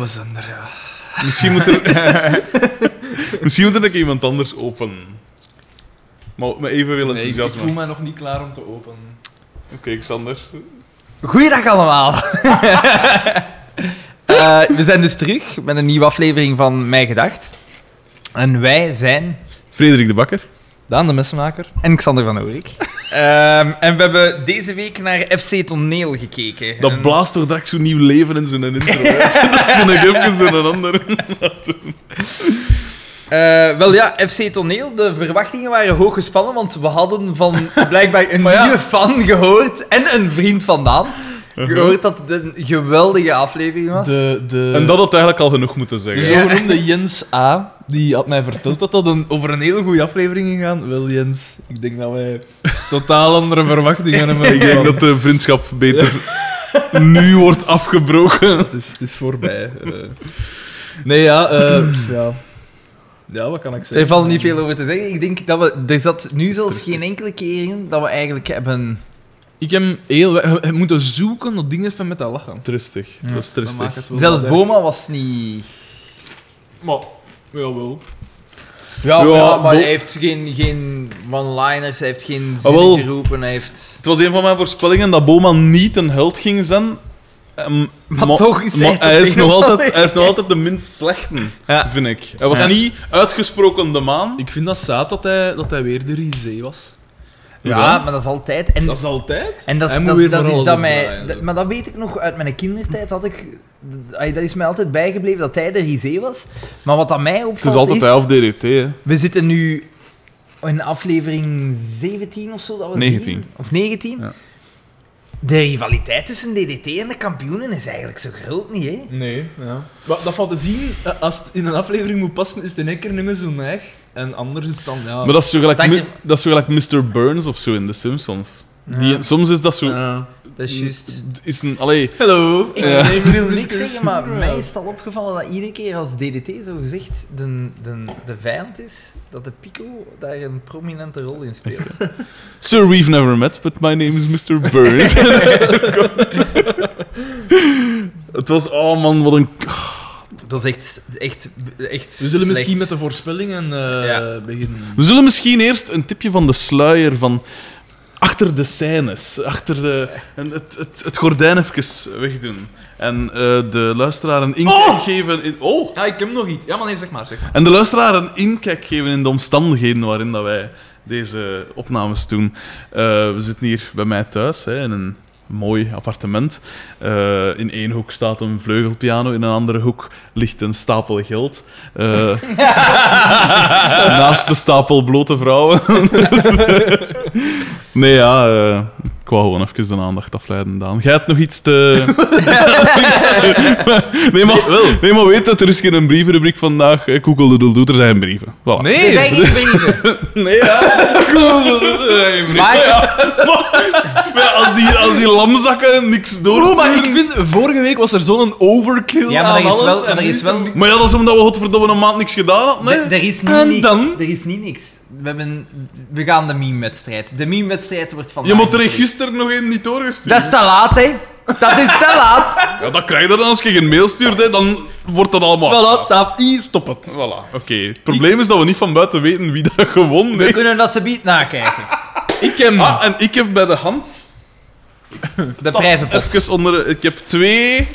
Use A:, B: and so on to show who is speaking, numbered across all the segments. A: we zijn er, ja.
B: Misschien moet er... Misschien moet er een keer iemand anders open. Maar met evenveel
A: Nee, ik, ik
B: enthousiasme.
A: voel mij nog niet klaar om te openen.
B: Oké, Xander.
C: Goeiedag allemaal. Eh, we zijn dus terug met een nieuwe aflevering van Mij Gedacht. En wij zijn
B: Frederik de Bakker.
A: Daan, de messenmaker.
C: en Xander van Oorik. Ehm, en we hebben deze week naar FC Toneel gekeken.
B: Dat
C: En-
B: blaast toch direct zo'n nieuw leven in zijn intro. hè. dat is een gifjes en een ander.
C: Eh, wel ja, FC Toneel, de verwachtingen waren hoog gespannen, want we hadden van blijkbaar een
A: Maar ja.
C: nieuwe fan gehoord en een vriend van Daan. Gehoord dat het een geweldige aflevering was.
A: Uh-huh. De, de,
B: En dat had eigenlijk al genoeg moeten
A: de
B: zeggen.
A: zogenoemde Jens A. Die had mij verteld dat dat een, over een hele goede aflevering ging gaan. Wel, Jens, ik denk dat wij totaal andere verwachtingen hebben.
B: Ik denk dat de vriendschap beter nu wordt afgebroken.
A: Het is, het is voorbij. eh. Nee, ja, eh, pff, ja. Ja, wat kan ik zeggen? Eh,
C: Er valt niet veel over te zeggen. Ik denk dat we... Er zat nu zelfs geen enkele keer in dat we eigenlijk hebben...
A: Ik heb heel... we- We moeten zoeken naar dingen van met dat lachen.
B: Trustig.
C: Ja.
B: Dat is
A: Dat maakt
B: trustig.
A: het wel
C: Zelfs
A: wat
C: Boma was niet...
A: erg. Maar, jawel.
C: Ja,
B: Ja,
C: ja, maar
B: Bo-
C: hij heeft geen, geen one-liners, hij heeft geen
B: Ah, wel.
C: zin geroepen, hij heeft...
B: Het was een van mijn voorspellingen dat Boma niet een held ging zijn. Ehm,
C: Maar toch is hij
B: maar
C: het
B: hij,
C: op
B: is
C: een
B: nog
C: of andere
B: altijd, hij is nog altijd de minst slechte,
C: Ja.
B: vind ik. Hij was
A: Ja.
B: niet uitgesproken de maan.
A: Ik vind dat zaad dat hij, dat hij weer de risé was.
B: Ja.
C: Ja, maar dat is altijd... En
A: Dat is altijd.
C: En dat is,
A: Hij moet
C: dat is,
A: weer
C: dat is
A: van
C: iets
A: alles
C: dat mij...
A: opdraaien,
C: dat-
A: zo.
C: maar dat weet ik nog uit mijn kindertijd. Had ik, dat ay, dat is mij altijd bijgebleven dat hij de risé was. Maar wat aan mij
B: Het is
C: opvalt
B: altijd hij of DDT, hè.
C: We zitten nu in aflevering 17 of zo. Dat we
B: 19.
C: zien. of 19.
B: Ja.
C: De rivaliteit tussen DDT en de kampioenen is eigenlijk zo groot niet, hè?
A: Nee, ja. Maar dat valt te zien, eh, als het in een aflevering moet passen, is het in één keer niet meer zo neig. En anders is het dan, ja...
B: Maar dat is zo gelijk,
C: Dank
B: mi-
C: je.
B: dat is zo gelijk Mr. Burns of zo in The Simpsons.
C: Ja.
B: Die, soms is dat zo...
A: Ja.
C: Dat is juist...
B: Is een, allee,
A: Hallo.
C: Ik,
B: Ja.
C: ik wil niks
A: Mister
C: zeggen, maar
A: Smurf.
C: mij is het al opgevallen dat iedere keer als DDT zo gezegd de, de, de vijand is, dat de Pico daar een prominente rol in speelt.
B: Sir, we've never met, but my name is Mr. Burns. het was... Oh man, wat een...
C: Dat is echt, echt, echt
A: We zullen misschien
C: slecht.
A: met de voorspellingen eh,
C: Ja.
A: beginnen.
B: We zullen misschien eerst een tipje van de sluier van... Achter de scènes, achter de, en het, het, het gordijn even wegdoen. En eh, de luisteraar een inkijk geven in... Oh!
A: Ja, ik heb nog iets. Ja, maar nee, zeg maar. Zeg maar.
B: En de luisteraar een inkijk geven in de omstandigheden waarin dat wij deze opnames doen. Eh, we zitten hier bij mij thuis hè, in een mooi appartement. Eh, in één hoek staat een vleugelpiano, in een andere hoek ligt een stapel geld. Eh, naast de stapel blote vrouwen. nee, ja, eh, ik wou gewoon even de aandacht afleiden, Daan. Jij hebt nog iets te... nee, maar, nee, maar weet dat er is geen brievenrubriek vandaag. Eh, Koekel de doeldoet, er zijn brieven. Voilà.
C: Er
A: Nee!
C: zijn geen brieven.
B: Nee, ja.
C: Maar
B: Maar ja, als, die, als die lamzakken niks door.
A: Oeh, maar ik vind, vorige week was er zo'n overkill
C: Ja, maar
A: aan
C: er is
A: alles.
C: wel-
A: en
C: er
A: nu
C: is wel-
A: niks.
B: Maar ja, dat is omdat we godverdomme een maand niks gedaan hadden.
C: d-
B: Nee?
C: er is niet
A: En
C: niks.
A: dan?
C: Er is niet niks. We, hebben, we gaan de meme-wedstrijd. De meme-wedstrijd wordt vandaag.
B: Je moet er
C: beslist.
B: gisteren nog één niet doorgestuurd.
C: Dat is te laat, hè? Dat is te laat.
B: Ja, dat krijg je dan als je geen mail stuurt, hè, dan wordt dat allemaal.
A: Voilà,
B: afgepast.
A: taf, i, stop het.
B: Voilà. Oké, het probleem is dat we niet van buiten weten wie dat gewonnen
C: We
B: heeft.
C: kunnen dat ze biedt nakijken.
A: Ik heb...
B: Ah, en ik heb bij de hand.
C: De
A: Ah,
B: tas
C: prijzenpot.
B: Even onder. Ik heb twee.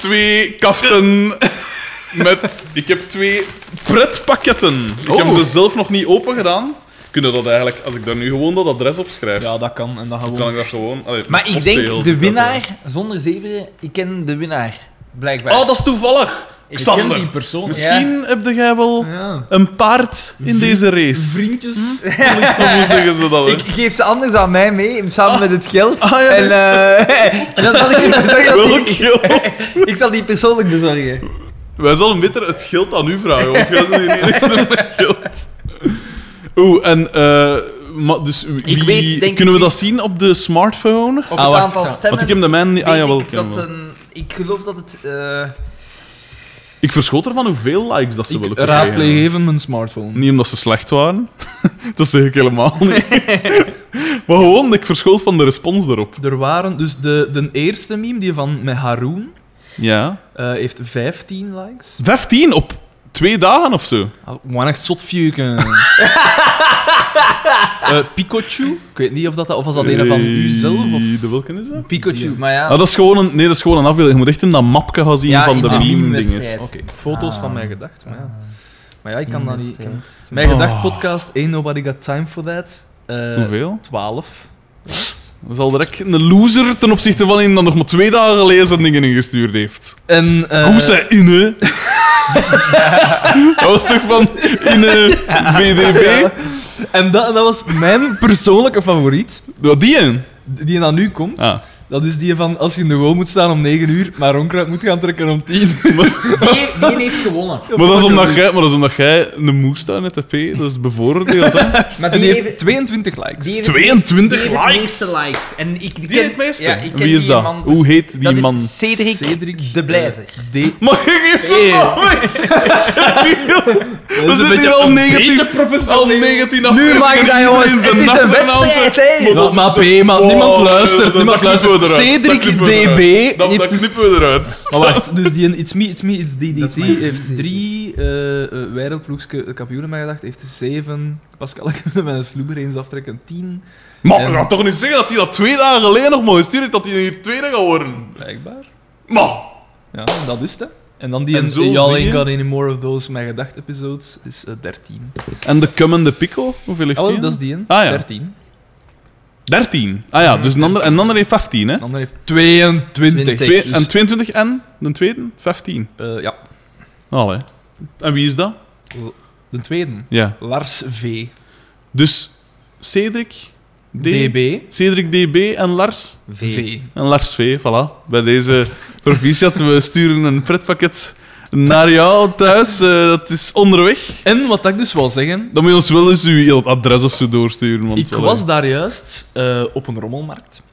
B: Twee kaften. Met. Ik heb twee pretpakketten. Ik heb
C: Oh.
B: ze zelf nog niet open gedaan. Kunnen dat eigenlijk, als ik daar nu gewoon dat adres op schrijf,
A: Ja, dat kan. En dat gaan we...
B: kan ik dat gewoon. allee,
C: Maar ik
B: postzegel,
C: denk, de
B: dat,
C: winnaar, zonder zeveren, ik ken de winnaar. Blijkbaar.
B: eh. Oh, dat is toevallig!
C: Ik
A: Ik ken
B: Xander.
A: die persoon.
B: Misschien heb jij wel
A: Ja.
B: een paard in deze race.
C: Hm?
A: Vriendjes.
B: Dan hoe zeggen ze dat? hè?
C: Ik geef ze anders aan mij mee, samen met het geld.
B: Ah, ja,
C: en eh, dan zal ik even zeggen dat
B: Welk Oh,
C: die-
B: geld?
C: ik zal die persoonlijk bezorgen.
B: Wij zullen beter het geld aan u vragen, want jij bent hier echt met geld. Oeh, en... eh maar dus wie,
C: weet, denk
B: kunnen we
C: ik-
B: dat zien op de smartphone?
C: Op
A: Ah,
C: het
A: wacht,
C: aantal
A: ja.
C: stemmen.
B: Want ik heb de mijn niet... Ah,
C: weet
B: jawel.
C: ik,
B: Ik, heb
C: dat
B: hem wel.
C: een, ik geloof dat het. eh,
B: ik verschoot ervan hoeveel likes dat ze
A: Ik
B: willen krijgen.
A: raadpleeg even mijn smartphone.
B: Niet omdat ze slecht waren. dat zeg ik helemaal niet. maar gewoon, ik verschoot van de respons erop.
A: Er waren dus de, de eerste meme, die van met Haroon.
B: Ja.
A: Eh, heeft 15 likes.
B: 15 op twee dagen of zo.
A: Wanneer zot fiuken. Eh, Pikachu? Ik weet niet of dat, dat of was dat een van u zelf of
B: Eh, De welke is dat?
C: Pikachu,
A: Die-
C: maar ja.
B: Ah, dat, is gewoon een, nee, dat is gewoon een afbeelding. Je moet echt in dat mapje gaan zien
C: Ja,
B: van
C: in
B: de
C: dat
B: meme-dingen.
C: meme-wedstrijd.
A: Oké, foto's
C: Ah.
A: van mijn gedacht, maar ja. Maar ja, ik kan dat niet. ik kan-
C: Inderdaad.
A: Mijn
B: Oh.
A: gedacht podcast Ain't Nobody Got Time for That. Eh,
B: Hoeveel?
A: 12. likes.
B: Dat is al direct een loser ten opzichte van iemand dat nog maar twee dagen geleden zijn dingen ingestuurd heeft.
A: En eh,
B: Hoe zij Inne? dat was toch van Inne VDB?
A: en dat, dat was mijn persoonlijke favoriet.
B: Wat die een?
A: Die dan nu komt.
B: Ah.
A: Dat is die van als je in de goal moet staan om 9 uur, maar onkruid moet gaan trekken om 10 uur.
C: Die, die heeft gewonnen.
B: Maar dat is omdat jij, maar dat is omdat jij een moestuin hebt, hè, P. Dat is bevoordeeld, hè?
C: Maar
A: En
C: die,
A: die heeft
C: heeft,
A: 22 likes.
C: die heeft
B: 22
C: die heeft
B: likes.
C: het meeste likes. En ik ken,
B: Die het meeste?
C: Ja, ik ken
B: Wie is
C: die
B: dat?
C: man dus-
B: Hoe heet die
C: dat
B: man?
C: Is Cedric,
A: Cedric eh,
C: de Blijzer.
A: D.
B: Mag ik even
A: Hey.
B: We zitten hier al 19, al 19 afleveringen.
C: Nu mag dat, jongens.
B: in
C: Het
B: zijn
C: is een
B: nacht en al.
C: wedstrijd, hè.
A: Laat maar P, maar niemand
B: Oh,
A: luistert.
B: dat-
A: niemand
B: dat knippen
A: luistert.
B: we eruit.
A: Cedric
B: Dat knippen we
A: DB
B: eruit. Dat, dat
A: heeft dus...
B: knippen we eruit.
A: Maar wacht, dus die een It's Me, It's Me, It's DDT
C: is mijn
A: heeft
C: favoriet.
A: drie eh eh, wereldploegske kampioenen maar gedacht. Heeft er zeven. Pascal kan met een sloeber eens aftrekken. Tien,
B: Maar
A: En-
B: je gaat toch niet zeggen dat hij dat twee dagen geleden nog mooi stuurt, dat hij hier tweede gaat worden?
A: blijkbaar.
B: Maar,
A: Ja, en dat is het. hè. En dan die
B: En
A: en
B: zo
A: Y'all
B: zie
A: Ain't
B: je-
A: Got Any More of Those Mijn Gedacht episodes is eh, 13.
B: En de Cummende Pico, hoeveel heeft
A: Oh,
B: hij?
A: dat is die een.
B: Ah, ja.
A: 13.
B: 13. Ah ja, dus een ander, en een ander heeft 15, hè?
A: De ander heeft 22.
C: Twintig.
B: Twee,
A: Dus,
B: en 22 en de tweede? 15.
A: eh, ja,
B: Allee. En wie is dat?
A: de tweede.
B: Ja.
A: Lars V.
B: Dus Cedric, D,
A: DB.
B: Cedric DB en Lars.
A: V.
B: En Lars V, voilà. Bij deze proficiat, we sturen een pretpakket naar jou thuis. Eh, dat is onderweg.
A: En wat ik dus wil zeggen,
B: Dan moet je ons wel eens uw heel adres of zo doorsturen. Want,
A: ik
B: allee.
A: was daar juist eh, op een rommelmarkt.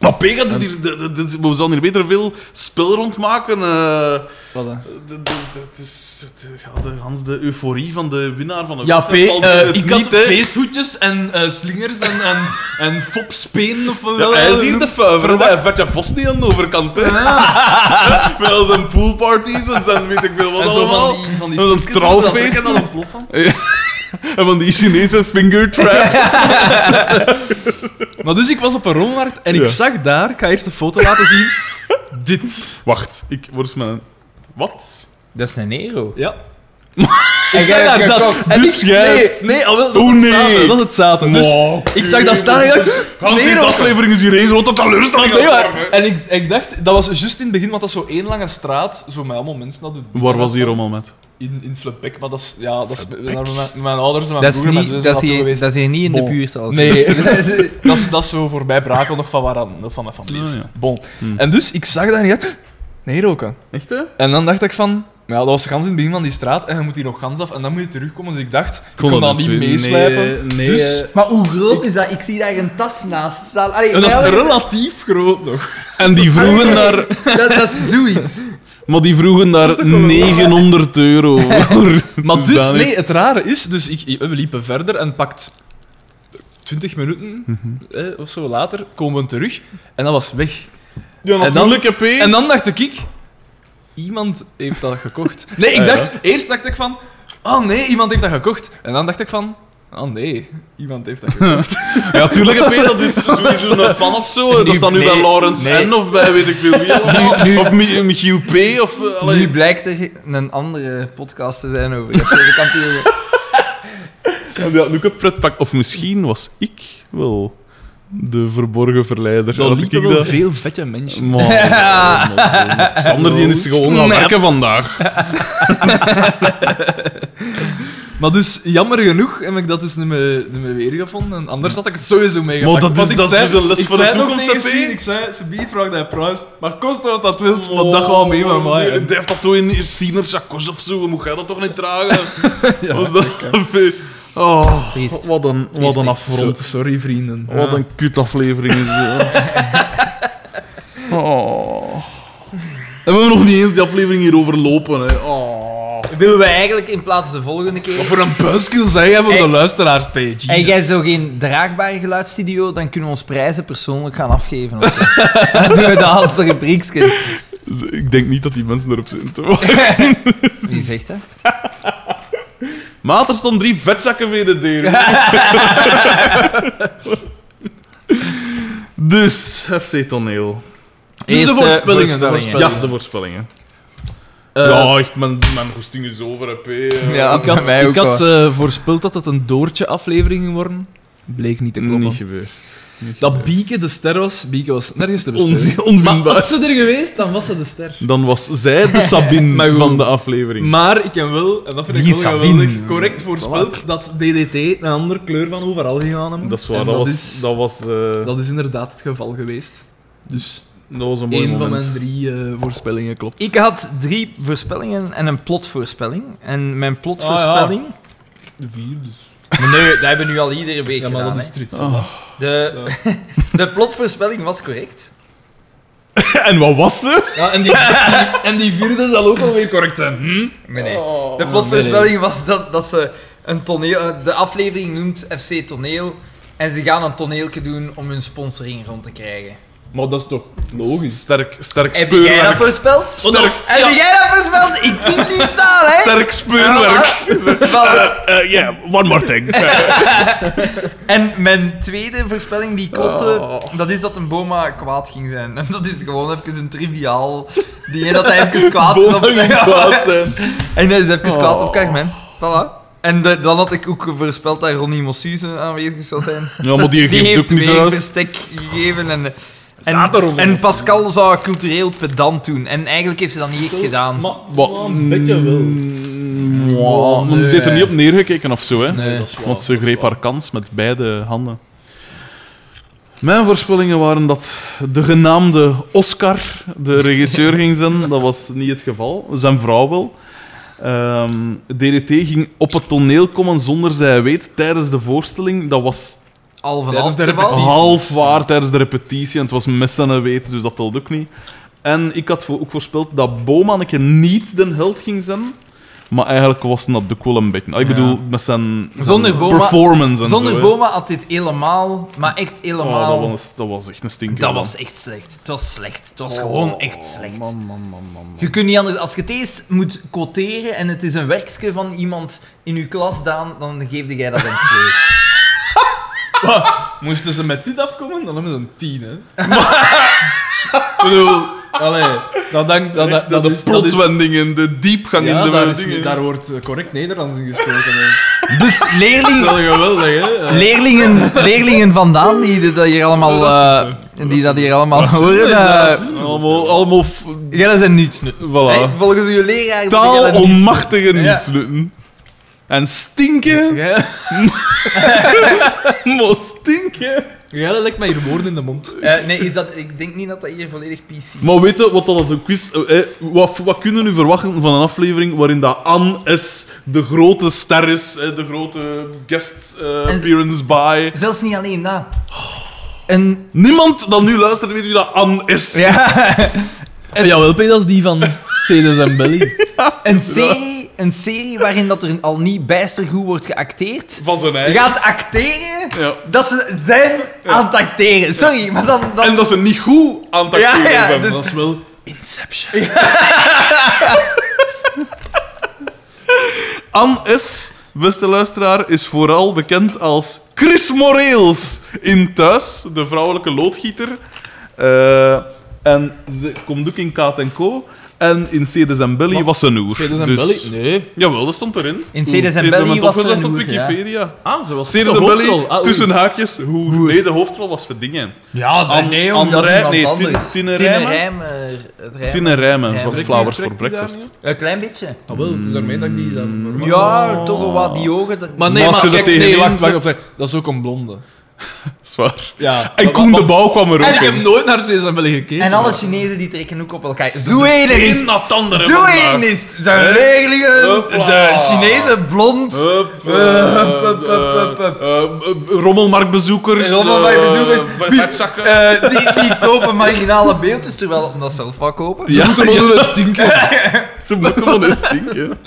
B: Maar Pega, doet hier- de- de- de- we zullen hier beter veel spel rondmaken. eh.
A: Wat dan?
B: De- de- de- Het is het- ja, de, Hans, de euforie van de winnaar van de
A: Ja, P,
B: wedstrijd valt in
A: eh,
B: het
A: ik had
B: niet, hè.
A: feesthoedjes en eh, slingers en, en, en fopspenen of wel. eh,
B: Ja, hij is hier de fuiver, hè. hij vet je vos niet aan de overkant. hè. Met al zijn poolparties en zijn weet ik veel wat
A: En zo
B: allemaal.
A: van die, van die
B: Dat is een
A: snoepjes en
B: trouwfeest,
A: dat Ik
B: hè.
A: dan een plof van.
B: En van die Chinese finger traps.
A: Maar dus ik was op een rommelmarkt en ik
B: Ja.
A: zag daar, ik ga eerst een foto laten zien, dit.
B: Wacht, ik word eens mijn... Wat?
C: Dat is een Nero.
A: Ja.
C: En
A: Ik zag
C: jij
A: daar
C: hebt
A: dat.
C: gekocht.
A: En
B: Dus
A: ik-
B: jij
A: Nee,
B: hebt-
A: nee, al wel, dat
B: Oh,
A: is het
B: nee.
A: zaten, Dat is het zaten. Dus
B: Maar,
A: ik zag dat staan en ik dacht...
B: Hans,
A: nee,
B: deze
A: dat-
B: aflevering is hier één grote teleurstelling.
A: Nee,
B: aan het
A: maar-
B: worden, hè.
A: en ik, ik dacht, dat was juist in het begin, want dat is zo één lange straat, zo met allemaal mensen. Dat doen.
B: Waar was die rommel met?
A: In, in Flebek, maar dat is, ja, dat is naar mijn, mijn ouders en mijn
C: Dat is,
A: broer en mijn
C: niet,
A: zus
C: dat, is
A: naartoe
C: hier,
A: geweest.
C: dat is hier niet in de
A: Bon.
C: buurt. Als Dus-
A: Nee, dat is, dat, is, dat is zo voorbij Brakel nog van waar dan- van mijn familie is.
B: Ah, ja.
A: Bon.
B: Hmm.
A: En dus, ik zag dat en ik dacht, nee roken.
B: Echt, hè?
A: En dan dacht ik van, maar ja, dat was gans in het begin van die straat en je moet hier nog gans af en dan moet je terugkomen. Dus ik dacht, ik kon, dat niet meeslijpen.
B: Nee,
A: Dus-
B: eh,
C: Maar hoe groot is dat? Ik zie daar een tas naast staan. Allee,
A: En dat is
C: wel-
A: relatief groot nog.
B: En die vroegen daar...
C: dat, dat is zoiets.
B: Maar die vroegen daar 900 euro voor.
A: Maar dus,
B: Zodanig.
A: nee, het rare is, dus ik, we liepen verder en pakt 20 minuten
B: Mhm.
A: eh, of zo later komen we terug en dat was weg. dan-
B: Ja, natuurlijk, hè, P.
A: En dan dacht ik, iemand heeft dat gekocht. Nee,
B: Ah,
A: ik
B: ja.
A: dacht, eerst dacht ik van, oh nee, iemand heeft dat gekocht. En dan dacht ik van, oh nee, iemand heeft dat gekocht.
B: Ja, tuurlijk, hè, P, dat is sowieso een fan of zo. dat staat nu
C: nee,
B: bij Laurens
C: nee.
B: N of bij weet ik veel wie allemaal. Of Mi- Michiel P. Of, eh, allee.
C: Nu blijkt er een andere podcast te zijn over FC de kampioenen.
B: En die had ook een pretpak. Of misschien was ik wel de verborgen verleider.
A: Er
B: Had
A: liepen
B: ik
A: wel
B: dat-
A: veel vette mensen.
B: Man, man, man, man. Sander die is gewoon gaan
A: Snap.
B: werken vandaag.
A: Maar dus, jammer genoeg heb ik dat dus niet meer, niet meer weergevonden. En anders had ik het sowieso meegemaakt.
B: Maar dat is-
A: Want ik
B: dat is
A: zei-
B: dus een les
A: ik
B: voor de
A: zei nog
B: toekomst,
A: tegen
B: hè,
A: Sien,
B: P?
A: Ik zei, ze biedt vraag naar prijs, maar kost wat dat wilt, want dat
B: Oh,
A: gaat mee met mij.
B: Die heeft dat toch in Siener Jacques of zo. Moet jij dat toch niet dragen? was dat Oh,
C: Triest.
B: wat een, wat een afgrond.
A: Zo- sorry, vrienden.
B: Wat een kutaflevering is dit. hè. oh. En we hebben nog niet eens die aflevering hier overlopen. Hè. Oh.
C: Willen we eigenlijk in plaats de volgende
A: Wat
C: keer...
A: voor een buiskel zei jij voor de
C: Hey.
A: luisteraars, P. Jesus.
C: En jij zo geen draagbare geluidsstudio, dan kunnen we ons prijzen persoonlijk gaan afgeven. of zo. Dan doen we dat als een rubriekje.
B: Z- Dus Ik denk niet dat die mensen erop zitten te wachten.
C: Wie zegt dat?
B: Maat, er stonden drie vetzakken bij de deur. dus, FC Toneel.
A: Eerst,
B: de
A: eh,
B: voorspellingen. de
A: voorspellingen.
B: voorspellingen. Ja, de voorspellingen.
A: Eh,
B: ja, echt, mijn, mijn goesting is over, hè, P. Eh,
C: Ja,
A: ik had,
C: mij ook
A: ik had eh, voorspeld dat het een doortje-aflevering ging worden. Bleek niet te kloppen.
B: Niet gebeurd. Niet
A: dat
B: gebeurd.
A: Bieke de ster was. Bieke was nergens te bespelen.
B: Onzi-
A: Maar
B: onvindbaar.
A: als ze er geweest, dan was ze de ster.
B: Dan was zij de Sabine van de aflevering.
A: Maar ik heb wel, en dat vind ik
C: Die
A: wel
C: Sabine.
A: geweldig, correct voorspeld dat DDT een andere kleur van overal gegaan hebben.
B: Dat is waar,
A: En
B: dat, was,
A: is,
B: dat, was, eh, dat,
A: dat is inderdaad het geval geweest. Dus
B: was een mooi
A: één van
B: moment.
A: mijn drie eh, voorspellingen klopt.
C: Ik had drie voorspellingen en een plotvoorspelling. En mijn plotvoorspelling...
A: Ah, De vier, dus.
C: Maar nee, dat hebben we nu al iedere week
A: Ja, maar
C: gedaan.
A: dat is
C: hè.
A: trut.
B: Ah.
C: de, de plotvoorspelling was correct.
B: En wat was ze?
C: Ja, en die,
A: En die vierde zal ook alweer correct zijn. Hm?
C: Nee, nee.
B: Oh.
C: De plotvoorspelling was dat, dat ze een toneel... eh, De aflevering noemt FC Toneel. En ze gaan een toneeltje doen om hun sponsoring rond te krijgen.
A: Maar dat is toch logisch?
B: Sterk, sterk
C: Heb jij dat
B: speurwerk.
C: voorspeld?
B: Sterk.
C: Heb jij dat voorspeld? Ik zie het niet staan, hè?
B: Sterk speurwerk. Eh,
C: Voilà.
B: Ja, yeah, one more thing.
C: En mijn tweede voorspelling die klopte,
B: Oh.
C: dat is dat een Boma kwaad ging zijn. En dat is gewoon even een triviaal die dat hij even kwaad is op
B: Bowling kwaad zijn.
C: En hij is even
B: Oh.
C: kwaad op Carmen. Voilà. En de- dan had ik ook voorspeld dat Ronnie Mossuze aanwezig zou zijn.
B: Ja, maar die
C: Die
B: geeft
C: heeft
B: ook niet
C: twee
B: thuis.
C: bestek gegeven en... En,
A: Zaten er onder.
C: en Pascal zou cultureel pedant doen. En eigenlijk heeft ze dat niet echt gedaan.
B: Wat?
A: Een beetje wel.
B: Mm, wow, maar
A: Nee.
B: Ze heeft er niet op neergekeken of zo, hè?
A: Nee, dat is waar,
B: Want ze
A: dat is
B: greep
A: waar.
B: haar kans met beide handen. Mijn voorspellingen waren dat de genaamde Oscar de regisseur ging zijn. Dat was niet het geval. Zijn vrouw wel. Ehm, DDT ging op het toneel komen zonder zij weet tijdens de voorstelling. Dat was
C: Al van
B: dus
A: Dat is
C: al
A: de
C: geval.
A: repetitie.
B: half waar tijdens de repetitie. En het was messen en weet, dus dat telt ook niet. En ik had voor- ook voorspeld dat Bomanneke niet de held ging zijn. Maar eigenlijk was dat ook wel een beetje. Ah, Ik bedoel, met zijn, zijn
C: Zonder Boma-
B: performance en
C: Zonder
B: zo. hè.
C: Boma had dit helemaal, maar echt
B: Oh,
C: helemaal...
B: dat, was, dat was echt een stinker.
C: Dat
B: man.
C: was echt slecht. Het was slecht. Het was gewoon echt slecht. Je kunt niet anders. Als je het eens moet quoteren en het is een werkje van iemand in uw klas, Daan, dan geef jij dat een twee.
A: Moesten ze met dit afkomen, dan hebben ze een 10, hè? ik bedoel, allee, dat, denk, dat, dat,
B: Echt,
A: dat
B: de
A: is... dat is-
B: plotwendingen, de diepgang
A: Ja,
B: in de
A: daar, is-
B: dingen.
A: daar wordt eh, correct Nederlands in gesproken. hè.
C: Dus
A: Dat is
C: leerling,
A: wel geweldig, hè? Eh,
C: leerlingen, leerlingen vandaan die dit- dat hier allemaal, eh, die dat hier allemaal horen, eh,
B: Allemaal, allemaal f-
C: jullie zijn niets.
B: voilà.
C: volgens uw leraar.
B: Taal onmachtige
C: Ja.
B: niets lukken. En stinken,
A: Jij
B: maar stinken.
A: jij legt mij hier woorden in de mond.
C: Eh, nee, is dat, ik denk niet dat dat hier volledig PC is.
B: Maar weet je wat dat ook is? Eh, eh, wat, wat kunnen we nu verwachten van een aflevering waarin dat Anne S. de grote ster is, eh, de grote guest eh,
C: En-
B: appearance by...
C: Zelfs niet alleen dat. Een
B: Niemand dat nu luistert weet wie dat Anne S. is.
A: En jawel, P, dat is die van Cedes en Belly.
C: Een serie, een serie waarin dat er al niet bijster goed wordt geacteerd.
B: Van zijn
C: Je
B: eigen.
C: gaat acteren
B: Ja.
C: dat ze zijn aan het acteren. Sorry, maar dan... dan...
B: En dat ze niet goed aan het
C: Ja,
B: acteren
C: ja,
B: zijn.
C: dus-
A: Dat is wel Inception.
B: Anne S., beste luisteraar, is vooral bekend als Chris Moreels in Thuis, de vrouwelijke loodgieter. Eh, en ze komt ook in Kaat en Co. En in Cedes en Belly
A: Maar-
B: was ze een oer.
A: Cedes en
B: Dus-
A: Belly? Nee.
B: Jawel, dat stond erin.
C: In Cedes en
B: Ik heb
C: Belly
B: het
C: was ze
B: opgezocht
C: een
B: op
C: hoer, ja.
B: Wikipedia.
A: Ah, ze was
B: Cedes
A: de
B: en Belly,
A: hoofdrol. Ah, oei.
B: tussen haakjes, hoe... Nee, de hoofdrol was Verdingen.
C: Ja,
B: An-
A: Ah,
C: dat is
B: André-
C: iemand
B: Ah, nee,
C: anders.
B: Tin- Tinne
C: Tinne
B: Rijmer?
C: Rijmer, het Rijmer.
B: Tine Rijmen
C: Ja,
B: van
C: trekt
B: Flowers
A: die-
B: for
A: trekt die daar
B: Breakfast. Mm.
C: Een klein beetje.
B: Oh.
A: Ah, wel, het is daarmee dat ik die dan...
C: Ja, toch wel wat die ogen. dat-
A: Maar nee,
B: Maar
A: maar,
B: als je
A: kijk,
B: er
A: nee,
B: tegenin
A: wacht, wacht,
B: zet-
A: wacht. Dat is ook een blonde.
B: Zwaar.
A: Ja.
B: En Koen de Bouw kwam er
A: En
B: ook
A: ik heb
B: in.
A: nooit naar Cedes en Belly gekeken.
C: En alle Chinezen die trekken ook op elkaar. Zo één is
B: In
C: het.
B: dat andere
C: Zo
B: vandaag.
C: één is het. Zijn
B: Hè?
C: regelingen,
B: Hopla.
C: de Chinezen blond.
B: Hup, eh,
C: Hup, hup, hup, hup, hup.
B: eh, eh, Rommelmarktbezoekers.
C: Eh, rommelmarktbezoekers.
B: eh,
C: Wie-
B: vetzakken.
C: Eh, die, die kopen marginale beeldjes, terwijl dat zelf wel kopen.
B: Ja, ja.
A: stinken.
B: Ze moeten wel eens stinken.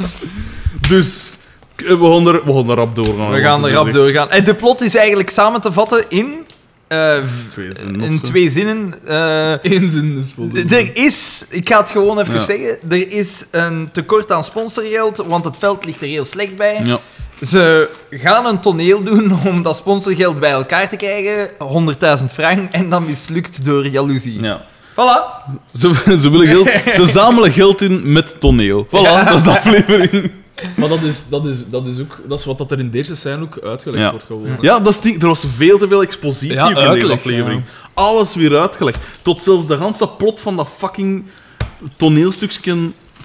B: Dus, k- eh, we gaan er, we gaan er rap doorgaan.
C: We gaan
B: want
C: er
B: het
C: rap
B: is echt-
C: doorgaan. En de plot is eigenlijk samen te vatten in... eh, eh, v-
B: Twee zinnen of
C: in
B: zo.
C: twee zinnen. eh,
A: Eén zin is voldoende.
C: er is, ik ga het gewoon even
B: Ja.
C: zeggen, er is een tekort aan sponsorgeld, want het veld ligt er heel slecht bij.
B: Ja.
C: Ze gaan een toneel doen om dat sponsorgeld bij elkaar te krijgen, 100.000 frank, en dat mislukt door jaloezie.
B: ja.
C: Voilà.
B: Ze, ze, willen geld, ze zamelen geld in met toneel. Voilà, dat is de aflevering.
A: Maar dat is, dat, is, dat, is ook, dat is wat dat er in deze scène ook uitgelegd
B: Ja.
A: wordt gewoon.
B: Ja, dat is het ding. Er was veel te veel expositie
A: Ja,
B: ook in deze
A: uitleg,
B: aflevering. Alles weer uitgelegd. Tot zelfs de ganse plot van dat fucking toneelstukje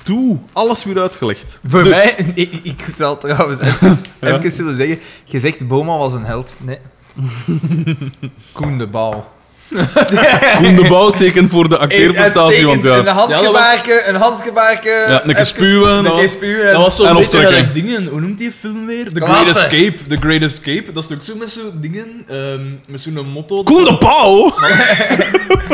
B: toe. Alles weer uitgelegd.
C: Voor
B: Dus-
C: mij, ik, ik moet wel trouwens even, even willen zeggen, je zegt Boma was een held. Nee. Koen de Bouw.
B: Koen de Bouw tekent voor de acteerprestatie. Want
C: Uitstekend.
B: ja,
C: Een handgebaarke, een handgebaarke.
B: ja een keer
C: even-
B: spuwen.
C: Een
A: Dat
C: keer
A: was-
C: spuwen.
A: Dat was zo'n
B: En
A: beetje
B: optrekken.
A: gelijk dingen. Hoe noemt die film weer? The
C: Klasse.
A: Great Escape. The Great Escape. Dat is ook zo met zo'n dingen. ehm, met zo'n motto.
B: Koen de Bouw!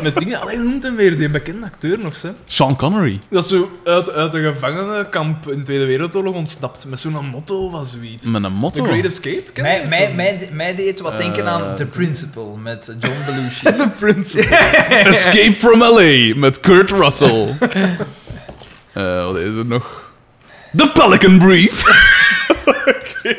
A: Met dingen. Alleen hoe noemt hem weer die bekende acteur nog, hè?
B: Sean Connery.
A: Dat is zo uit, uit de gevangenenkamp in de Tweede Wereldoorlog ontsnapt. Met zo'n motto was zoiets.
B: Met een
A: The
B: motto.
A: Great Escape? Ken je
C: Mij,
A: die
C: mij,
A: film?
C: mij, mij deed wat denken aan
B: Eh.
C: The Principal met John Belushi.
A: The Principle.
B: Escape from LA met Kurt Russell. Eh, wat is er nog? The Pelican Brief. Oké.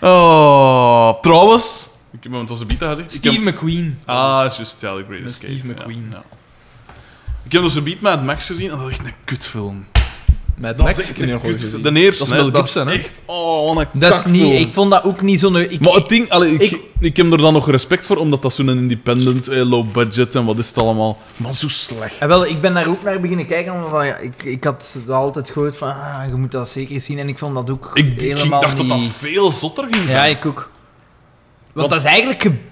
B: Oh, trouwens. Ik heb met onze beta gezegd. Ik heb-
A: Steve McQueen.
B: Ah, dat is juist. Ja, The Great
A: Met
B: Escape.
A: Steve
B: ja,
A: McQueen.
B: ja. Ik heb onze beat met Max gezien en dat is echt een kutfilm.
A: Met
B: echt een kutfilm. De eerste,
A: Dat is Mel
B: hè,
A: Gibson, hè?
B: echt, oh, wat een
C: Dat is niet,
B: kakfilm.
C: ik vond dat ook niet zo'n... Ik,
B: Maar het ding, allee, ik,
C: ik-
B: ik, heb er dan nog respect voor, omdat dat zo'n independent, eh, low budget en wat is het allemaal. Maar zo slecht.
C: Ja, Ah, wel, ik ben daar ook naar beginnen kijken, omdat ja, ik, ik had dat altijd gehoord van, ah, je moet dat zeker zien, en ik vond dat ook
B: Ik, ik ging-
C: helemaal
B: dacht dat dat
C: niet-
B: veel zotter ging
C: Ja,
B: zijn.
C: ik ook. Want,
B: Want-
C: dat is eigenlijk... ge-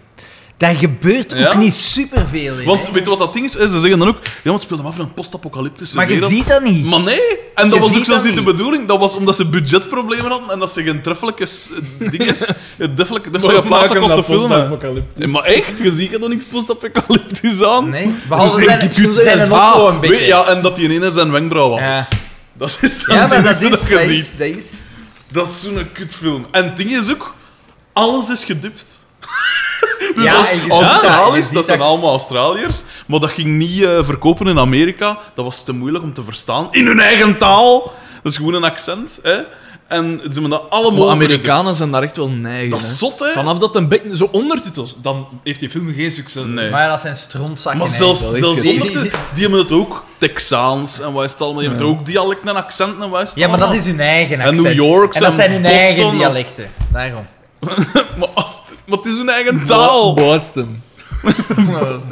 C: Daar gebeurt ook
B: Ja?
C: niet superveel in.
B: Want
C: hè.
B: weet je wat dat ding is? Eh, Ze zeggen dan ook, ja, maar het speelt hem af in een post-apocalyptische
C: maar je
B: wereld.
C: ziet dat niet.
B: Maar nee, en dat
C: Je
B: was ook
C: ziet
B: zelfs
C: dat
B: niet de
C: niet.
B: bedoeling. Dat was omdat ze budgetproblemen hadden en dat ze geen treffelijke s- eh, dinges, defelijke, deftige plaatsen konden filmen. Eh, Maar echt, je ziet er nog niks post-apocalyptisch aan.
C: Nee, behalve
B: Dus
C: zijn,
B: ik heb
C: zijn, zijn
B: het-
C: auto
B: Ah,
C: een beetje.
B: weet- ja, en dat die ene zijn wenkbrauw af is.
C: Ja.
B: Dat is
C: Ja, maar dat is,
B: dat
C: dat
B: je
C: is,
B: ziet.
C: dat is.
B: Dat is zo'n kutfilm. En het ding is ook, alles is gedupt. Dus
C: Ja,
B: als
C: en je- ja, je
B: Australiërs,
C: ziet
B: dat zijn
C: dat-
B: allemaal Australiërs, maar dat ging niet eh, verkopen in Amerika. Dat was te moeilijk om te verstaan. In hun eigen taal. Dat is gewoon een accent. Hè? En ze hebben dat allemaal
A: Maar
B: vergedubt.
A: Amerikanen zijn daar echt wel neigen.
B: Dat is
A: hè.
B: zot, hè?
A: Vanaf dat een beetje zo ondertitels, dan heeft die film geen succes.
B: Nee.
C: Maar ja, dat zijn strontzakken.
B: Maar
C: hè.
B: zelfs,
A: wel echt
B: zelfs
C: gedupt.
B: zonder te- die hebben het ook Texaans en wat is het allemaal. Die hebben er ook dialecten en accenten en wat is het
C: Ja, maar dat
B: allemaal.
C: is hun eigen
B: En
C: accent.
B: New Yorks
C: En dat
B: en
C: zijn hun
B: Boston
C: eigen
B: of-
C: dialecten. Daarom.
B: maar, als- maar het is hun eigen taal.
A: Boston.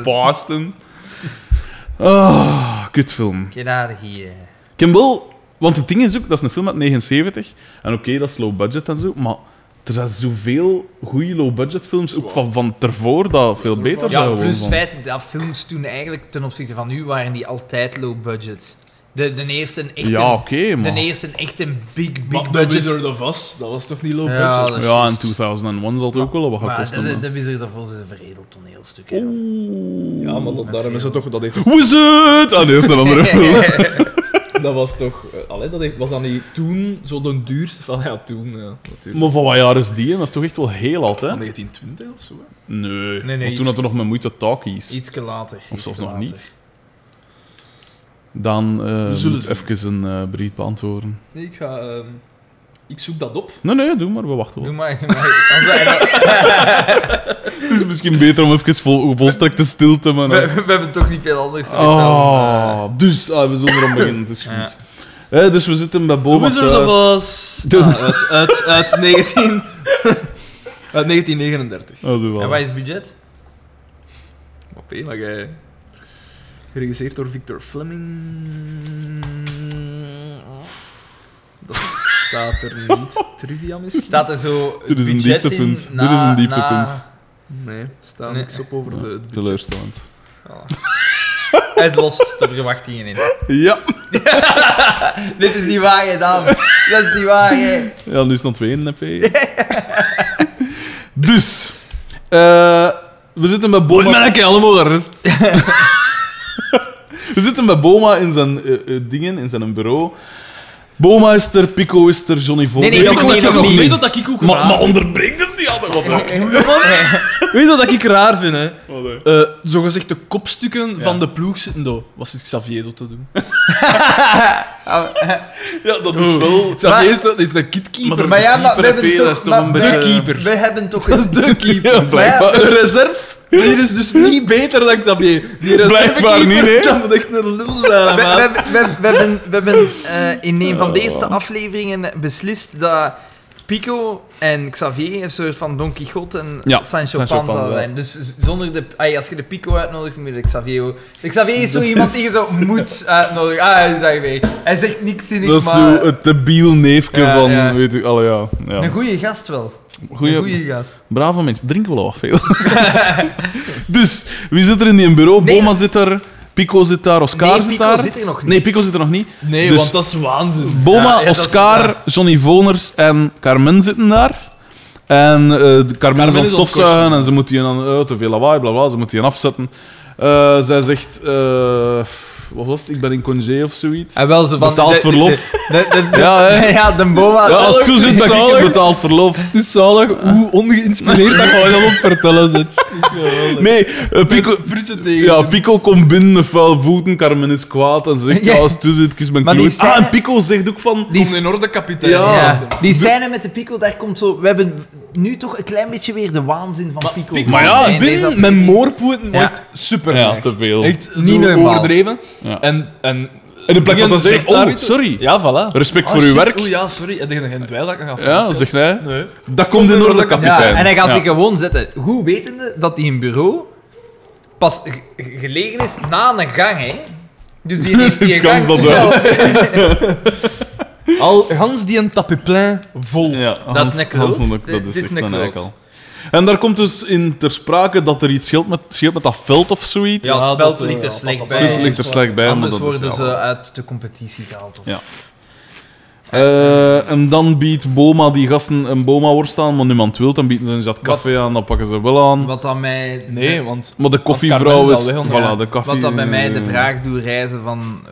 B: Boston. Ah, kutfilm.
C: Genadig hier.
B: Kimball, want het ding is ook, dat is een film uit 79. En oké, dat is low budget en zo, maar er zijn zoveel goede low budget films, ook van, van tervoor, dat veel beter
C: Ja,
B: zouden
C: plus
B: worden.
C: het feit dat films toen eigenlijk ten opzichte van nu waren die altijd low budget. De, de eerste een echt
B: Ja,
C: een,
B: oké,
C: de
B: maar...
C: eerste een echt een big,
A: Big
C: big budget.
A: Wizard of Oz, dat was toch niet low
C: Ja,
A: budget?
C: dat is
B: Ja, in
C: juist.
B: 2001 zal het ook wel wat gaan
C: Maar
B: kosten.
C: de,
B: hè.
C: de Wizard of Oz is een verredeld toneelstuk. hè.
B: Oeh.
A: Ja, maar dat, daarom is het toch... Dat, heeft,
B: Hoe is het? Ah, nee, dat is een andere film.
A: dat was toch... eh, allee, dat heeft- was dat niet toen zo de duurste van... Ja, toen, ja, natuurlijk.
B: Maar van wat jaar is die? hè? Dat is toch echt wel heel oud, hè?
A: Van 1920 of zo, hè?
B: Nee,
C: Ah, nee,
B: want
C: iets-
B: toen had er nog met moeite talkies.
C: Ietske later.
B: Of zelfs
C: ietske
B: nog
C: later.
B: niet. Dan eh
A: zullen
B: moet
A: zien.
B: even een eh, brief beantwoorden.
A: Nee, ik ga... ehm, ik zoek dat op.
B: Nee, nee, doe maar, we wachten
C: Doe
B: wel.
C: maar, doe maar. Als wij dat-
B: Het is misschien beter om even vol, volstrekte stilte, maar... als-
C: we, we hebben toch niet veel anders
B: Oh.
C: gedaan. maar-
B: Ah, dus, ah, we zullen erom beginnen, het is goed.
C: Ja.
B: Hè, dus we zitten bij
C: Oh,
A: The
B: Boba
A: Wizard of
C: eh,
B: thuis.
A: Oz. Ah, uit, uit, uit 19... Uit 1939.
B: Oh, doe wel.
C: En wat is het budget?
A: Oké, maar jij... Geregisseerd door Victor Fleming... Dat staat er niet. Trivia misschien?
C: Staat er zo
B: Dit is een
C: budget in
B: dieptepunt.
C: na-
B: Dit is een
C: na-
B: dieptepunt.
A: Nee, staat
C: Nee.
A: niks op over
B: Ja,
A: de... het budget.
B: teleurstellend.
C: Het lost de verwachtingen in.
B: Ja.
C: Dit is niet waar, hè, dan. Dat is niet waar, hè.
B: Ja, nu is het nog twee in de EP. dus, eh, we zitten bij Boma.
A: allemaal gerust.
B: We zitten bij Boma in zijn eh, eh, dingen, in zijn bureau. Boma is er, Pico is er, Johnny Vol.
D: Nee, nee,
B: Ja,
D: dat
B: Pico
D: is
B: is er
D: nog
B: nog
D: mee
B: niet.
D: tot dat ik ook
B: Maar,
D: raar
B: maar
D: vind.
B: onderbreek dus niet altijd. Wat ik doe
A: Weet je wat ik raar vind, hè?
B: Wat, hè?
A: Eh zogezegd de kopstukken van de ploeg zitten daar. Wat zit Xavier dat te doen?
C: Ah,
B: Ja, dat is wel...
A: Xavier is, de- is de kitkeeper.
B: Maar
A: Dat
B: dat
A: is
C: Maar ja, maar
B: keeper,
C: we hebben
B: hè,
C: toch-
B: dat is toch
C: maar
B: een
C: we-
B: beetje-
A: keeper.
C: We hebben toch
A: Dat is de keeper.
B: Ja, blijkbaar.
A: Maar ja, de reserve, die is dus niet beter dan Xavier. Die
B: Blijkbaar niet, hè?
A: reservekeeper, dat moet echt een lul zijn,
C: We,
A: man.
C: we, we, we hebben, we hebben eh, in een van de
B: Oh.
C: eerste afleveringen beslist dat Pico en Xavier een soort van Don Quixote en
B: Ja,
C: Sancho,
B: Sancho
C: Panza
B: Panza.
C: zijn. Dus z- zonder de, ay, als je de Pico uitnodigt, moet je de Xavier ook. De Xavier is zo iemand die je zo moet uitnodigen. Ah, hij is daar weer. Hij zegt niks zinnig,
B: Dat is
C: maar...
B: zo het debiel neefje
C: Ja,
B: van...
C: ja.
B: Weet ik, allee, ja.
C: Een
B: ja.
C: goede gast wel.
B: Goeie-
C: Een goede gast.
B: Brave mensen, drink wel wat veel. dus, wie zit er in die bureau?
C: Nee,
B: Boma
C: dat-
B: zit er, Pico zit daar, Oscar
C: nee,
B: zit
C: Pico
B: daar.
C: zit er nog niet.
B: Nee, Pico zit er nog niet.
A: Nee,
B: Dus-
A: want dat is waanzin.
B: Boma,
C: Ja, ja, dat is-
B: Oscar,
C: ja.
B: Johnny Voners en Carmen zitten daar. En eh Carmen, is aan het
A: is
B: stofzuigen
A: ontkorst.
B: en ze moet die dan eh, te veel lawaai, bla bla, ze moet die aan afzetten. Eh, zij zegt, eh, wat was het? Ik ben in congé of zoiets.
C: En wel zo van...
B: Betaald
C: de-
B: verlof.
C: de- de- de-
B: Ja, hè?
C: ja, de Boma...
B: Ja, als het zo zit, dan krijg ik
A: Zalig.
B: een betaald verlof.
A: Het is zalig hoe ongeïnspireerd dat gewoon aan het vertellen zit. Dat is geweldig.
B: Nee, eh, Pico,
A: Frutsen tegen.
B: ja, Pico komt binnen met vuil voeten, Carmen is kwaad en ze zegt, ja,
C: Ja.
B: als het zo zit, ik is mijn
C: Maar die
B: kloot. Ah,
C: scène-
B: en Pico zegt ook van...
C: Die
A: Kom in orde, kapitein.
B: Ja.
C: eh, Ja. Die scène met de Pico, daar komt zo... We hebben nu toch een klein beetje weer de waanzin van Pico.
B: Maar ja,
C: Nee, deze
A: binnen
C: aflevering.
A: met moorpoeten
C: Ja.
A: wordt super.
B: Ja,
A: neig.
B: te veel.
A: Echt zo
C: Niet normaal.
A: overdreven.
B: Ja.
A: En, en,
B: En in plaats van
A: Ian
B: dat ze zegt,
A: daar
B: oh,
A: iets-
B: sorry.
A: Ja, voilà.
B: Respect
C: Oh,
A: Ah,
B: voor uw
A: shit.
B: werk.
A: Oeh, ja, sorry. Heb je geen dweil dat ik ga
B: Ja, zegt hij.
A: Nee.
B: Dat komt in orde, kapitein.
C: Ja, en hij gaat
B: Ja.
C: zich gewoon zetten. Goed wetende dat hij een bureau pas ge- ge- gelegen is na een gang, hè. Dus die heeft die
B: is gans
C: gang...
B: dat huis.
C: Ja,
A: Al, gans die een tapeplein vol.
B: Ja,
C: Dat is een kloot.
B: Hans Nonnek, dat
C: Dit
B: is
C: is
B: echt
C: een
B: een
C: kloot.
B: eikel. En daar komt dus in ter sprake dat er iets scheelt met, scheelt met dat veld of zoiets.
C: Ja, het
A: dat,
C: speld
A: eh,
C: ligt er
A: ja,
C: slecht
A: dat-
C: bij.
B: Het ligt er slecht bij. maar
C: Anders
B: dat is-
C: worden
B: ja.
C: ze uit de competitie gehaald. Of...
B: Ja. Eh, en dan biedt Boma die gasten een Boma-worst aan, maar niemand wil. Dan bieden ze een zat café aan, dat pakken ze wel aan.
C: Wat dan mij...
A: Nee, want...
B: Maar de
A: Carmen
B: koffievrouw
A: is
B: is...
A: al weg,
B: voilà,
A: ja.
B: de koffie...
C: Wat dat bij mij de vraag doet reizen van eh,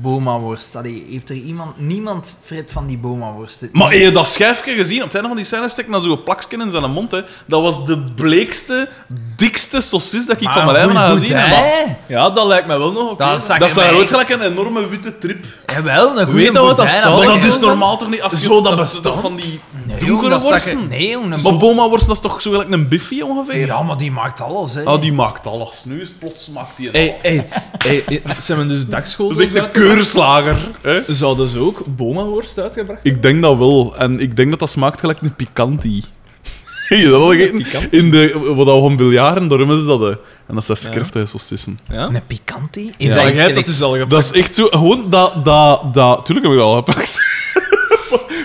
C: Boma-worst. Allee, heeft er iemand, niemand Fred van die Boma-worsten?
B: Maar heb je dat schijfje gezien? Op het einde van die scène steekt dan zo'n plaksken in zijn mond. Hè. Dat was de bleekste, dikste saucis dat ik
C: Maar
B: van mijn lijf
C: goed,
B: aan
C: goed,
B: gezien
C: hè?
B: heb. Maar
A: Ja, dat lijkt mij wel nog oké.
C: Dat zag
B: Dat
C: je
B: zijn
C: mij-
B: rood gelijk een enorme witte trip.
C: Jawel, een
A: Weet
C: goede
A: je wat dat
C: boudin,
A: zou-
B: Maar
C: zag
B: dat
C: ik
B: is
C: wel.
B: normaal toch niet? Als je,
A: Zo, dat
B: is
A: bestaat?
B: toch van die
C: Nee, jong,
B: donkere
C: dat zag je-
B: worsten?
C: Nee, jong, een
B: Maar
C: bo-
B: Boma-worst, dat is toch zo gelijk een biffy ongeveer?
C: Ja, maar Oh, die maakt alles, hè.
B: Ah, die maakt alles. Nu is het plots maakt die
A: Hey,
B: alles.
A: hey, hey, hey, zijn we dus dagschool?
B: Dat is echt een keurslager. Hè?
A: Zouden ze ook Boma-worst uitgebracht
B: Ik denk dat wel. En ik denk dat dat smaakt gelijk een pikanti. Heb je dat al gegeten?
A: Pikant?
B: In de, wat we van biljaren, daar hebben ze dat. hè. En dat zijn scherftige saucissen.
A: Ja?
C: Een pikantie? Is
A: Ja,
C: dat
A: jij hebt
C: iets
A: dat
C: gelijk-
A: dus al gepakt.
B: Dat is echt zo... Gewoon dat... dat, dat tuurlijk heb ik dat al gepakt.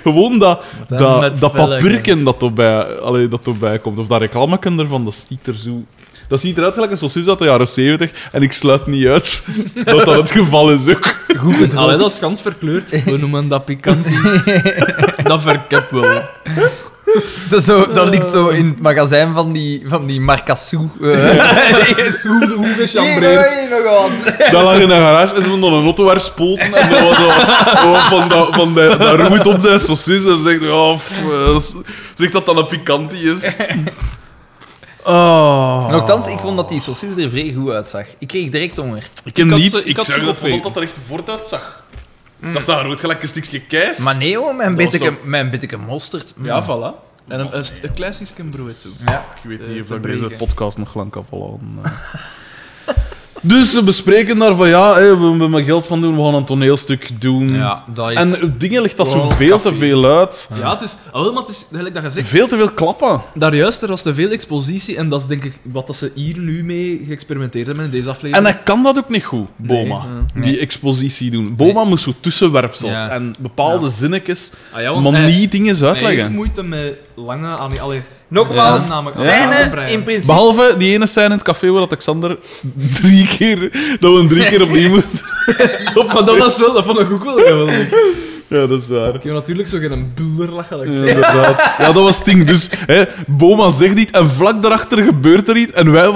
B: gewoon dat,
A: dan
B: dat,
A: met
B: dat
A: velgen.
B: papierken dat erbij, allee, dat erbij komt. Of dat reclameken ervan, dat ziet er zo... Dat ziet eruit gelijk een saucis uit de jaren 70 En ik sluit niet uit dat dat het geval is ook.
C: Goed gedroogd.
A: Allee, dat is gans verkleurd. We noemen dat pikantie. dat verkep wel.
C: Dat, is zo, dat ligt zo in het magazijn van die, van die Marcassou. Uh,
A: Hoe, hoe
C: nog wat.
B: Dat lag in de garage en ze vonden een auto waar spoten. En dat was zo, zo van, dat, van de, dat roet op de saucis. En ze zegt, ja, pff, eh, s- zeg dat dat een pikantie is. Oh.
C: Nochtans, ik vond dat die saucis er vrij goed uitzag. Ik kreeg direct honger.
B: Ik ken
A: Ik had
B: niet,
A: ze- ik
B: ik,
A: had ze
B: zag dat
A: gevonden.
B: voordat dat er echt voort uitzag. Dat zag er ook gelijk een stukje keis.
C: Maar nee, hoor, mijn
B: Dat was
C: bitteke,
B: toch-
C: mijn bitteke mosterd. mm.
A: Ja, voilà. En een, een, een klassieke brood toe.
C: Ja.
B: Ik weet
A: Eh,
B: niet of
A: te
B: ik deze
A: breken.
B: podcast nog lang kan volhouden. eh. dus ze bespreken daar van, ja, hè, we hebben er geld van doen, we gaan een toneelstuk doen.
C: Ja, dat is...
B: En het dingen ligt dat zo
A: Wow,
B: veel te
A: café.
B: veel uit.
A: Ja, het is... Al maar het is, gelijk dat je zegt,
B: Veel te veel klappen.
A: daarjuist, er was te veel expositie en dat is denk ik wat dat ze hier nu mee geëxperimenteerd hebben in deze
B: En
A: aflevering.
B: hij kan dat ook niet goed, Boma.
A: Nee,
B: Die expositie doen. Boma moest zo tussenwerpsels
C: Ja.
B: en bepaalde zinnetjes,
A: ah, ja, want
B: maar
A: hij-
B: niet dingen
A: Hij heeft
B: uitleggen.
A: moeite met lange aan... Allee,
C: Nogmaals,
A: Ja, namelijk-
C: scène
A: Ja.
C: in principe...
B: Behalve die ene scène in het café waar dat Alexander drie keer, dat we hem drie keer opnieuw moeten.
A: maar dat was wel, dat vond ik ook wel geweldig.
B: Ja, dat is waar.
A: Ik heb natuurlijk zo geen bulder lachen. dat ik-
B: Ja, inderdaad. Ja, dat was het ding. Dus hè, Boma zegt iets en vlak daarachter gebeurt er iets. En wij...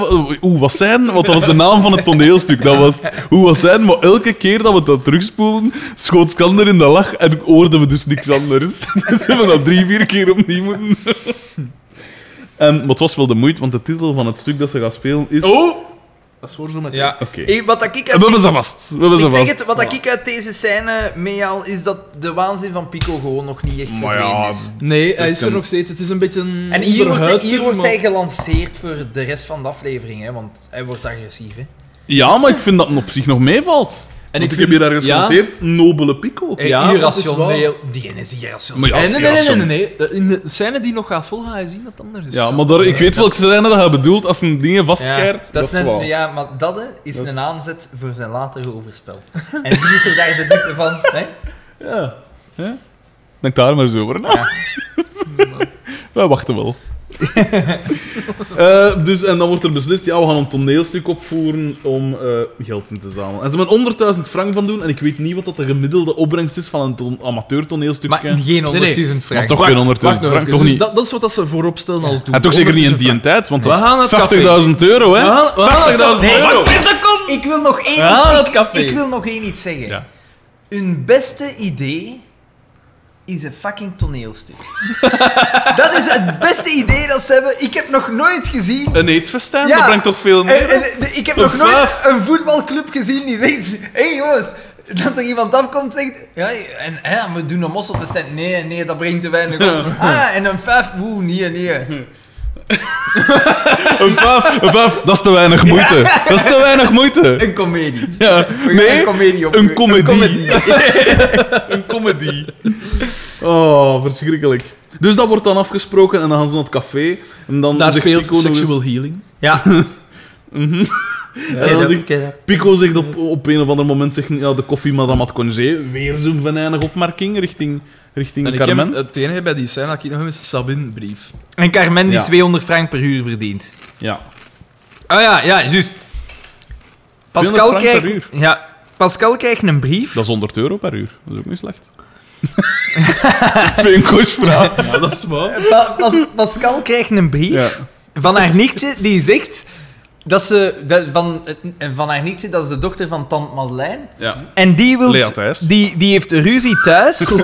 B: Oeh, wat zijn? Want dat was de naam van het toneelstuk. Dat was het. Oeh, wat zijn? Maar elke keer dat we dat terugspoelden, schoot Skander in de lach en hoorden we dus niks anders. Dus we hebben dat drie, vier keer opnieuw moeten... En, maar het was wel de moeite, want de titel van het stuk dat ze gaat spelen is...
A: Oh! Dat is voor zo meteen.
C: Ja.
B: Oké.
C: Eh, wat dat ik
B: En
C: uit
B: we hebben ze vast. We hebben ze
C: ik zeg
B: vast.
C: het, wat dat ik uit deze scène meehaal, is dat de waanzin van Pico gewoon nog niet echt
B: Maar
C: verdwenen
B: ja,
C: is.
A: Nee, hij is er
B: kan-
A: nog steeds. Het is een beetje een
C: En hier wordt, hij,
A: onderhuidser,
C: hier wordt
A: maar-
C: hij gelanceerd voor de rest van de aflevering, hè, want hij wordt agressief. Hè.
B: Ja, maar ik vind dat het op zich nog meevalt. En ik,
A: ik
B: heb
A: vind-
B: je daar genoteerd, nobele pico.
A: Eh, Ja, dat is
C: Die is irrationeel.
B: Maar ja,
A: Eh,
B: is
A: nee, nee, nee, nee, nee,
B: irrationeel.
A: nee. Eh, In de scène die nog gaat volgen, ga je zien dat het anders is.
B: Ja, maar daar, ik weet welke scène dat hij bedoelt als een dingen
C: Ja,
B: vastschijrt.
C: dat is net-
B: waar.
C: ja, maar dat hè, is
B: Dat is-
C: een aanzet voor zijn latere overspel. En wie is er daar de dupe van? Hè?
B: Ja. Ja. Denk daar maar eens over na.
C: Ja.
B: Wij wachten wel. Eh, dus, en dan wordt er beslist, ja, we gaan een toneelstuk opvoeren om eh, geld in te zamelen. En ze hebben 100.000 frank van doen, en ik weet niet wat dat de gemiddelde opbrengst is van een ton- amateur toneelstukje.
C: Maar geen 100.000
B: Maar
C: frank.
B: toch
A: Wacht,
B: geen 100.000
A: wacht nog
B: frank,
A: even.
B: toch
A: Dus
B: niet.
A: Dat, dat is wat dat ze voorop stellen als doel.
B: En toch zeker niet in die tijd, want dat
A: We gaan naar
B: is
A: het café.
B: 50.000 euro, hè?
A: We gaan- we gaan naar het
B: 50.000
A: café.
B: euro! Dus
C: Ik wil nog één
A: Ja, dat
C: iets, ik,
A: café.
C: ik wil nog één iets zeggen.
B: Ja.
C: Hun beste idee is een fucking toneelstuk. dat is het beste idee dat ze hebben. Ik heb nog nooit gezien.
B: Een eetfestijn,
C: Ja.
B: dat brengt toch veel meer?
C: En, en, de- ik heb
B: Een
C: nog nooit
B: vijf.
C: een voetbalclub gezien die zegt: hé hey jongens, dat er iemand afkomt en zegt: ja, en, hè, we doen een mosselfestijn. Nee, nee, dat brengt te weinig op. Ah, en een vijf, woe, nee, nee.
B: Een vijf, een vijf, dat is te weinig moeite. Dat is te weinig moeite.
C: Een komedie.
B: Ja,
C: We gaan
B: nee,
C: een komedie op.
B: een komedie.
C: komedie.
B: Een comedy. Oh, verschrikkelijk. Dus dat wordt dan afgesproken en dan gaan ze naar het café. En dan
A: Daar
B: zegt
A: speelt
B: Pico nog eens-
A: sexual healing.
C: Ja.
B: En dan zegt, Pico zegt op, op een of ander moment zegt, ja, de koffie madame had congé. Weer zo'n venijnig opmerking richting, richting
A: En ik
B: Carmen.
A: heb het enige bij die scène dat ik nog heb, is Sabine brief.
C: En Carmen die
B: Ja.
C: 200 frank per uur verdient.
B: Ja.
C: Ah ja, ja, juist.
B: 200
C: Pascal
B: frank
C: krijgt,
B: per uur.
C: ja, Pascal krijgt een brief.
B: Dat is 100 euro per uur. Dat is ook niet slecht. Vind je een koosvraag?
A: Ja, dat is waar.
C: Pa- Pas- Pascal krijgt een brief
B: Ja.
C: van haar nichtje die zegt dat ze dat- van, eh, van haar nichtje dat is de dochter van tante Madeleine
B: ja.
C: en die wil
B: Lea Thijs.
C: die, die heeft ruzie thuis.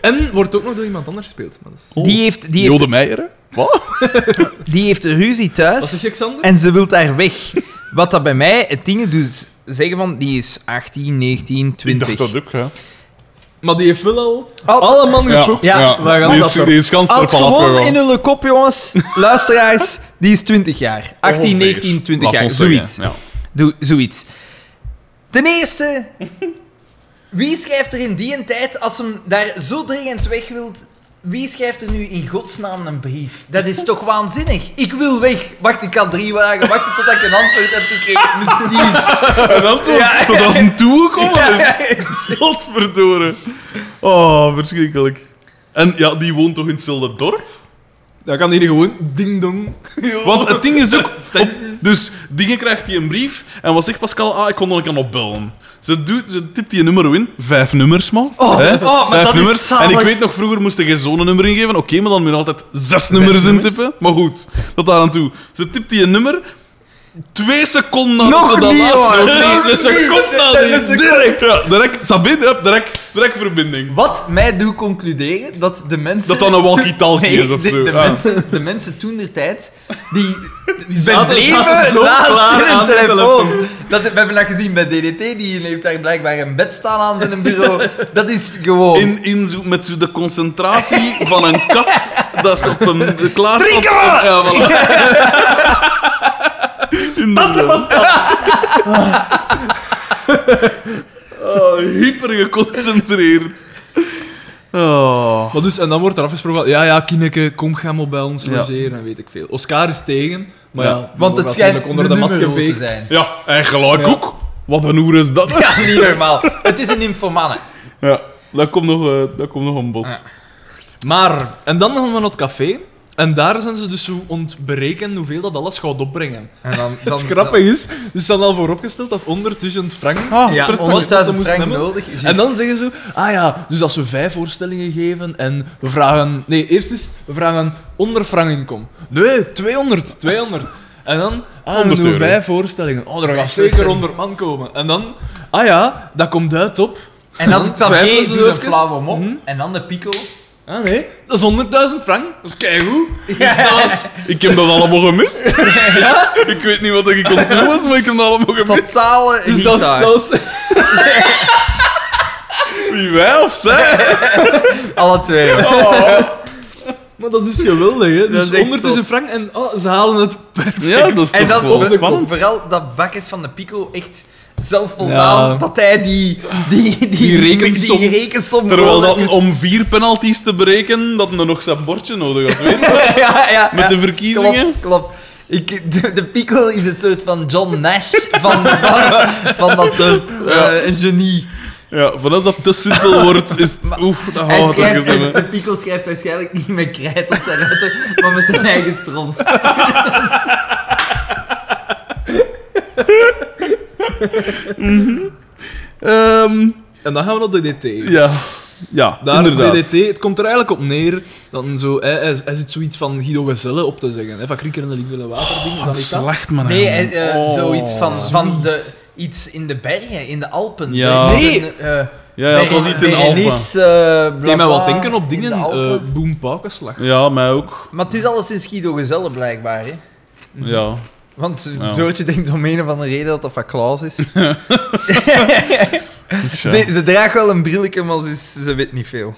A: En wordt ook nog door iemand anders gespeeld. Maar dat, is...
B: Oh.
C: Die heeft die heeft,
B: Jode Meijeren? Wat?
C: die heeft
A: Wat
C: ruzie
A: is
C: thuis
A: je, Xander?
C: en ze wil daar weg. Wat dat bij mij het ding doet zeggen van die is 18, 19, 20.
B: Ik dacht dat ook, ja.
A: Maar die heeft wel al
C: Al-
A: alle man geproefd.
C: Ja,
A: waar gaat
B: die
A: dat
B: is,
A: dan?
B: die is gans ter
C: Houd
B: palaf
C: gewoon
B: gegaan.
C: in hun kop, jongens. Luisteraars, die is 20 jaar. 18,
B: Ongeveer.
C: 19, 20
B: Laat
C: jaar.
B: ons zeggen,
C: Zoiets.
B: ja.
C: Doe, zoiets. Ten eerste, wie schrijft er in die tijd, als hem daar zo dringend weg wilt, wie schrijft er nu in godsnaam een brief? Dat is toch waanzinnig? Ik wil weg. Wacht, ik kan drie dagen wachten tot ik een antwoord heb gekregen. Misschien.
B: En dan tot,
C: Ja.
B: tot als een toegekomen is. Godverdorie. Oh, verschrikkelijk. En ja, die woont toch in hetzelfde dorp?
A: Dan kan hij gewoon ding-dong.
B: Want het ding is ook... op- dus dingen krijgt hij een brief en wat zegt Pascal? Ah, ik kon nog een keer opbellen. Ze, doet, ze tipt die een nummer in. Vijf nummers, man.
C: Oh,
B: Hè?
C: oh, maar
B: Vijf
C: dat is
B: nummers.
C: zalig.
B: En ik weet nog, vroeger moest je zo'n nummer ingeven. Oké, maar dan moet je altijd zes nummers
A: nummers.
B: intippen. Maar goed, tot daar aan toe. Ze tipt die een nummer. Twee seconden nadat
C: Nog
B: ze dat
C: niet,
B: laatste...
C: hoor. Nog
B: Nee, een
C: niet.
B: seconde
C: Een
B: nadat
C: seconde.
B: Direct. Ja, direct. Sabine, hup, direct, direct verbinding.
C: Wat mij doet concluderen dat de mensen.
B: Dat dat een walkie-talkie
C: Nee,
B: is of
C: de,
B: zo.
C: De,
B: Ah.
C: mensen, de mensen toen der tijd. die. die
A: zaten- zaten
C: bleven
A: zo klaar
C: naast hun
A: aan de
C: telefoon. Dat, we hebben dat gezien bij DDT, die heeft daar blijkbaar een bed staan aan zijn bureau. Dat is gewoon.
B: In, in zo, met zo de concentratie van een kat dat is op een klaar staat-
C: Drinken!
B: Ja, voilà. Dat was Oh, hyper geconcentreerd. Oh.
A: Maar dus, en dan wordt er afgesproken, ja, ja, Kineke, kom gaan maar bij ons
B: Ja.
A: logeren en weet ik veel. Oscar is tegen, maar ja,
B: Ja.
C: want het
A: wordt
C: schijnt
A: natuurlijk
C: onder de mat te
A: geveegd.
C: zijn.
B: Ja, en gelijk
A: Ja.
B: ook. Wat een hoer is dat?
C: Ja, niet normaal. Het is een informanne.
B: Ja, dat komt nog, eh, dat komt nog een bod.
C: Ja.
A: Maar, en dan gaan we naar het café. En daar zijn ze dus zo ontbreken hoeveel dat alles gaat opbrengen.
C: En dan, dan,
A: Het grappige is, dus ze staan al vooropgesteld dat 100.000 frank
C: dan- Ah, ja,
A: per
C: 100.000
A: dat ze moesten
C: frank
A: hebben.
C: nodig. juist.
A: En dan zeggen ze, ah ja, dus als we vijf voorstellingen geven en we vragen... Nee, eerst is, we vragen 100 frank inkom. Nee, 200, 200. En dan, ah, dan
B: 100
A: doen we
B: euro.
A: vijf voorstellingen. Oh, er gaat
C: Vijf
A: zeker
C: voorstellingen.
A: 100 man komen. En dan, ah ja, dat komt uit op...
C: En dan
A: twijfelen
C: Xavier
A: ze
C: doet een
A: even.
C: flauw om op.
A: Mhm.
C: En dan de pico.
B: Oh,
A: Ah nee, dat is 100.000 frank. Dat is keigoed. Dus dat is...
B: Ik heb dat allemaal gemist. ja? Ik weet niet wat ik kon doen was, maar ik heb dat allemaal gemist.
C: Totale
A: Dus dat is, dat is-
B: Wie wij of zij?
C: Alle twee. hoor.
A: maar dat is dus geweldig, hè. Dus
C: is echt
A: 100.000 frank en oh, ze halen het per...
B: Ja, dat is
C: En
B: toch
C: dan
B: wel
C: ook
B: spannend.
C: vooral dat bakkes van de Pico echt zelfvoldaan
A: Ja.
C: dat hij die, die, die,
A: Die rekensom-
C: die rekensom
B: Terwijl
C: gewoon-
B: dat om vier penalties te berekenen, dat er nog zijn bordje nodig had. Weet je?
C: ja, ja,
B: Met
C: ja.
B: de verkiezingen.
C: Klopt, klopt. Ik, de, de Pico is een soort van John Nash van, van, van dat dorp.
B: Ja. Oh,
C: Eh, een genie.
B: Ja, van als dat te simpel wordt, is het... Oef, dat
C: Hij
B: houdt
C: schrijft,
B: ergens
C: hij-
B: aan.
C: de Pico schrijft waarschijnlijk niet met krijt op zijn letter, maar met zijn eigen stront.
B: Oh, Ehm,
A: En dan gaan we naar DDT.
B: ja, ja
A: Daar,
B: inderdaad.
A: DDT, het komt er eigenlijk op neer dat een zo, hij, hij, hij zit zoiets van Guido Gezelle op te zeggen. Hè, van Krieker en de Lieve en Waterdingen.
B: Wat slecht, man.
C: Nee,
B: hij-
C: eh, eh,
B: Oh.
C: zoiets van, van de, iets in de bergen, in de Alpen.
B: Ja.
A: Nee.
C: eh,
B: Ja, ja, het was
C: Bergen-
B: iets in Alpen.
C: Berenice, eh, bla,
A: deed mij
C: bla,
A: wat denken op
C: in de
A: dingen.
C: Alpen.
A: eh boom Paukenslag.
B: Ja, mij ook.
C: maar het is alles in Guido Gezelle blijkbaar, hè? Mhm.
B: Ja.
C: Want eh,
B: Ja.
C: Zootje denkt om een of andere reden dat dat van Klaas is.
B: Tja.
C: Ze, ze draagt wel een brilletje, maar ze, is- ze weet niet veel.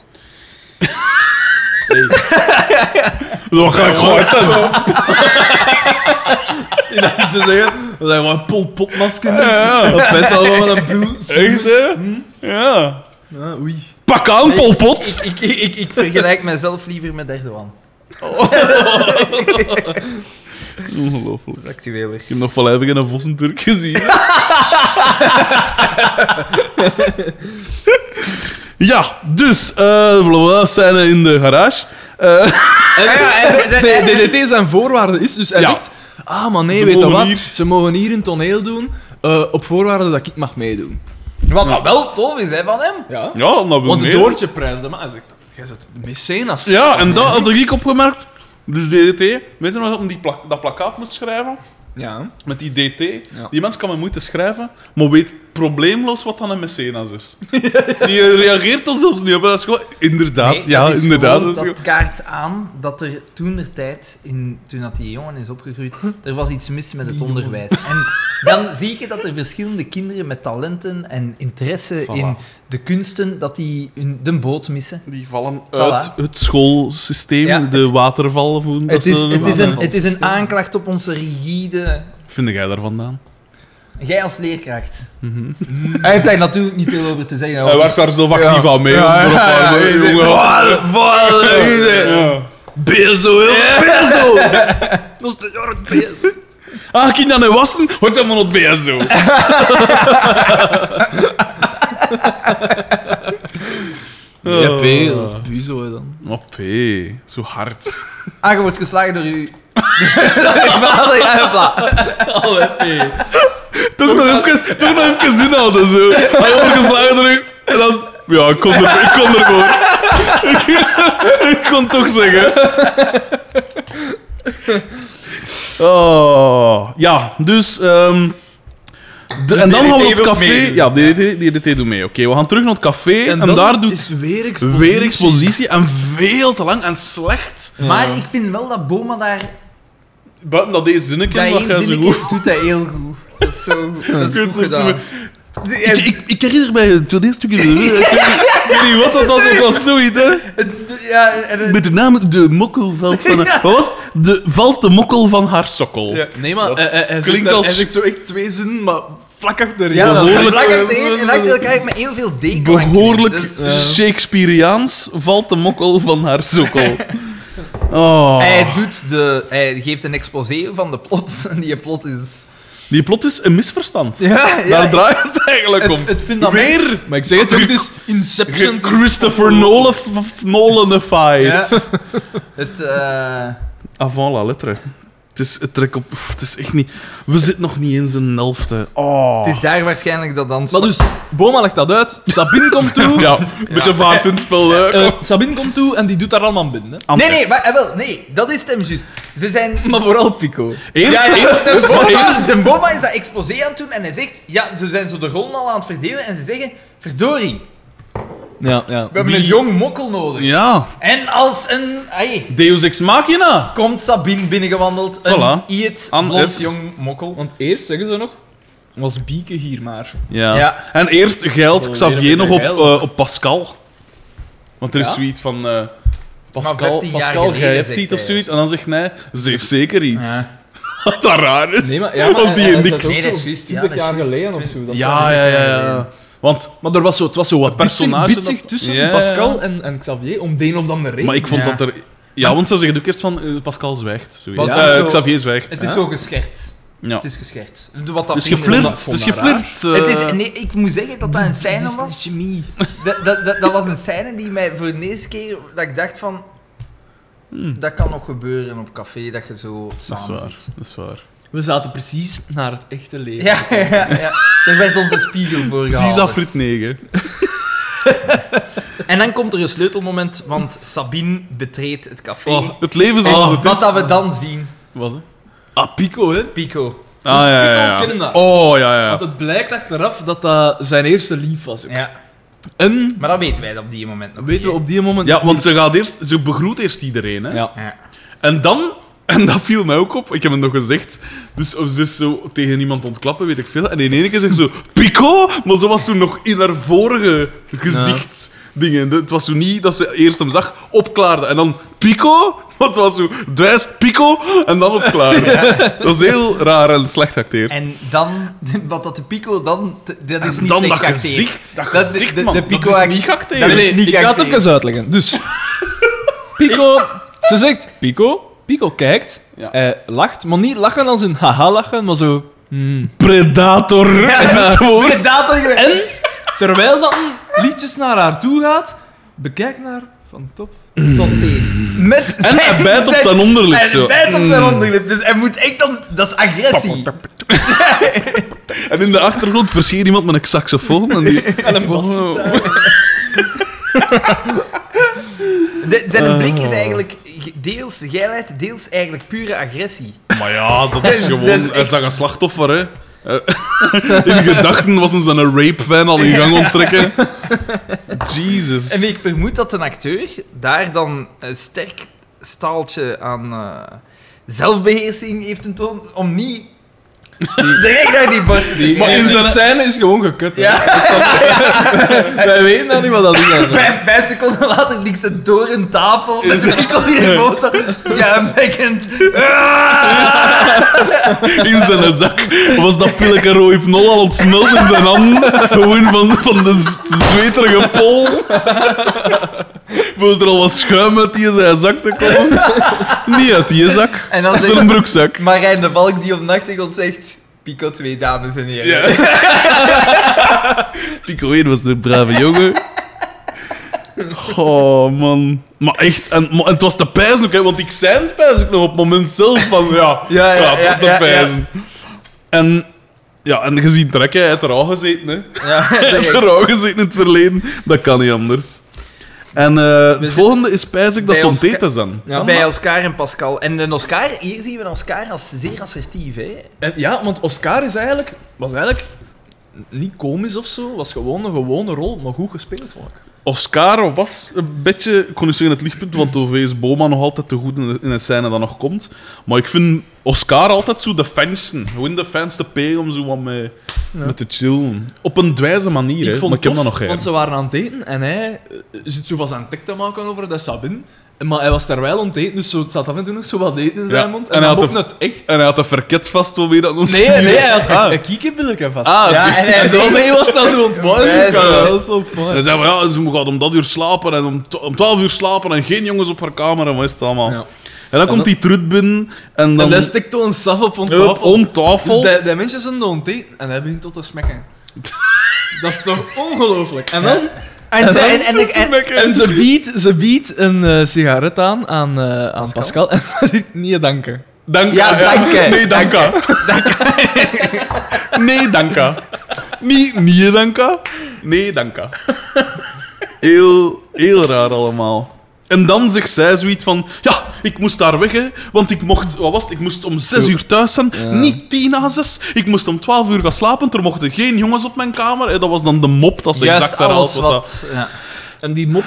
B: Zo ga ik gewoon uit.
A: En dan ze zeggen, dat zijn gewoon polpotmasken.
B: Ja.
A: Dat best wel wel een bril.
B: Echt, hè? Ja.
A: Ah, oei.
B: Pak aan, polpot!
C: Mhm. Ik, ik, ik, ik vergelijk mezelf liever met Erdogan.
B: Ongelooflijk.
C: Dat is actueler.
B: Ik heb nog van even een Vossenturk gezien. ja, dus, uh, zijn we in de garage. Eh,
A: En,
C: Ah, ja, en- en-
A: nee,
C: en- en-
A: DDT zijn voorwaarde is, dus hij
B: Ja.
A: zegt... Ah, maar nee,
B: Ze
A: weet je
B: mogen
A: wat?
B: hier-
A: Ze mogen hier een toneel doen eh, op voorwaarde dat ik mag meedoen.
C: Wat
B: Ja.
C: wel tof is, hè, van hem.
A: Ja?
B: ja, dan hebben we
A: Want de
B: meer.
A: Doortje-prijs, de man zegt... Jij bent mecenas.
B: Ja, en dat had ik opgemerkt. Dus DDT, weet je nog dat om die pla- dat plakkaat moest schrijven?
A: Ja.
B: Met die DT.
A: Ja.
B: Die mens kan met moeite schrijven, maar weet probleemloos wat dan een mecenas is. Die reageert er zelfs niet op. Dat is gewoon... Inderdaad,
C: Nee,
B: ja,
C: dat is
B: inderdaad.
C: gewoon
B: dat is
C: Dat kaart aan dat er toen der tijd, in, toen dat die jongen is opgegroeid, er was iets mis met het onderwijs. En dan zie je dat er verschillende kinderen met talenten en interesse
B: Voilà.
C: in de kunsten, dat die hun, de boot missen.
B: Die vallen
C: Voilà.
B: uit het schoolsysteem,
C: Ja,
B: de waterval. of hoe dat
C: Het is,
B: ze dat
C: het, is
B: noemen.
C: een, het is een aanklacht op onze rigide...
B: Vind jij daar vandaan?
C: Jij als leerkracht. Hij heeft daar natuurlijk niet veel over te zeggen.
B: Mhm. Hij
C: want-
B: werkt daar zelf actief
C: Ja.
B: aan mee.
A: Ja,
B: hoor.
A: ja, ja,
B: Maar,
A: ja,
B: jongen,
A: ja.
B: als-
A: Wat?
B: Ja.
A: Bezo, heel bezo! Dat is de jaren bezo.
B: Ah, kind aan het wassen, hoort helemaal op BSO.
A: Ja, P, dat is buzo hè, dan.
B: Maar Oh. P, zo hard.
C: Ah, je wordt geslagen door u. vader. Ja, voilà.
A: Alle Oh, P.
B: Toch nog even, toch nog even inhouden, zo. Hij wordt geslagen door u. En dan... Ja, ik kon er, ik kon er gewoon... Ik, ik kon het toch zeggen. Oh, ja, dus... ehm, de- en dan
A: DDT
B: gaan we naar het
A: wil
B: café.
A: meedoen.
B: Ja, DDT, DDT doet mee. Oké, we gaan terug naar het café. En,
A: dan
B: daar doet
A: is weer expositie.
B: weer expositie. En veel te lang en slecht.
C: Maar ik vind wel dat Boma daar
B: Buiten dat deze zinnetje,
C: Bij
B: dat
C: één
B: jij zo
C: zinnetje
B: goed...
C: doet hij heel goed. Dat is zo
B: Ik weet het niet
C: goed. Dat is goed gedaan.
B: meer. Ik, ik, ik herinner mij het toneelstukje. Ik weet niet wat dat was, maar het was zoiets. Hè?
C: Het- Ja, en het-
B: Met de naam De Mokkelveld van. Wat was het? De Valt de Mokkel van haar sokkel.
A: Nee, maar
B: Dat
A: hij, hij, hij
B: klinkt
A: zegt, daar-
B: als-
A: hij zegt zo echt twee zinnen, maar vlak achterin.
C: ja, dat
B: behoorlijk-
C: lag het een en achter elkaar met heel veel deken.
B: Behoorlijk
A: Dat
C: eh,
A: is-
B: Shakespeareaans valt de mokkel van Oh. haar sokkel. Oh.
C: Hij, doet de, hij geeft een exposé van de plot en die plot is
B: Die plot is een misverstand.
C: Ja,
B: Daar draait het eigenlijk om.
C: het, het fundament.
B: Weer
A: Maar ik zeg het ook, het is Inception.
B: Christopher Nolan- f- Nolanified.
C: Ja. Het, eh,
B: Avant la lettre. Ah, Het is, het, trek op, pff, het is echt niet... We zitten nog niet in zijn helft. hè. Oh.
C: het is daar waarschijnlijk dat dan...
A: Maar dus, Boma legt dat uit, Sabine komt toe.
B: Ja, Oh, een beetje vaart in het spel. hè.
A: eh, Sabine komt toe en die doet daar allemaal binnen. hè.
C: nee,
B: Anders.
C: nee, maar, eh, wel, nee, dat is het hem juist. Ze zijn...
A: Maar vooral Pico.
B: Eerst,
C: ja, ja,
B: eerst,
C: de, Boma,
B: eerst-
C: de Boma is dat exposé aan het doen en hij zegt... Ja, ze zijn zo de rollen al aan het verdelen en ze zeggen... Verdorie,
A: Ja, ja.
C: we hebben een jong mokkel nodig.
B: Ja.
C: En als een... ai,
B: Deus Ex Machina.
C: komt Sabine binnengewandeld. Een
B: Voilà.
C: iet,
B: An
C: blond,
B: is-
C: jong mokkel.
A: Want eerst zeggen ze nog, was Bieke hier maar.
B: Ja.
C: Ja.
B: En eerst geldt
A: Oh,
B: Xavier
A: weer
B: nog
A: een
B: op,
A: beetje
B: eh, op Pascal. Want er is
A: Ja?
B: zoiets van... eh, Pascal,
C: 15 jaar
B: Pascal
C: geleden,
B: jij hebt
C: zegt
B: iets of
C: hij.
B: zoiets. En dan zegt hij, ze heeft zeker iets.
C: eh, Ja.
B: Wat dat raar is.
A: Nee, maar- ja, maar
B: of die
A: hij- hij
B: niks.
A: zegt
C: Nee, eh, dat is juist.
A: 20
C: Ja, dat is
A: jaar
C: juist.
A: geleden of zo. dat
B: Ja,
A: zou-
B: ja, ja, ja. Want,
A: Maar er was zo, het was zo wat
B: personage
A: personage
B: dat-
A: bitsig tussen
B: Ja, ja, ja.
A: Pascal en, en Xavier om de een of andere reden.
B: maar ik vond
C: Ja.
B: dat er... Ja, want ze zeggen ook eerst van eh, Pascal zwijgt. zoiets.
A: Want-
B: Eh,
C: zo-
B: Xavier zwijgt.
C: Het is
A: Ja.
C: zo geschert.
B: ja.
C: Het is geschert. Wat dat
B: Dus
C: vrienden
A: vond
B: geflirt.
A: dat-
B: Het is
A: vond dat raar.
B: geflirt. eh.
C: Het is, nee, ik moet zeggen dat dat een scène
A: Dit is
C: was.
A: Jimmy.
C: Dat, dat, dat, dat was een scène die mij voor de eerste keer dat ik dacht van.
B: Hmm.
C: Dat kan nog gebeuren op café, dat je zo
B: Dat is
C: samen
B: waar.
C: zit.
B: Dat is waar.
A: We zaten precies naar het echte leven.
C: Ja, ja, ja. Daar werd onze spiegel voor
B: Precies
C: gehaald.
B: afrit 9.
C: En dan komt er een sleutelmoment, want Sabine betreedt het café.
B: Oh, het leven
C: en
B: zoals het
C: wat
B: is.
C: dat we dan zien,
B: Wat, hè?
A: Ah, Pico, hè?
C: Pico.
B: Ah, ja,
A: Pico
B: ja,
A: kende
B: ja.
A: dat.
B: Oh, ja, ja.
A: Want het blijkt achteraf dat dat zijn eerste lief was. ook.
C: Ja.
A: En
C: Maar dat weten wij op die moment nog
A: weten we
C: niet,
A: op die moment.
B: Ja, want ze, gaat eerst, ze begroet eerst iedereen. Hè?
A: Ja.
C: hè. Ja.
B: En dan, en dat viel mij ook op, ik heb het nog gezegd. Dus of ze is zo tegen iemand ontklappen, weet ik veel. En in ene keer zegt ze Pico, maar ze was toen nog in haar vorige gezicht. Dingen. Het was zo niet dat ze eerst hem zag, opklaarde. En dan Pico, want het was zo dwijs Pico, en dan opklaarde. Dat was heel raar en slecht geacteerd.
C: En dan, wat dat de Pico dan, dat is niet
B: dan
C: slecht
B: dat
C: geacteerd.
B: gezicht, dat
C: Dat-
B: gezicht,
C: de-
B: man.
C: de Pico
B: dat
C: act-
B: is niet geacteerd.
C: dat
A: Nee,
C: is niet
A: ik ga het
C: geacteerd.
A: even uitleggen. Dus, Pico, ze zegt Pico. Pico kijkt,
B: Ja.
A: hij lacht, maar niet lachen als een haha lachen, maar zo. hmm.
B: Predator is het woord.
C: Inderdaad, dat ik-
A: En terwijl dat een liedjes naar haar toe gaat, bekijk naar van top tot teen.
C: Met
B: En hij bijt op zijn onderlip
C: En
B: zo. Mm.
C: hij bijt op zijn onderlip. Dus hij moet echt dan... Dat is agressie.
B: En in de achtergrond verscheert iemand met een saxofoon. En die... Oh,
A: En een bas.
C: De-
B: Eh.
C: zijn blik is eigenlijk deels geilheid, deels eigenlijk pure agressie.
B: Maar ja, dat is
C: is
B: gewoon...
C: echt-
B: Hij zag een slachtoffer, hè. Eh, in gedachten was een zijn rape-fan al in gang onttrekken. Jesus.
C: En ik vermoed dat een acteur daar dan een sterk staaltje aan eh, zelfbeheersing heeft toon om niet direct naar die borst te
A: Maar
B: in
A: in zijn
B: zijn-
A: scène is gewoon gekut. hè.
C: Ja.
A: Wij weten dat niet wat dat is. hè.
C: Vijf, vijf seconden later liep ze door een tafel met een pikkel in de motor, schuimbekkend.
B: In zijn zak was dat pilletje rooipnol al ontsmeld in zijn handen. Gewoon van, van de z- zweterige pol. Was er al wat schuim uit die zijn zak te komen? Niet uit die zak.
C: En dan
B: Uit
C: zegt
B: zijn broekzak.
C: Marijn de Balk die op nachtegrond zegt... Pico 2, dames en heren.
B: Ja. Pico 1 was de brave jongen. Oh, man. Maar echt, en, maar het was te pijzen ook, hè, want ik zei het pijzen ook nog op het moment zelf van, ja,
C: Ja, ja,
B: het was
C: ja, ja,
B: te pijzen. En, ja, en gezien trekken, hij heeft er al gezeten, hè.
C: Ja,
B: Hij heeft er al gezeten in het verleden. Dat kan niet anders. En eh, het
C: zitten
B: volgende is pijs ik dat
C: bij
B: zo'n
C: ons ka-
B: tetes dan.
A: Ja,
C: bij
A: maar-
C: Oscar en Pascal. En de Oscar, hier zien we Oscar als zeer assertief, hè.
A: En ja, want Oscar is eigenlijk, was eigenlijk niet komisch of zo, was gewoon een gewone rol, maar goed gespeeld vond ik.
B: Oscar was een beetje, ik kon niet zeggen het lichtpunt, want OV is Boma nog altijd te goed in de- in een scène dat nog komt. Maar ik vind Oscar altijd zo de fansen. Gewoon de fans te pegen om zo wat mee, met te chillen. Op een dwijze manier, hè, maar ik heb
A: tof,
B: dat nog geen.
A: Want ze waren aan het eten en hij eh, zit zo van zijn tik te maken over de Sabine. Maar hij was terwijl aan het eten, dus zo, het zat af en toe nog zo wat eten in zijn
B: Ja,
A: mond.
B: en
A: En,
B: hij
A: dan
B: had
A: mocht
B: de-
A: het echt.
B: En hij had een verket vast, wat weer dat ons
A: Nee, nee, hij had
B: Ah.
A: een kiekenbilletje vast.
B: Ah,
C: Ja,
B: oké.
C: en hij
A: En daarmee was dat zo ontwaard.
C: Ja,
A: Ja,
C: zo.
A: dat was zo
B: En
A: fijn.
B: hij zei van ja, ze gaat om dat uur slapen en om, twa- om twaalf uur slapen en geen jongens op haar kamer en wat is het allemaal.
A: Ja.
B: En dan komt die trut binnen en
A: En
B: dan...
A: daar stikt toch een saf op on
B: Hup,
A: tafel.
B: on tafel.
A: Dus die, die mensen zijn aan het eten en hij begint tot te smekken. dat is toch ongelooflijk? En dan...
C: En,
A: dan-
C: ze- en, en, en,
A: En ze biedt, ze biedt een eh, sigaret aan aan, eh, aan Pascal en ze zegt nee danken.
B: Danka.
A: Ja, danke.
B: Nee, danka. nee, danka. Nee, nee, danka. Nee, danka. Heel, heel raar allemaal. En dan zegt zij zoiets van... Ja, ik moest daar weg, hè. Want ik mocht... Wat was het? Ik moest om zes uur thuis zijn. Niet tien na zes. Ik moest om twaalf uur gaan slapen. Er mochten geen jongens op mijn kamer. En dat was dan de mop. Dat ze
C: juist
B: exact herhaalt
C: alles
B: wat dat-
C: wat... Ja.
A: En die mop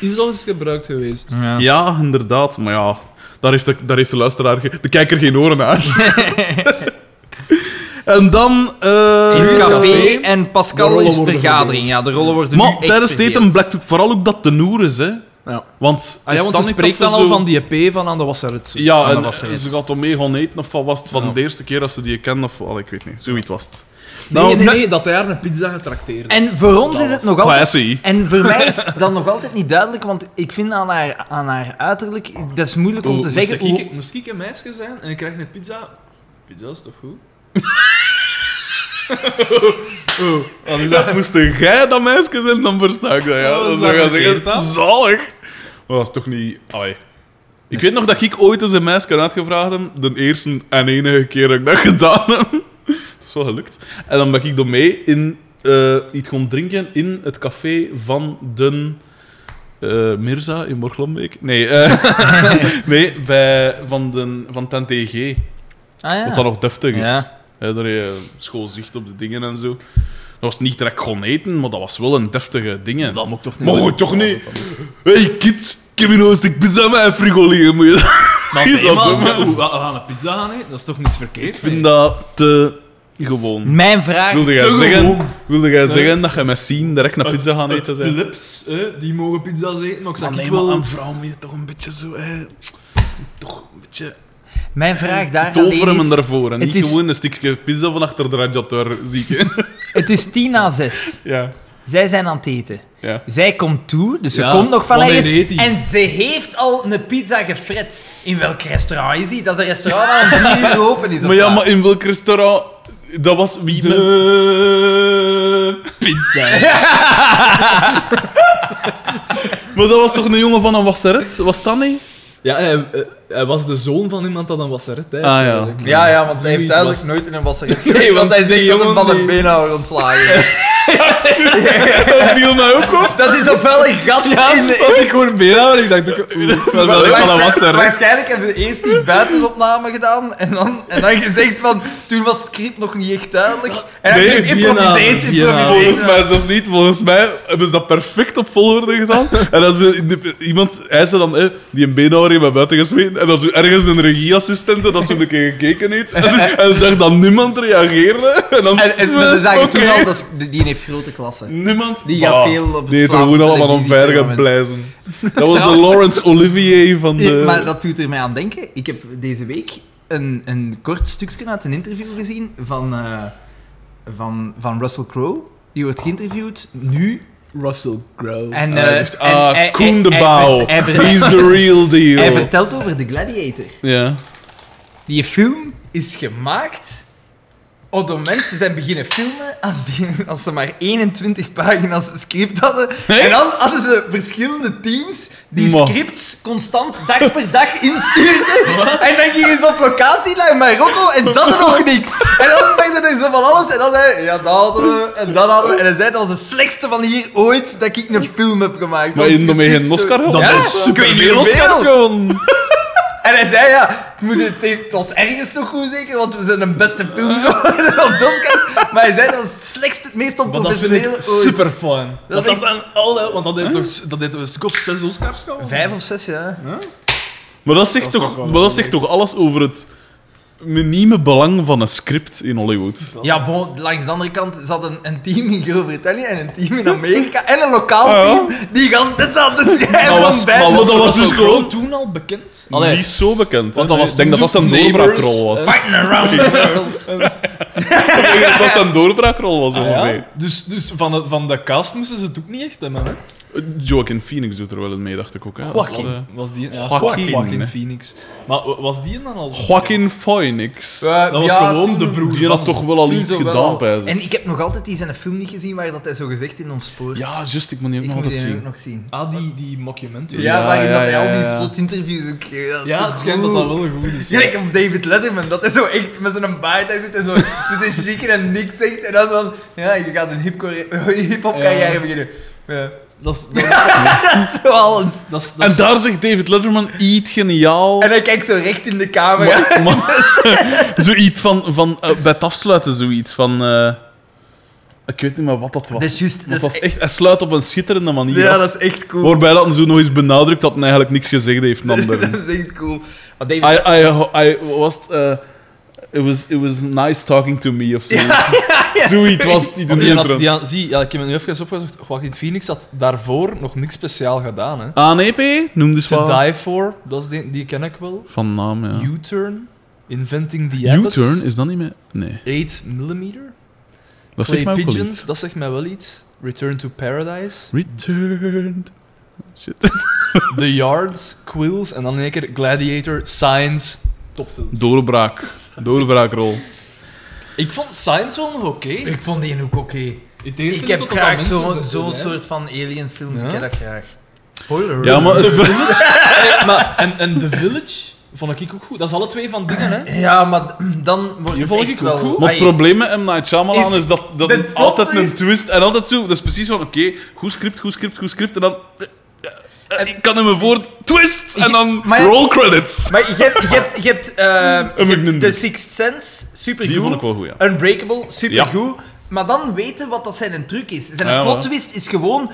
A: is al eens gebruikt geweest. Ah
C: Ja.
B: Ja, inderdaad. Maar ja, daar heeft de, daar heeft de luisteraar, ge- de kijker geen oren naar. en dan... eh,
A: café
C: In café en Pascal
A: rollen
C: is
A: worden
C: vergadering.
A: verdeeld.
C: Ja, de rollen worden nu
B: maar
C: echt
B: tijdens het eten
C: verdeeld.
B: blijkt ook vooral ook dat de noer is, hè.
A: Ja.
B: Want,
A: Ah, ja,
B: is
A: want ze
B: niet
A: spreekt
B: dat
A: dan
B: ze
A: al
B: zo-
A: van die EP van ah, aan de wasserret.
B: Ja,
C: dat
B: en
C: was er
B: ze
C: iets.
B: gaat om mee gaan eten, of wat was het van
A: Ja.
B: de eerste keer dat ze die kende, of... al ik weet niet, zoiets was het.
A: Nee,
B: Nou,
A: nee, nee, dat hij haar een pizza getrakteerd heeft.
C: En voor ons is het nog altijd...
B: Classy.
C: En voor mij is dat nog altijd niet duidelijk, want ik vind aan haar, aan haar uiterlijk... Dat is moeilijk om
B: Hoe-
C: te
B: hoe
C: zeggen...
A: Oh, Moest ik,
C: hoe-
A: moest ik een meisje zijn en ik krijg een pizza... Pizza is toch goed? oh, wat is dat?
B: Ja, moest jij dat meisje zijn, dan versta ik dat, ja.
A: Oh, dat
B: dan
A: is
B: zou
A: wel
B: je
A: verkeerd, hè?
B: zeggen, zalig. Maar dat is toch niet... Allee. Ik weet nog dat ik ooit eens een meisje uitgevraagd heb. De eerste en enige keer dat ik dat gedaan heb. Het is wel gelukt. En dan ben ik door mee in, eh, iets gaan drinken in het café van de... eh, Mirza in Borglombeek? Nee, eh, nee bij, van, de, van Tante G.
C: Ah, ja.
B: Dat dat nog deftig is.
C: Ja.
B: Hè, daar heb je school zicht op de dingen en zo. Dat was niet direct gewoon eten, maar dat was wel een deftige ding.
A: Dat moet toch niet.
B: Mocht je toch niet? hey, kid, ik heb hier nog een stuk pizza met een frigo liggen. Moet je dat-
A: Maar
B: Hier,
A: nee,
B: dat
A: maar als
B: doen
A: we
B: we.
A: oeh, we gaan een pizza gaan eten, dat is toch niets verkeerd?
B: Ik vind dat te gewoon.
C: Mijn vraag...
B: Wilde jij
A: te
B: zeggen,
A: gewoon.
B: wilde jij
A: Ja.
B: zeggen dat je met zien direct naar pizza gaan eten
A: zijn.
B: zijn?
A: Lips, hè, die mogen pizza's eten, maar ik zeg
B: Maar
A: ik
B: nee, maar
A: wil
B: aan vrouw moet je toch een beetje zo... Hè, toch een beetje...
C: Mijn vraag daar
B: Tover hem
C: alleen is...
B: daarvoor en
C: het
B: niet
C: is-
B: gewoon een stukje pizza van achter de radiator zieken.
C: Het is tien na zes.
B: ja,
C: Zij zijn aan het eten.
B: ja.
C: Zij komt toe, dus ze
A: Ja,
C: komt nog van
A: want hij
C: ergens.
A: eet die.
C: En ze heeft al een pizza gefret. In welk restaurant is die? Dat is een restaurant dat om vier uur open is. of
B: Maar ja,
C: wat?
B: maar in welk restaurant... Dat was wie...
A: Eh.
B: met-
A: de pizza.
B: Maar dat was toch een jongen van een wasseret? Was dat niet?
A: Ja, hij, eh, hij was de zoon van iemand dat een wasserette. hè,
B: Ah, ja.
A: eigenlijk.
C: Ja, ja, want hij heeft
A: Zoiets
C: duidelijk
A: was het.
C: nooit in een wasser
A: Nee,
C: gekeken. want
A: want
C: hij
A: die
C: zegt dat hem
A: jongen
C: van een
A: die-
C: beenhouwer ontslagen.
B: Dat viel mij ook op.
C: Dat is ofwel een gat
A: Ja,
C: in
A: dat
C: de...
A: zat ik gewoon bijna, maar ik dacht ook... oeh, dat is wel een van een wasserette.
C: Waarschijnlijk hebben ze eerst die buitenopname gedaan en dan, en dan gezegd van... Toen was het script nog niet echt duidelijk. En dan
B: Nee,
C: ging
A: Vienna,
C: improviseert,
A: Vienna.
C: improviseert.
B: Volgens mij zelfs niet. Volgens mij hebben ze dat perfect op volgorde gedaan. En als we in de- iemand, hij zei dan, eh, die een beenhouwer heeft mij buiten gesmeten. En als we ergens een regieassistente dat zo een keer gekeken heeft. En, en zag dat niemand reageerde. En, dan,
C: En, en, maar ze zagen toen
B: Oké.
C: al, dat is- die heeft grote klassen.
B: Niemand.
C: Die gaat
B: Bah,
C: veel op het
B: Die heeft er
C: Vlaamse
B: gewoon allemaal
C: televisie
B: omver
C: firmament.
B: geblazen. Dat was de Laurence Olivier van de...
C: Ja, maar dat doet er mij aan denken. Ik heb deze week een, een kort stukje uit een interview gezien van, eh, van, van Russell Crowe. Die wordt geïnterviewd nu.
A: Russell Crowe.
C: En,
B: En hij
C: eh,
B: zegt,
C: en
B: ah,
C: hij-
B: Koen
C: hij-
B: de
C: hij
B: Bouw.
C: ver- Hij, ver-
B: He's the real
C: hij
B: deal.
C: vertelt over The Gladiator.
B: Ja.
C: Die film is gemaakt. Oh, door mensen zijn beginnen filmen als, die, als ze maar 21 pagina's script hadden. En dan hadden ze verschillende teams die
B: Ma.
C: scripts constant dag per dag instuurden. En dan gingen ze op locatie naar Marokko en zat er nog niks. En dan werden er zo van alles. En dan zei hij, ja, dat hadden we en dat hadden we. En hij zei, dat was de slechtste van hier ooit dat ik een film heb gemaakt.
B: Maar
C: Dat
B: in
C: is
B: de mee geen
C: gescript zo.
B: Oscar gehad?
A: dat
C: Ja,
A: is
C: ik weet niet
A: superveel
C: hoeveel.
A: Oscars gewoon.
C: En hij zei ja, het, moet het, het was ergens nog goed zeker, want we zijn een beste film geworden op de Oscars. Maar hij zei dat was het slechtste, het meest
A: Maar dat vind
C: onprofessionele
A: ik super fun. Dat
C: vind ik-
A: dat aan alle... Want dat deed toch dat deed toch een stuk of zes Oscars gewoon?
C: Vijf of zes, ja.
B: Maar dat zegt,
A: Dat is
B: toch,
A: toch wel
B: maar dat zegt toch alles over het minieme belang van een script in Hollywood.
C: Ja, bon, langs de andere kant zat een, een team in Groot-Brittannië en een team in Amerika en een lokaal
B: Ah, ja.
C: team die gast dit zat te schrijven.
B: Dat was-
C: van vijf
B: dat
A: Was dat
B: was-
C: tot-
A: was dus
B: Russell Crowe
A: gewoon toen al bekend? Allee,
B: Niet zo bekend.
A: Want
B: hè.
A: dat was
B: ik denk dat dat zijn
A: toen zo'n
B: doorbraakrol was.
A: Neighbours,
C: Fighting around the world.
B: Ik denk dat dat zijn doorbraakrol was
A: Ah ja?
B: ongeveer.
A: Dus, dus van, de, van de cast moesten ze het ook niet echt hebben, hè?
B: Joaquin Phoenix doet er wel in mee, dacht ik ook. Hè, als,
A: Was,
B: eh,
A: was die, ja,
B: Joaquin, hè.
A: Phoenix. Maar wa- was die dan al...
B: Joaquin Phoenix.
A: Dat was gewoon de broer
B: Die had toch wel al iets gedaan bij ze.
C: En ik heb nog altijd die zijn film niet gezien waar dat hij zo gezegd in ontspoort.
B: Ja, juist, ik moet die ook
C: ik
B: nog
C: moet
B: altijd
C: die
B: zien.
C: ook nog zien.
A: Ah, die, die mockumentary.
C: Ja,
B: Ja,
C: waarin
B: ja,
C: dat hij
B: ja,
C: al die
B: ja.
C: zot interviews ook geeft.
A: Ja, het schijnt dat dat wel goed is. ja.
C: Gelijk op David Letterman, dat hij zo echt met zo'n baard daar zit en zo zit te chicken en niks zegt. En dan zo van, ja, je gaat een hip-hop carrière
A: Ja.
C: beginnen. Ja.
A: Dat is... Dat,
C: dat is zo alles.
A: dat is, dat
B: En
A: is-
B: daar zegt David Letterman iets geniaal.
C: En hij kijkt zo recht in de camera.
B: Maar, maar- zoiets van, van eh, bij het afsluiten, zoiets van. eh, ik weet niet meer wat dat was.
C: Dat is juist-
B: Maar
C: dat
B: het was
C: is
B: echt, hij sluit op een schitterende manier.
C: ja,
B: af.
C: dat is echt cool.
B: Waarbij dat zo nog eens benadrukt dat hij eigenlijk niks gezegd heeft. aan anderen.
C: dat is echt cool. Maar David,
B: I, I, I was. eh, it was it was nice talking to me of zoiets. zoiets was die
A: Want
B: doen
A: die had,
B: intro.
A: die had- zie, ja, ik heb het nu even opgezocht. Joaquin Phoenix had daarvoor nog niks speciaal gedaan. Hè.
B: Ah, nee, P. Noem dus
A: To
B: wel.
A: Die For, dat is die, die ken ik wel.
B: Van naam, ja.
A: U-Turn, Inventing the Abbott.
B: U-turn, is dat niet meer? Nee.
A: 8 mm.
B: Dat
A: Play
B: zegt mij ook wel
A: Pigeons,
B: iets.
A: dat zegt mij wel iets. Return to Paradise.
B: Returned. Shit.
A: The Yards, Quills en dan in één keer Gladiator, Science. Topfilm.
B: Doorbraak. Doorbraakrol.
A: Ik vond Science wel nog oké.
C: ik vond die ook oké.
A: Ik,
C: Ik heb graag zo'n zo'n soort van alien film,
A: Ja?
C: ik heb dat graag. Spoiler.
B: Ja, maar het,
A: maar, en, en The Village vond ik ook goed. Dat is alle twee van dingen, hè?
C: Ja, maar d- dan wordt
A: Die
C: het
A: volg
C: echt
A: ik ook
C: wel...
A: goed.
B: maar
C: Ai,
B: het probleem met M. Night Shyamalan is,
C: Is-
B: dat, dat
C: de
B: het
C: plot
B: altijd een
C: is-
B: twist en altijd zo. Dat is precies van, oké, goed script, goed script, goed script. En dan... eh, eh, En ik kan hem een woord twist en dan
C: Maar ja-
B: roll credits.
C: Maar je hebt, je hebt, je hebt, eh,
B: Een
C: je hebt
B: McNindy.
C: The Sixth Sense,
B: Die vond ik
C: supergoed.
B: wel goed, ja.
C: Unbreakable, supergoed. Maar dan weten wat dat zijn een truc is. Zijn
B: Ja,
C: een
B: maar-
C: plot twist is gewoon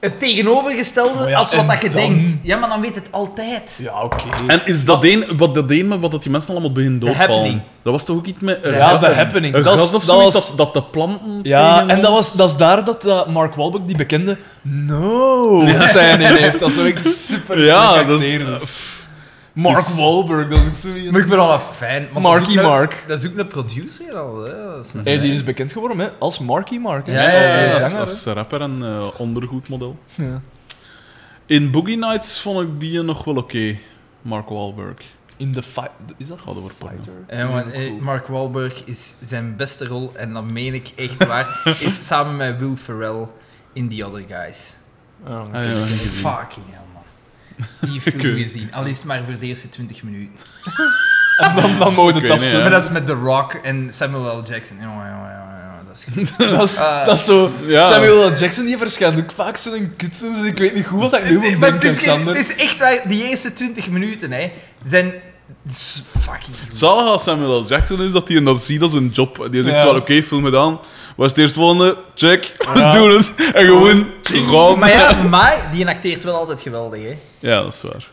C: het tegenovergestelde
A: Maar ja,
C: als wat
A: en
C: dat je
A: dan-
C: denkt. Ja, maar dan weet het altijd.
A: Ja, oké.
B: En is dat een, wat dat een met wat dat die mensen allemaal beginnen doodvallen?
C: Happening.
B: Dat was toch ook iets met... eh,
A: Ja,
B: ga-
A: The
B: een-
A: Happening.
B: Een
A: Dat is-
B: gas of
A: dat
B: zoiets
A: was-
B: dat, dat de planten
A: Ja,
B: tegen
A: en dat,
B: ons-
A: was, dat is daar dat eh, Mark Wahlberg die bekende no zijn in heeft. Dat is zo echt super
B: Ja,
A: slecht
B: dat is-
A: acteren, dus. Mark
B: dus-
A: Wahlberg, dat is ook zo
C: Maar ik ben al een fan. want
A: Marky
C: dat is ook een-
A: Mark.
C: Dat is ook een producer al. Hè? Dat is een
A: Hey, die
C: fan.
A: is bekend geworden hè, als Marky Mark. hè.
C: Ja, ja, ja, ja.
A: Als
B: als,
A: zanger,
B: als rapper en eh, ondergoedmodel.
A: hè. Ja.
B: In Boogie Nights vond ik die nog wel oké. Mark Wahlberg.
A: In The Fight... Is dat
B: Gaat over porno.
A: Fighter?
C: Ja, maar, eh, Mark Wahlberg is zijn beste rol, en dat meen ik echt waar, is samen met Will Ferrell in The Other Guys.
A: Oh,
B: Ah, ja, niet gezien.
C: Fucking hell, man. Die film
B: weet-
C: gezien, al is het maar voor de eerste 20 minuten.
A: En dan, dan mogen
B: Ik
A: het
B: weet niet,
A: afzetten.
C: Maar dat is met The Rock en Samuel L. Jackson. Ja, ja, ja, ja, dat is goed.
A: Dat is,
C: Ah.
A: dat is zo...
B: Ja.
A: Samuel L. Jackson die verschijnt ook vaak zo'n kutfilm, dus ik weet niet goed wat ik nu moet
C: Maar het,
A: denken,
C: is, geen- het
A: Xander.
C: is echt waar, die eerste 20 minuten hè, zijn het is fucking goed.
B: Zalig als Samuel L. Jackson is dat hij dat ziet als een job. Die zegt
A: Ja.
B: zo wel oké, film gedaan. Was het eerst volgende? Check.
A: Ja.
B: Doe het. En gewoon gewoon.
C: Maar ja, maar die acteert wel altijd geweldig. Hè.
B: Ja, dat is waar.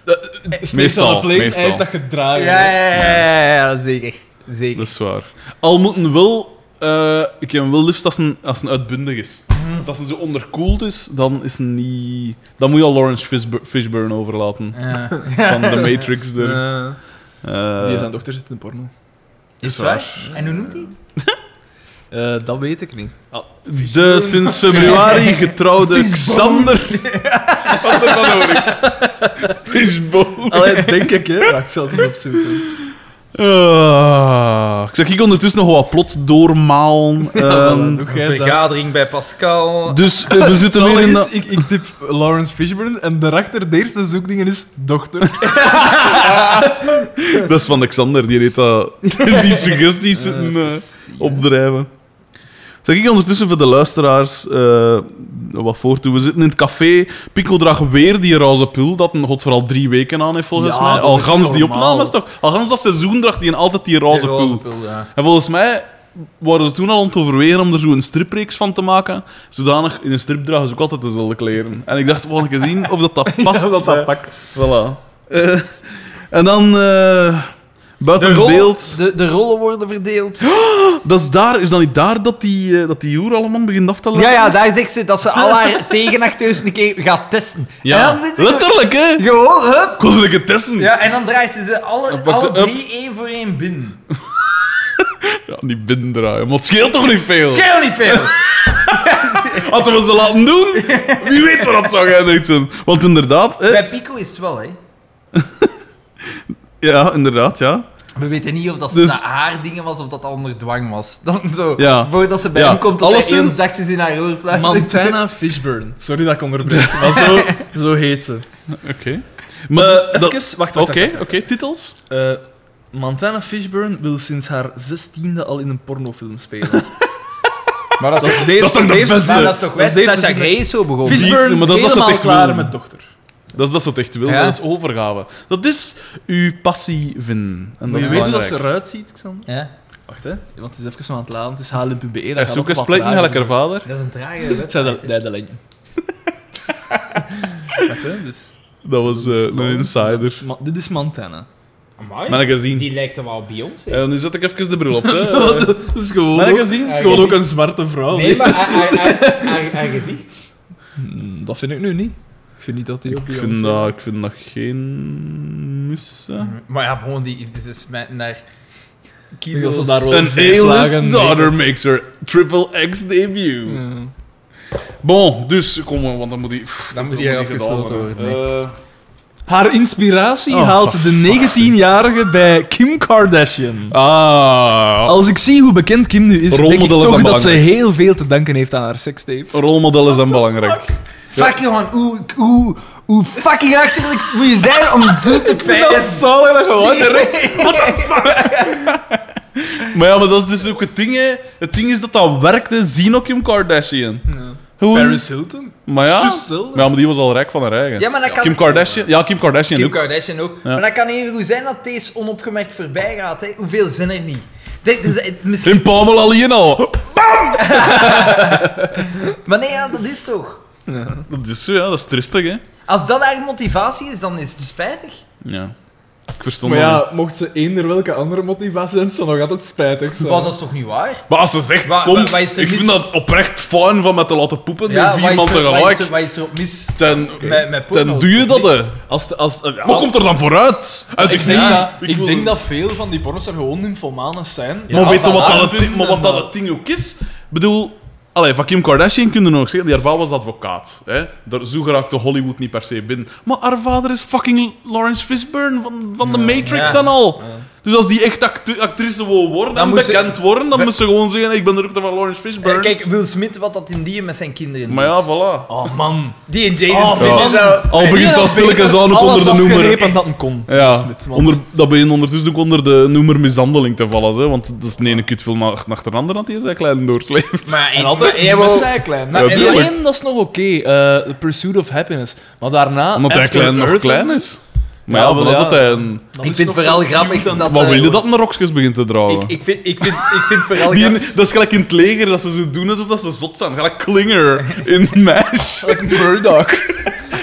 A: Snakes on
B: Meestal,
A: a Plane,
B: meestal.
A: hij heeft dat gedragen.
C: Ah, Ja, ja, ja, ja, ja, zeker. zeker.
B: Dat is waar. Al moeten wel... eh, ik heb hem wel liefst als een, als een uitbundig is. Als een zo onderkoeld is, dan is een niet... Dan moet je al Lawrence Fishbur- Fishburne overlaten.
C: Ja.
B: Van The Matrix. Er.
A: Eh,
B: Eh,
A: die zijn dochter zit in porno.
C: Is het waar? En hoe noemt hij?
A: Eh, dat weet ik niet.
B: de sinds februari getrouwde Xander... Xander van Oorik. Fishbone.
A: Allee, denk ik, hè. Wacht, ik zal het eens
B: Ehm,
A: opzoeken.
B: Ah, ik zeg, ik ondertussen nog wat plot doormalen. Ehm,
A: doe
C: Een vergadering bij Pascal.
B: dus eh, we zitten weer in...
A: Is,
B: de-
A: ik, ik tip Lawrence Fishburne en daarachter de eerste zoekdingen is dochter.
B: Dat is van Alexander, die deed dat... Die suggesties zitten... eh, opdrijven. Zeg ik ondertussen voor de luisteraars eh, wat voor toe. We zitten in het café. Pico draagt weer die roze pul dat een god vooral drie weken aan heeft, volgens
A: Ja,
B: mij.
A: dat
B: Al
A: is
B: gans
A: echt
B: die
A: normaal.
B: opnames toch? Al gans dat seizoen draagt hij altijd die roze
C: Die
B: pul.
C: pil, ja.
B: En volgens mij waren ze toen al aan het overwegen om er zo een stripreeks van te maken. Zodanig, in een strip dragen ze ook altijd dezelfde kleren. En ik dacht, we gaan eens zien of dat, dat past. dat dat pakt. Voilà. Eh, en dan... eh, buiten beeld...
C: de, de rollen worden verdeeld.
B: Dat is, daar, is dat niet daar dat die, eh, dat die Joer allemaal begint af te leggen?
C: Ja, ja, daar zegt ze dat ze al haar tegenacteurs een keer gaat testen.
B: Ja,
C: En dan zit ze
B: letterlijk, hè?
C: zo- Gewoon, hup.
B: Ik was een keer testen. Ja.
C: Ja, en dan draait ze ze alle,
B: Dan pakt ze
C: alle
B: up.
C: drie één voor één binnen.
B: die binnendraaien. Maar het scheelt toch niet veel?
C: Scheel niet veel.
B: Hadden we ze laten doen, wie weet waar dat zou geëindigd zijn. Want inderdaad, hè,
C: Bij Pico is het wel, hè.
B: ja, inderdaad, ja.
C: We weten niet of dat
B: Dus-
C: dat haar dingen was of dat dat onder dwang was. Dan zo,
B: Ja.
C: voordat ze bij
B: Ja.
C: hem komt, dat
B: Alles
C: hij
B: in-
C: heel zachtjes in haar oor fluistert.
A: Montana Fishburn. Sorry dat ik onderbreek, maar zo, zo heet ze.
B: Oké. Maar
A: Eh,
B: dat-
A: even, wacht, wacht,
B: Oké,
A: wacht, wacht,
B: oké,
A: wacht.
B: titels?
A: Eh, Montana Fishburn wil sinds haar zestiende al in een pornofilm spelen.
C: Maar
A: Dat is de eerste,
B: is toch de
A: eerste-
B: beste?
C: Maar dat is toch
A: Dat is
C: wijs?
A: deze
C: Sasha
A: zin-
C: Grey is zo begonnen.
B: Vies-
A: Fishburn
B: Die- maar dat is dat ze
A: helemaal
B: echt
A: klaar
B: willen.
A: met dochter.
B: Dat is dat ze het echt wil,
C: Ja.
B: dat is overgave. Dat is uw passie vinden. En
A: Moet
B: dat
A: je
B: is
A: weten dat
B: belangrijk.
A: ze eruit ziet, Xander?
C: Ja,
A: Wacht, hè. Want het is even zo aan het laden. Het is HLPBE.
B: Hij
A: E, Dat
B: is ook een split, niet lekker vader.
C: dat is een trage
A: Ik zei
C: website.
A: dat, nee, dat lijkt niet. Wacht, hè. Dus,
B: Dat was eh, een insider.
A: Ma- dit is Montana.
D: Amai,
B: Mijn gezien.
D: die lijkt er wel op Beyoncé.
B: En nu zet ik even de bril op. Hè.
A: dat is gewoon,
B: Maar ik
A: ook-
B: heb gezien-
A: het is gewoon ook een zwarte vrouw.
D: Nee, maar haar, haar, haar, haar- haar gezicht.
A: Hmm, dat vind ik nu niet. Ik vind niet dat die op
B: Ik
A: Beyoncé-
B: vind, dat, Mhm. ik vind dat geen mussen.
C: Maar ja, gewoon die... Dit is met naar...
A: Dat ze
C: Kilo's.
A: daar wel
B: Een
A: vijf
B: A-list
A: lagen Mhm.
B: daughter makes her triple X debut.
A: Ja.
B: Bon, dus kom maar, want dan moet die. pff,
C: Dan
B: dat
C: moet die
B: niet gedaan
C: afgesloten
B: worden. Eh,
A: Haar inspiratie
B: Oh,
A: haalt
B: for
A: de 19-jarige bij Kim Kardashian.
B: Eh, ah,
A: Als ik zie hoe bekend Kim nu is, denk ik
B: Rolmodellen
A: toch
B: zijn
A: dat ze
B: belangrijk.
A: heel veel te danken heeft aan haar sekstape.
B: rolmodel is dan belangrijk.
C: Fuck, Johan. Hoe, hoe, hoe fucking achterlijk moet je zijn om zo te pijzen?
A: zalig dat
B: Maar ja, maar dat is dus ook het ding, hè. Het ding is dat dat werkte, zien ook Kim Kardashian. Gewoon.
A: Paris Hilton?
B: Maar ja,
A: Zus zelden.
B: ja, maar die was al rijk van haar eigen.
C: Ja, maar dat kan-
B: Kim Kardashian? Ja, Kim Kardashian
C: Kim
B: ook.
C: Kardashian ook. Maar dat kan even goed zijn dat deze onopgemerkt voorbij gaat. Hè. Hoeveel zijn er niet? Dit is, het- misschien...
B: Kim Pamela Lien
C: Maar nee, ja, dat is toch.
B: Dat is zo, ja. Dat is tristig, hè.
C: Als dat haar motivatie is, dan is het spijtig.
B: Ja. Ik verstond
A: Maar
B: dat
A: ja, mocht ze eender welke andere motivatie hebben, zou nog altijd spijtig zijn.
C: Maar dat is toch niet waar?
B: niet. Maar als ze zegt,
C: Wa-
B: kom,
C: wa- wat is er
B: ik
C: mis?
B: vind dat oprecht fijn van met te laten poepen door
C: wat
B: vier
C: is
B: man
C: er- Wat is
B: tegelijk,
C: er, wat is er op mis?
B: dan
C: Met- met porno
B: dan doe je dat,
C: toch
B: hè.
C: niks?
A: Als de- als, eh, ja,
B: Wat komt er dan vooruit? Als
A: ik denk,
B: ja,
A: dat,
B: ik
A: ik
B: wil-
A: denk dat veel van die pornos er gewoon infomanen zijn.
B: maar weet je
A: van
B: wat,
A: haar
B: dat het,
A: vinden,
B: maar wat dat
A: maar-
B: het ding ook is? Ik bedoel, allee, van Kim Kardashian kunnen we nog zeggen, die haar vader was advocaat. Hè? Daar, zo geraakte Hollywood niet per se binnen. Maar haar vader is fucking Lawrence Fishburne van, van The Matrix
C: Ja.
B: en al. Dus als die echt actu- actrice wil worden
C: Dan
B: en
C: moet ze-
B: bekend worden, dan
C: Ve-
B: moet ze gewoon zeggen, ik ben de dochter van Lawrence Fishburne.
C: Eh, Kijk, Will Smith, wat dat in die met zijn kinderen
B: maar
C: doet.
B: ja, voilà.
A: Oh man.
C: Die en Jaden
A: Oh,
C: Smith
B: man.
C: is zo...
B: Al begint dat stilletjes aan ook onder de noemer.
A: Ik dat een kon.
B: Ja,
A: Smith, want-
B: onder, dat begint ondertussen ook onder de noemer mishandeling te vallen. Hè? Want dat is de ene kutfilm na- achter de andere dat hij zijn klein doorsleept.
C: Maar
A: En
C: is
A: altijd
C: maar, ja,
A: met
C: maar-
A: zijklein.
C: maar-
A: en
B: tuurlijk.
A: alleen, dat is nog oké. eh, The Pursuit of Happiness. Maar daarna...
B: Omdat hij
A: After
C: eh,
B: klein nog
A: Earth
B: klein
A: en
B: is. Maar
A: Ja,
B: ja,
A: wel,
B: dan is
A: ja.
B: dat hij een...
A: zo, dan
C: Ik
A: is het
C: vind het
A: nog
C: vooral
A: zo
C: grappig
A: cute en-
C: dat...
B: Wat
C: eh,
B: wil je dat naar rokjes begint te dragen?
C: Ik, ik, vind, ik, vind, ik vind vooral
B: Die,
C: grappig...
B: dat is gelijk in het leger, dat ze zo doen alsof dat ze zot zijn. Gelijk klinger in MASH.
A: Murdoch.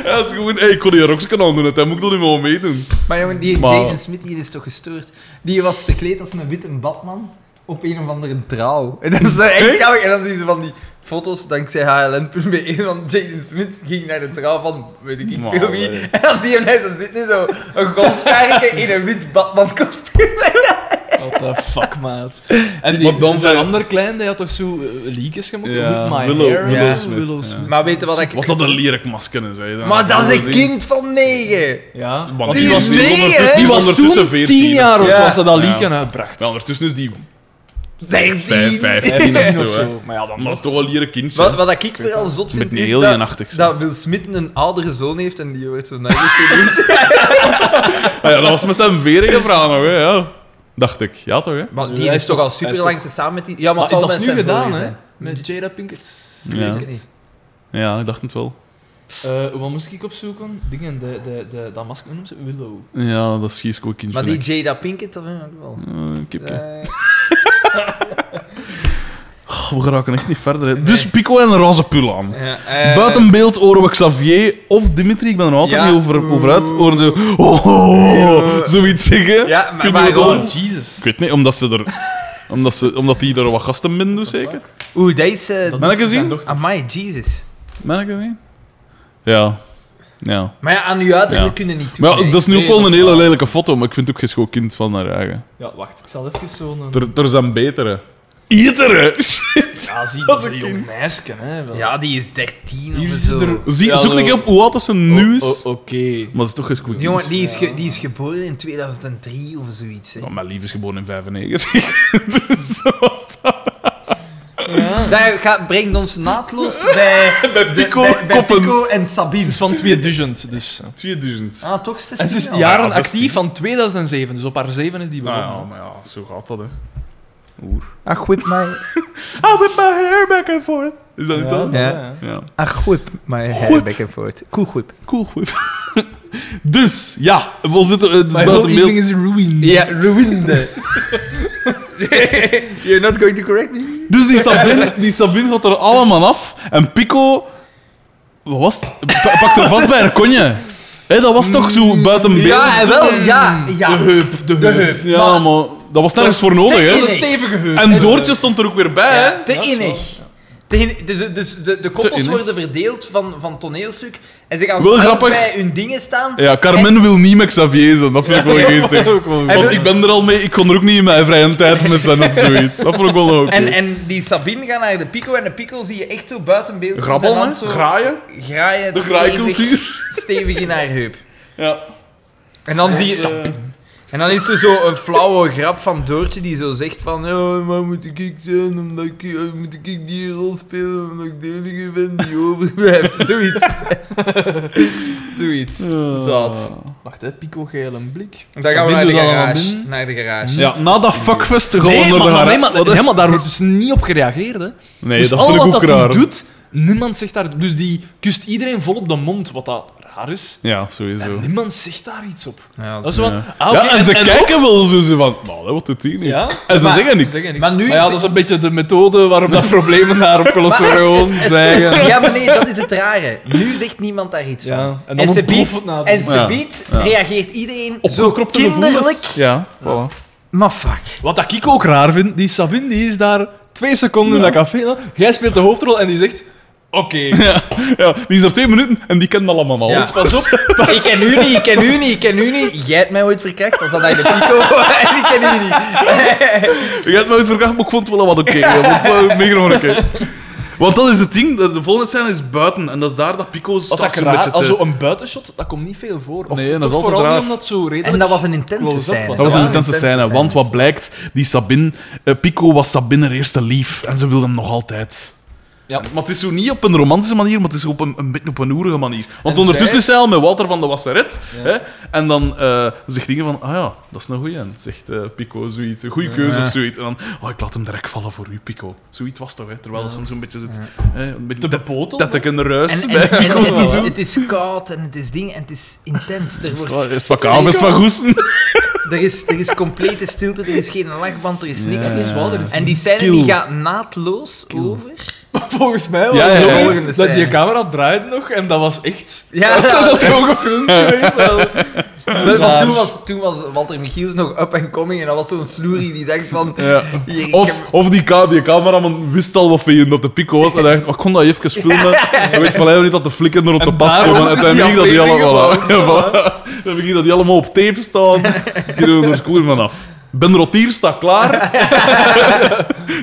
B: Ja, dat is gewoon, hey, ik kon die rokjes aan doen, hij moet ik dat niet meer meedoen.
C: Maar jongen, die
B: Maar-
C: Jaden Smith die is toch gestoord? Die was verkleed als een witte Batman op een of andere trouw. En dat is zo echt grappig. En dan zien ze van die foto's, dankzij HLN.be, van E, Jaden Smith ging naar de trouw van, weet ik niet
B: Maar,
C: veel wie.
B: nee.
C: En dan zie je hem daar zo zitten, zo een golfkaartje in een wit Batman kostuum.
A: What the fuck, maat. En die,
B: Maar dan
A: zijn
B: zijn-
A: ander klein, die had toch zo eh, liedjes gemaakt?
B: Ja,
A: With my
B: Willow-
A: hair.
B: Willow
A: en zo,
B: Smith,
A: Willow
B: ja.
A: Smith.
C: Maar weet je wat ik...
B: Wat dat een lierikmasker is, hè.
C: Maar dat is een kind van negen!
A: Ja.
B: Want
C: Die
B: die was
C: is
B: die is
C: negen, hè?
A: Die
B: ondertussen- die
A: was
B: was ondertussen
A: toen
B: 14
A: tien jaar of
C: Ja.
A: zo, als ze dat
B: Ja.
A: liedje uitbracht.
B: Ja, ondertussen is die
C: Dertien!
B: vijf, vijf,
A: Vijftien
B: of
A: of
B: zo, hè.
A: zo. Maar ja, dan
B: Maar dat is toch wel leren kindje.
C: Wat, wat ik vooral
B: Met
C: zot vind,
B: een
C: is dat,
B: alienachtig, zo.
C: dat Will Smith een oudere zoon heeft en die wordt zo naar de
B: Ah, ja, dat was met zijn veren gevraagd nog, hè. Ja. Dacht ik. Ja, toch, hè?
C: Maar
A: Nu,
C: die
A: hij
C: is,
A: is
C: toch
A: toch-
C: al
A: hij
C: super
A: is
C: lang samen met die. Ja,
A: Maar
C: maar
A: is
C: het
A: dat nu gedaan, hè? Met Jada Pinkett Smith.
B: Ja.
C: Weet ik niet.
B: Ja, ik dacht het wel.
A: Eh, wat moest ik opzoeken? Dingen, de, de, de, dat masker noemt ze Willow.
B: Ja, dat is Gisco kindje.
C: Maar die Jada Pinkett, dat vind ik wel.
B: kipje.
C: Eh,
B: Goh, we geraken echt niet verder, hè. Dus Pico en een roze pul aan.
C: ja, eh,
B: Buiten beeld horen we Xavier of Dimitri, ik ben er nog altijd
C: Ja.
B: niet over, over uit,
C: Oeh.
B: horen ze oh, oh, oh,
C: Ja.
B: zoiets zeggen.
C: Ja, maar
B: Kunnen we dat-
C: waarom?
A: Jesus.
B: Ik weet niet, omdat ze er... Omdat, ze, omdat die er wat gasten binnen doen, zeker?
C: Oeh, deze.
A: Dat
B: Ben ik
A: is zijn
B: gezien?
A: dochter.
C: Amai, Jesus.
B: Merk je dat niet? Ja. Ja.
C: Maar ja, aan uw uiterlijk
B: Ja.
C: kunnen niet doen.
B: Maar ja,
C: hè.
B: dat is nu ook
A: nee,
B: wel
A: dat
B: een
A: is
B: hele
A: waar.
B: lelijke foto, maar ik vind het ook geen schoon kind van haar eigen.
A: Ja, wacht. Ik zal even zo'n... eh,
B: Er, er zijn betere. Iedere shit.
A: Ja, zie,
B: Als
A: dat is
B: een
A: een
B: kind.
A: jong meisje, hè. wel.
C: Ja, die is 13
A: Hier
C: of
A: is ze
C: zo.
A: er-
B: Zie,
A: Ja,
B: zoek
A: wel.
B: een keer op hoe oud dat ze nu is.
A: O- o- Oh, Oké.
B: Maar ze is toch geen squeaky.
C: Die jongen die is, ge- die is geboren in 2003 of zoiets. Hè.
B: Oh, mijn lief is geboren in 95. dus zo was dat.
C: Dat gaat, brengt ons naadloos bij, bij,
B: Pico
C: bij- bij
B: Koppens.
C: Pico en
A: Ze
C: Sabine.
A: is van 2000, dus.
B: 2000.
C: Ah, toch
A: En
C: 16
A: ze is
C: al.
A: jaren
B: ja, 16.
A: actief van 2007, dus op haar 7 is die
B: nou
A: begonnen.
B: ja, maar ja, zo gaat dat, hè. Oer.
C: Ach, whip mij.
B: I whip my hair back and forth. Is dat niet dat?
C: Ja.
B: Ja.
C: Ach, whip mij.
B: Whip.
C: Back and forth. Cool whip.
B: Cool, goed. dus, ja. We zitten... eh,
A: My
B: buiten
A: whole
B: beeld.
A: evening is ruined.
C: Ja, ruïne. You're not going to correct me?
B: Dus die Sabine, die Sabine gaat er allemaal af. En Pico... Wat was het? Pa- Pakt er vast bij haar konje. Hé, dat was toch zo buiten beeld?
C: Ja, eh, wel, ja.
A: De
C: ja.
A: heup, de heup.
B: Ja, maar dat was nergens voor nodig,
A: Dat is een
B: hè.
C: Nee.
A: stevige heup.
B: En Doortje stond er ook weer bij, hè.
C: Ja, te innig. Te in- dus dus de, de koppels
B: innig.
C: worden verdeeld van, van toneelstuk en ze gaan
B: Wel
C: zo elk
B: grappig.
C: bij hun dingen staan.
B: Ja, Carmen wil niet met Xavier zijn. Dat vind ik wel geestig. Want
C: wil-
B: ik ben er al mee. Ik kon er ook niet in mijn vrije tijd mee zijn of zoiets. Dat vond ik wel oké.
C: En, en die Sabine gaat naar de Pico en de Pico zie je echt zo buiten beeld.
B: Grabbel,
C: Zijn hand
B: hè?
C: zo
B: Graaien.
C: graaien,
B: De
C: stevig,
B: graaikultuur.
C: stevig in haar heup.
B: Ja.
C: En dan, zie je, en dan is er zo een flauwe grap van Doortje die zo zegt van oh, maar moet ik zijn, omdat ik, eh, moet ik die rol spelen, omdat ik de enige ben die overblijft. Zoiets. Zoiets. Zat.
A: Wacht, hè, Pico geel en blik.
C: Dan gaan we naar
A: Sabine
C: de
A: doet allemaal
C: garage.
A: binnen.
C: Naar de garage.
B: Ja, na dat fuckfest gewoon
A: Nee,
B: door
A: maar, maar,
B: de haar-
A: nee, maar,
B: Wat, hè?
A: nee, maar daar wordt dus niet op gereageerd. Hè.
B: Nee,
A: dus
B: dat
A: al
B: vond ik
A: wat
B: ook
A: dat
B: raar.
A: die doet, niemand zegt daar... Dus die kust iedereen vol op de mond, wat dat raar is.
B: Ja,
A: En
B: sowieso.
A: niemand zegt daar iets op.
C: Ja,
A: Dat is
B: Ja.
A: van, ah, oké,
B: ja, en ze
A: en-
B: kijken wel zo zo van, nou, dat wordt het hier niet.
A: Ja?
B: En ze
C: Maar-
B: zeggen niks.
A: Zeggen niks.
C: Maar nu-
A: ja, dat is een beetje de methode waarop dat problemen daar opgelost worden. Gewoon zwijgen.
C: Ja, maar nee, dat is het rare. Nu zegt niemand daar iets van.
A: Ja, en
C: En
A: dan
C: ze
A: ontploft
C: biedt,
A: het na.
C: en ze
B: Ja,
C: biedt
B: ja.
C: reageert iedereen zo
B: Opgekropte gevoelens.
C: kinderlijk.
B: Ja, voilà.
C: Maar fuck.
A: Wat dat ik ook raar vind, die Sabine die is daar twee seconden in dat café. Jij speelt de hoofdrol en die zegt... Oké,
B: Ja, die is er twee minuten en die kent allemaal al.
C: Ja.
A: pas op.
C: Ik ken u niet, ik ken u niet, ik ken u niet. Jij hebt mij ooit verkracht, als dat hij de pico. en ik ken u niet.
B: Je hebt me ooit verkracht, maar ik vond het wel wat oké. Ik vond het wel mega oké. Want dat is het ding, de de volgende scène is buiten en dat is daar dat Pico
A: Wat
B: straks
A: dat
B: een
A: raar,
B: beetje te...
A: als zo een buitenshot, dat komt niet veel voor. Of
B: Nee, dat is
A: toch
B: altijd
A: vooral
B: raar.
A: niet omdat zo redelijk...
C: En dat was een intense
A: Close-up
C: scène.
A: was
B: Dat was een
A: Ja,
B: intense scène, want wat blijkt, die Sabine, eh, Pico was Sabine haar eerste lief en ze wilde hem nog altijd.
A: Ja.
B: Maar het is zo niet op een romantische manier, maar het is op een, een beetje op een oerige manier. Want
A: En
B: ondertussen
A: zij-
B: is zij al met Walter van de Wasseret. Hè, en dan eh, zegt dingen van, ah ja, dat is een goeie. En zegt eh, Pico zoiets, een goede keuze of zoiets. En dan, oh, ik laat hem direct vallen voor u, Pico. Zoiets was toch, hè? terwijl ze hem zo'n beetje zit... Hè, een beetje
A: Te
B: dat-
A: bepotelen?
B: Dat ik een ruis
C: En,
B: bij
C: en, en
B: Pico.
C: het, is, het is koud en het is ding en het is intens. Er,
B: Is
C: wordt,
B: het van Kaam, is het van Goesten?
C: er, is, er is complete stilte, er is geen lachband, er is niks.
A: Het is wel, er is
C: En die scène
B: Stil.
C: die gaat naadloos over.
A: Volgens mij was
B: Ja, ja,
A: het
B: ja.
A: nog
B: De
C: volgende
A: dat
C: scène.
A: die camera draait nog en dat was echt.
C: Ja.
A: dat, was gewoon gefilmd geweest. Dat-
C: Want
A: Raar.
C: toen was, toen was Walter Michiels nog up and coming en dat was zo'n sloerie die denkt van...
B: Ja.
C: hier, ik
B: Of,
C: heb-
B: of die, ka- die cameraman wist al wat je op de pico was en hij dacht, ik kon dat even filmen. Hij weet van hij niet dat de flikken er op de
A: En
B: pas
A: daarom
B: komen.
A: is
B: En
A: die
B: uiteindelijk dat die
A: aflevering
B: allemaal... Voilà.
A: gebouwd,
B: Ja, voilà. Dan begin dat die allemaal op tape staan. Hier onder koer van af. Ben Rotier staat klaar.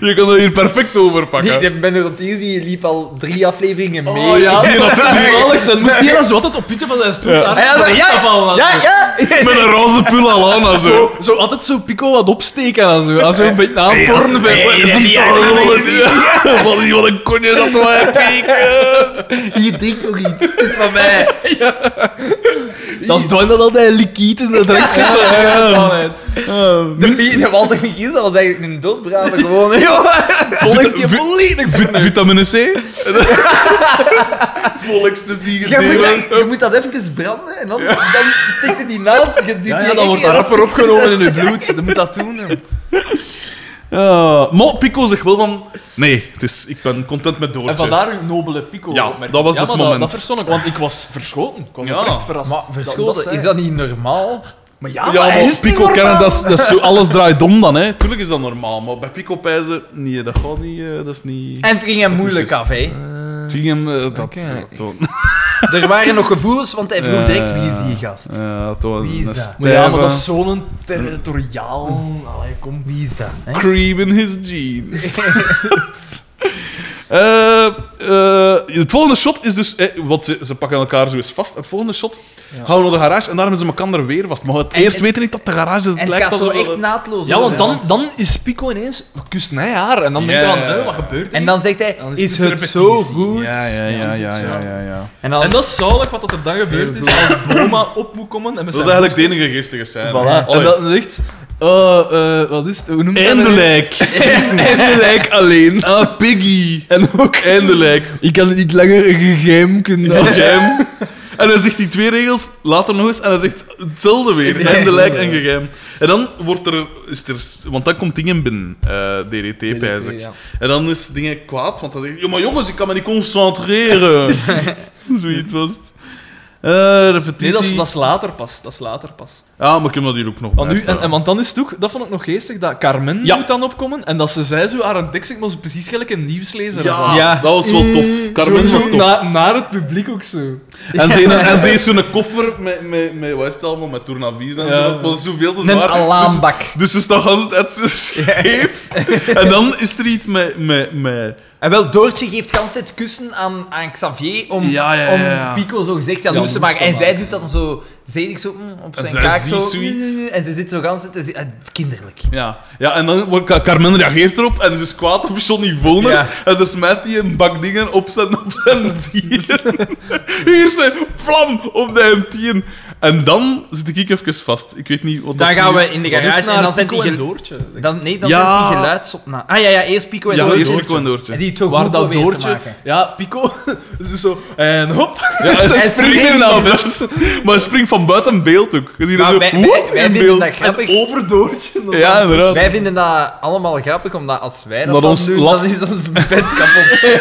B: je kan er hier perfect over
C: die,
B: pakken.
C: de Ben Rotiers die liep al drie afleveringen mee.
A: Oh ja,
C: Ik-
A: dat was zalig. Dan moest hij dan zo altijd op Pietje van zijn stoel
B: Ja.
A: daar-
C: Ah, ja, dat- ja,
A: afvallen.
C: ja, ja.
B: Met een roze pul al aan en zo.
A: Zo, zo altijd zo Pico wat opsteken en zo. Als zo een beetje aanporn
B: Hey, is hem toch wel een- Ja, Wat een- wat een konje dat wij pieken.
C: Je drinkt nog iets. Dit is van mij.
A: Dat is Dwayne dat altijd likiet in dat drankje.
B: Eh,
C: De, Pie- de Walter Michiels, dat was eigenlijk een doodbrave gewoon.
A: Vol heeft
B: Vit-
A: hij volledig
B: vit- Vitamine C. Volks te zien.
C: Je moet, dat, je moet dat even branden en dan, dan stikt het die naald. Je doet
A: Ja,
C: die
A: ja, dan
C: rekening
A: wordt
C: en
A: daar
C: dan
A: rapper opgenomen in het bloed. Dan moet dat doen. hè.
B: Eh, maar Pico zegt wel van... Nee, het is, ik ben content met Doortje.
A: En vandaar uw nobele Pico.
B: Ja,
A: opmerking.
B: dat was het
A: maar
B: moment.
A: Dat, dat verzon ik, want ik was verschoten. Ik was
B: Ja.
A: oprecht verrast.
C: Maar
A: Dat-
C: verschoten,
A: dat zei-
C: is dat niet normaal?
A: Maar ja,
B: ja,
A: maar hij
B: maar
A: is
B: Pico
A: niet
B: kennen,
A: normaal.
B: dat, is- dat is zo, alles draait om dan, hè. Tuurlijk is dat normaal, maar bij Pico pijzen... Nee, dat gaat niet, eh, dat is niet...
C: En het ging hem moeilijk
B: juist.
C: af, hè.
B: Zie je hem, eh, dat...
A: oké.
B: dat-
C: Er waren nog gevoelens, want hij vroeg
B: Ja,
C: direct
B: ja,
C: wie is
B: ja.
C: die gast?
B: Ja, dat was
C: Wie is
B: eh, een
C: dat?
A: Maar ja, maar dat is
B: stijve
A: zo'n territoriaal... Allee, kom.
C: Wie is dat? Hè?
B: cream in his jeans. Eh, eh, het volgende shot is dus... eh, want ze, ze pakken elkaar zo eens vast. Het volgende shot gaan we naar de garage en daarom hebben ze elkaar weer vast. Maar het eerst weten niet dat de garage... Het
C: En het
B: lijkt
C: gaat zo
B: alsof
C: echt
B: het-
C: naadloos
A: Ja,
C: over,
A: want dan, dan is Pico ineens... Kust naar haar. En dan
B: Ja.
A: denkt hij van, eh, wat gebeurt er?
C: En dan zegt hij,
A: Dan
C: is,
A: is
C: het
A: het
C: zo
A: repetitie.
C: goed?
B: Ja, ja, ja, ja, ja, ja, ja.
C: En dan,
A: En dat is zalig wat er dan gebeurd is als Boma op moet komen. En met
B: Dat is
A: zijn
B: eigenlijk de enige geestige scène.
A: Voilà.
B: Allee.
A: En dat ligt. eh eh wat is het? Hoe noemt dat?
B: Eindelijk!
A: Eindelijk alleen.
B: Ah, Piggy!
A: En ook.
B: Eindelijk!
A: Ik kan het niet langer een geheim kunnen. houden.
B: Geheim. En dan zegt hij twee regels, later nog eens, en hij zegt hetzelfde weer. Zijn de lijk en geheim. En dan wordt er, is er... Want dan komt dingen binnen, eh, DDT, pijs ik.
C: ja.
B: En dan is dingen kwaad, want dan zegt hij... "Ja, maar jongens, ik kan me niet concentreren. Zoiets was het. Eh, repetitie.
A: Nee, dat is, dat is later pas. Dat is later pas.
B: Ah, maar ik heb dat hier ook nog
A: Want,
B: bij
A: nu,
B: staan.
A: en, en, want dan is het ook, dat vond ik nog geestig, dat Carmen
B: Ja.
A: moet dan opkomen en dat ze zei zo haar een tekst, ik moest precies gelijk een nieuwslezer
B: ja,
A: zijn.
B: dat was wel tof. Carmen
A: Zo
B: was tof.
A: na- naar het publiek ook zo.
B: En ze, en ze heeft zo'n koffer met, met, met, wat is het allemaal, met tournavies en
A: Ja.
B: zo. Dat was zoveel te
C: een
B: zwaar. Dus,
C: alarmbak.
B: dus ze staat gans het scheef. En dan is er iets met... met, met
C: En wel, Doortje geeft de hele tijd kussen aan, aan Xavier om,
B: Ja, ja, ja, ja.
C: om Pico zo gezegd jaloers
A: Ja,
C: te maken.
A: moest
C: En
A: te
C: zij
A: maken.
C: doet dat dan zo zedig zo mm, op zijn
B: zij
C: kaak.
B: ziet
C: Zo,
B: zoiets.
C: mm, mm, en ze zit zo gans te zi- eh, kinderlijk.
B: ja. ja, en dan wordt Ka- Carmen reageert erop en ze is kwaad op Johnny Voners.
C: Ja.
B: En ze smijt die een bak dingen op zijn, op zijn dieren. Hier zijn vlam op de tien. En dan zit ik even vast. Ik weet niet wat
C: Dan
B: dat
C: gaan
B: nu-
C: we in de
A: Wat is
C: garage
A: naar
C: en dan zijn
A: Pico
C: die,
A: en
C: gel-
A: Doortje.
C: dan, nee, dan
B: Ja.
C: zijn die geluidsopnames. Ah ja, ja, eerst Pico en
B: Ja,
C: Doortje.
B: eerst Nico en Doortje.
C: En die het zo
A: Waar
C: goed
A: dat
C: proberen te
A: Doortje...
C: maken.
A: Ja, Pico. is dus zo... En hop.
B: Ja, en
C: En
B: ze
C: springen
B: springen
C: dan
B: naar bed. Maar ze springt van buiten beeld ook. Je ziet er
C: Maar
B: zo
C: wij-
B: woep
C: wij- wij
B: in
C: vinden
B: beeld.
C: dat grappig.
A: Over Doortje. nog.
B: Ja, inderdaad.
C: Wij vinden dat allemaal grappig, omdat als wij dat,
B: Dat
C: zouden
B: ons
C: doen,
B: lat-
C: dan is ons bed kapot.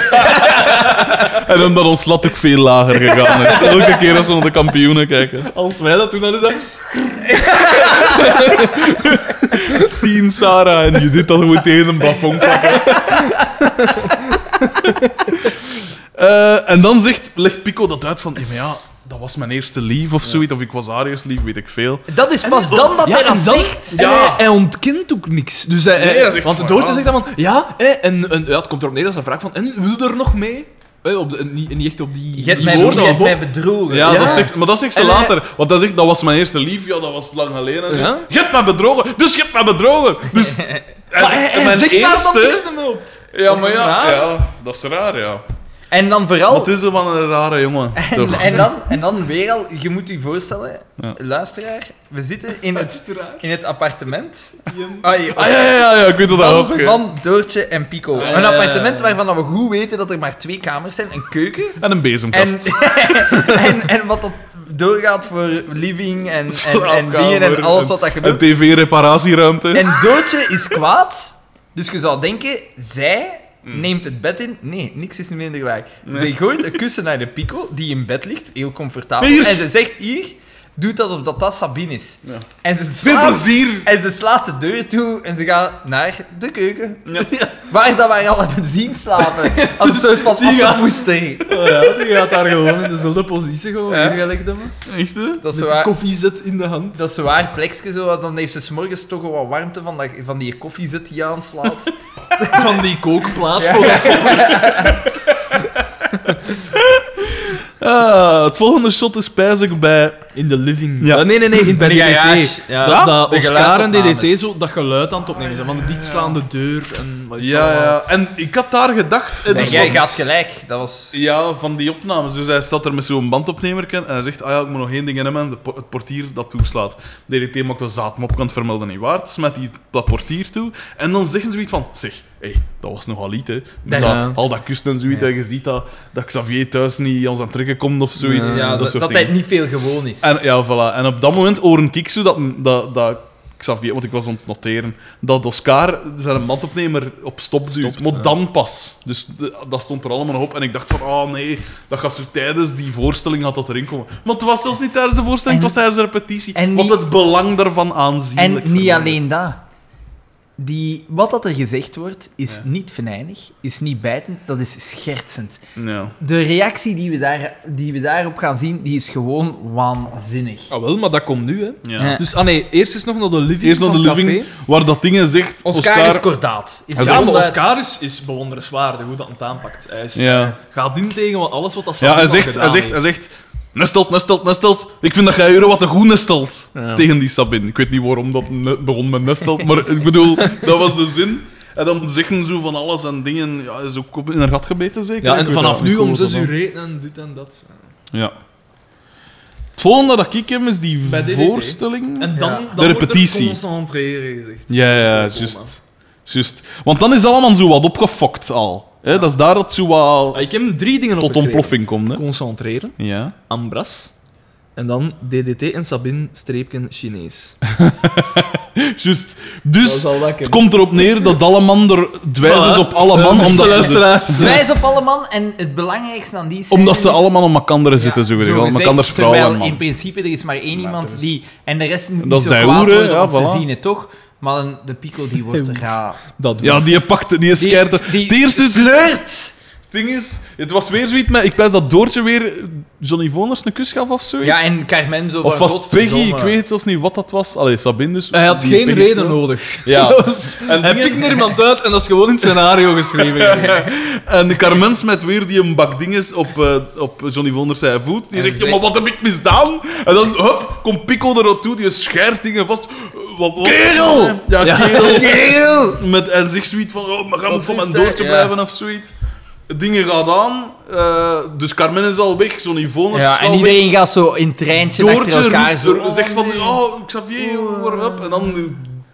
B: En omdat ons lat ook veel lager gegaan is. Elke keer als we naar de kampioenen kijken.
A: Als wij dat doen, dan is dat...
B: Zien Sarah en Judith dat gewoon tegen een plafond klappen. Eh, en dan zegt, legt Pico dat uit van... "Hey, maar ja, dat was mijn eerste lief of zoiets. Of ik was haar eerste lief, weet ik veel.
C: Dat is pas
A: En-
C: dan dat
A: ja,
C: hij dat
A: en dan-
C: zegt.
A: En
B: Ja.
A: hij, hij ontkent ook niks. Dus hij,
B: Nee,
A: hij-
B: hij zegt
A: want
B: van,
A: Doortje
B: ja.
A: zegt dan van, ja, hè, en, en ja, het komt erop neer dat ze vraagt van, en wil er nog mee? Hè, op de, niet, niet echt op die
C: Je hebt
A: die
C: mij,
A: woorden,
C: je hebt
A: want-
C: mij bedrogen.
B: Ja,
A: Ja.
B: Dat zegt, maar dat zegt ze
A: En hij-
B: later. Want hij zegt, dat was mijn eerste lief. Ja, dat was lang geleden. En zo.
A: Ja.
B: Je hebt me bedrogen, dus je hebt me bedrogen. Dus...
A: Maar hij, hij
B: mijn
A: zegt daar dan
B: eerste-
A: niks meer op.
B: Ja,
A: is
B: maar
A: toch
B: ja,
A: raar?
B: ja, dat is raar, ja.
C: En dan
B: Maar
C: vooral...
B: het is wel een rare jongen,
C: En,
B: toch?
C: en, dan, en dan weer al, je moet je voorstellen,
B: Ja.
C: luisteraar, we zitten in het, in het appartement Ai,
B: Ah, ja, Oh, ja, ja, ja, ik weet wat dat was.
C: van, van Doortje en Pico.
B: Ah, ja,
C: Een
B: ja, ja.
C: appartement waarvan dat we goed weten dat er maar twee kamers zijn, een keuken
B: En een
C: en,
B: bezemkast.
C: en, en wat dat doorgaat voor living en, en, en dingen en
B: Slaapkamer,
C: alles wat dat
B: Een
C: gebeurt.
B: tv-reparatieruimte.
C: En Doortje is kwaad, dus je zou denken, zij
B: Hmm.
C: neemt het bed in. Nee, niks is minder waar. Zij gooit een kussen naar de Pico, die in bed ligt, heel comfortabel.
B: Hier.
C: En ze zegt, hier, doet alsof dat dat Sabine is.
B: Ja.
C: En, ze
B: Veel
C: slaat,
B: plezier!
C: en ze slaat de deur toe en ze gaat naar de keuken.
B: Ja.
C: Waar dat wij al hebben zien slapen. Als een soort van
A: die gaat-
C: assenpoester.
A: Oh ja, die gaat daar gewoon in dezelfde positie gewoon
C: Ja.
A: gelijk dan.
B: Echt, hè?
C: Dat is
A: Met
C: waar.
A: de koffiezet in de hand.
C: Dat is een waar plekje, zo, want dan heeft ze s'morgens toch wel wat warmte van, dat, van die koffiezet die aanslaat.
A: Van die kookplaats.
C: Ja.
A: volgens mij.
B: Ah, het volgende shot is pijzig bij...
A: In de living.
B: Ja.
A: Ja. nee, nee, nee, in, bij
C: In de
A: DDT.
C: garage, ja.
A: Dat, dat
C: De
A: Oscar en DDT
C: geluidsopnames.
A: zo dat geluid aan het opnemen zijn. Van de dichtslaande deur en wat is dat
B: Ja,
A: allemaal?
B: ja. En ik had daar gedacht... eh,
C: en
B: dus
C: jij
B: wat-
C: gaat gelijk. Dat was...
B: Ja, van die opnames. Dus hij staat er met zo'n bandopnemer en hij zegt: Ah ja, ik moet nog één ding in hebben. De po- het portier dat toeslaat. DDT maakt een zaadmop, kan het vermelden niet waard. Smet die dat portier toe. En dan zeggen ze iets van: Zeg, hé, dat was nogal lied, hè? Met
A: Ja.
B: dat- al dat kusten en zoiets. En je ziet dat, dat Xavier thuis niet aan zijn trekken komt of zoiets.
A: Ja,
C: Ja,
B: dat,
C: dat,
B: soort
C: dat hij
B: dingen.
C: niet veel gewoon is.
B: En, ja, voilà. En op dat moment horen ik zo dat, dat, dat Xavier, want ik was aan het noteren, dat Oscar zijn bandopnemer op stop duwt.
A: Stopt,
B: Maar
A: ja.
B: dan pas. Dus de- dat stond er allemaal nog op. En ik dacht van, ah nee, dat gaat zo tijdens die voorstelling had dat erin komen. Maar het was zelfs niet tijdens de voorstelling,
C: En-
B: het was tijdens de repetitie.
C: en
B: want
C: niet-
B: het belang daarvan aanzienlijk.
C: en niet
B: vermindert.
C: alleen dat. die, wat dat er gezegd wordt, is
B: Ja.
C: niet venijnig, is niet bijtend, dat is schertsend.
B: Ja.
C: De reactie die we, daar, die we daarop gaan zien, die is gewoon waanzinnig.
A: Ah, wel, maar dat komt nu, hè.
B: ja.
C: Ja.
A: Dus, ah nee, eerst is nog naar de living
B: Eerst naar de
A: van het
B: living,
A: café.
B: waar dat dingen zegt...
C: Oscar, is kordaat. Is
A: Ja,
C: ronduit.
A: maar Oscar is, is bewonderenswaardig hoe dat aan het aanpakt. Hij is,
B: Ja.
A: eh, gaat in tegen wat alles wat dat
B: Ja,
A: Sabine
B: hij
A: al
B: zegt,
A: gedaan
B: hij zegt, hij
A: heeft.
B: zegt... Nestelt, nestelt, nestelt. Ik vind dat jij euro wat te goed nestelt. Tegen die Sabine. Ik weet niet waarom dat ne- begon met nestelt, maar ik bedoel, dat was de zin. En dan zeggen ze van alles en dingen. Ja, is ook op- in haar gat gebeten, zeker?
A: Ja,
B: Ik
A: en
B: weet
A: vanaf
B: dat niet
A: nu
B: goed
A: om
B: wat
A: 6
B: dat
A: uur
B: was.
A: eten en dit en dat.
B: Ja. Het volgende dat ik heb, is die
A: Bij DDT.
B: voorstelling.
A: En dan,
C: Ja.
A: dan
B: De
A: wordt er
B: repetitie.
A: concentreren gezegd.
B: Ja, ja,
A: Coma.
B: juist. Juist. Want dan is het allemaal zo wat opgefokt al. hè Dat is daar dat zo wat
A: Ah, Ik heb drie dingen
B: tot
A: opgeschreven.
B: ontploffing komt. hè
A: Concentreren,
B: Ja.
A: Ambras en dan DDT en Sabine streepken Chinees.
B: Juist. Dus
A: zal dat
B: het komt erop neer dat alle man er dwijs is op alle man, omdat ze,
C: Dwijs op alle man en het belangrijkste aan die scène
B: omdat ze
C: is-
B: allemaal om elkaar zitten,
C: Ja,
B: zo gezegd. Om
C: gezegd,
B: elkaars vrouwen en
C: terwijl in
B: man.
C: principe er is maar één iemand
D: er is-
C: die... En de rest moet
B: Dat
C: niet
B: is
C: zo
B: de
C: kwaad
B: hoer, hè,
C: worden,
B: ja,
C: want ze
B: voilà.
C: zien het toch. Maar een- de pico die wordt raar.
A: Dat
B: Ja, die pakte, die is keert. Het
C: die
B: eerste is-
C: sleurt!
B: het ding is, het was weer zoiets met... Ik pijs dat Doortje weer Johnny Voners een kus gaf of zoiets.
C: Ja, en Carmen zo
B: of
C: van,
B: was het Peggy? Ik
C: "Godverdomme."
B: weet het zelfs niet wat dat was. Allee, Sabine dus.
A: Hij had
B: die
A: geen
B: Peggy
A: reden
B: speelt.
A: nodig.
B: Ja.
A: En hij
B: dingen-
A: pikt er iemand uit en dat is gewoon in het scenario geschreven.
B: En de Carmen met weer die een bak dinges op, eh, op Johnny Vonders zijn voet. Die
C: En
B: zegt, ja,
C: zegt-
B: maar wat heb ik misdaan? En dan, hup, komt Pico erop toe, die scherpt dingen vast. Eh, Wat, wat-
C: Kerel!
B: Ja,
A: Ja.
B: kerel!
C: Eeuw!
B: Met, en zegt zoiets van, oh, maar ga moet van
C: is
B: mijn
C: dat?
B: doortje
C: Ja.
B: blijven of zoiets. Dingen gaat aan, eh, dus Carmen is al weg, Johnny Voners
C: Ja,
B: is
C: en
B: al weg.
C: iedereen gaat zo in treintje achter elkaar
B: roept
C: zo.
B: er- zegt van,
C: nee.
B: oh, Xavier, hoor, hup. En dan eh,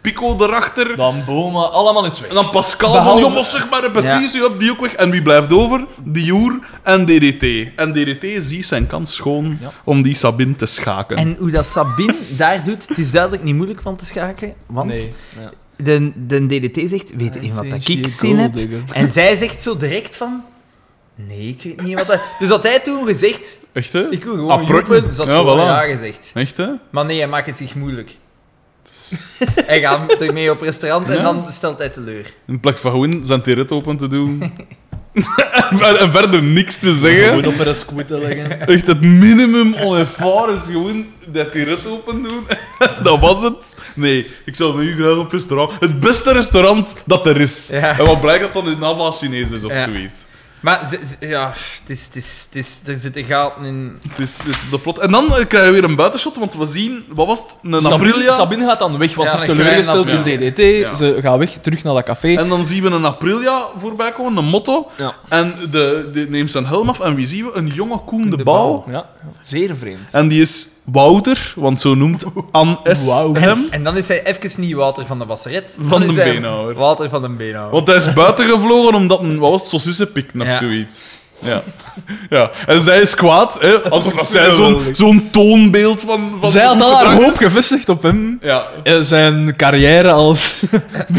B: Pico erachter.
A: Dan Boma, allemaal is weg.
B: En dan Pascal
C: Behalve-
B: van, joh, zeg maar repetitie, op die ook weg. En wie blijft over? Diour en DDT. En DDT ziet zijn kans schoon
A: Ja.
B: om die Sabine te schaken.
C: En hoe dat Sabine daar doet, het is duidelijk niet moeilijk van te schaken. Want
A: Nee. Ja.
C: de, de DDT zegt, weet je in wat dat ik zin heb? En zij zegt zo direct van... Nee, ik weet niet wat dat... Dus had hij toen gezegd...
B: Echt, hè?
C: Ik wil gewoon
B: Ah, prutten.
C: joepen, dus had
B: Ja,
C: gewoon
B: voilà.
C: ja gezegd.
B: Echt, hè?
C: Maar nee, hij maakt het zich moeilijk. hij gaat ermee op restaurant en
B: Ja.
C: dan stelt hij teleur.
B: In plaats van gewoon zijn teret open te doen. en, ver- en verder niks te
A: Gewoon
B: zeggen.
A: op een squid te leggen.
B: Echt het minimum onervaren is gewoon dat teret open doen. dat was het. Nee, ik zou met u graag op restaurant. Het beste restaurant dat er is.
C: Ja.
B: En wat blijkt dat dan in Nava Chinees is of
C: Ja.
B: zoiets.
C: Maar ze- ze- ja, het is, het is, het is, er zitten gaten in...
B: Het is, het is de plot. En dan eh, krijgen we weer een buitenshot, want we zien, wat was het? Een
A: Sabine,
B: Aprilia.
A: Sabine gaat dan weg, want
C: Ja,
A: ze is
C: een
A: teleurgesteld in
C: klein
A: DDT.
B: Ja.
A: Ze gaat weg, terug naar dat café.
B: En dan zien we een Aprilia voorbij komen, een motto.
A: Ja.
B: En de, de neemt zijn helm af en wie zien we? Een jonge Koen de,
A: De
B: Bouw.
A: Ja. Zeer vreemd.
B: En die is Wouter, want zo noemt An S.
A: Wouter.
B: hem.
C: En dan is hij even niet Wouter van de Wasseret.
B: Van
C: dan is
B: den
C: hij
B: Beenhouwer.
C: Wouter van den Beenhouwer.
B: Want hij is buiten gevlogen omdat een, wat was het, saucissenpikken of
C: Ja.
B: zoiets. Ja. ja. En zij is kwaad, hè, alsof dat zij zo'n
A: Geweldig.
B: zo'n toonbeeld van... van
A: Zij had al haar
B: gedrag
A: hoop
B: is.
A: gevestigd op hem.
B: Ja.
A: Eh, Zijn carrière als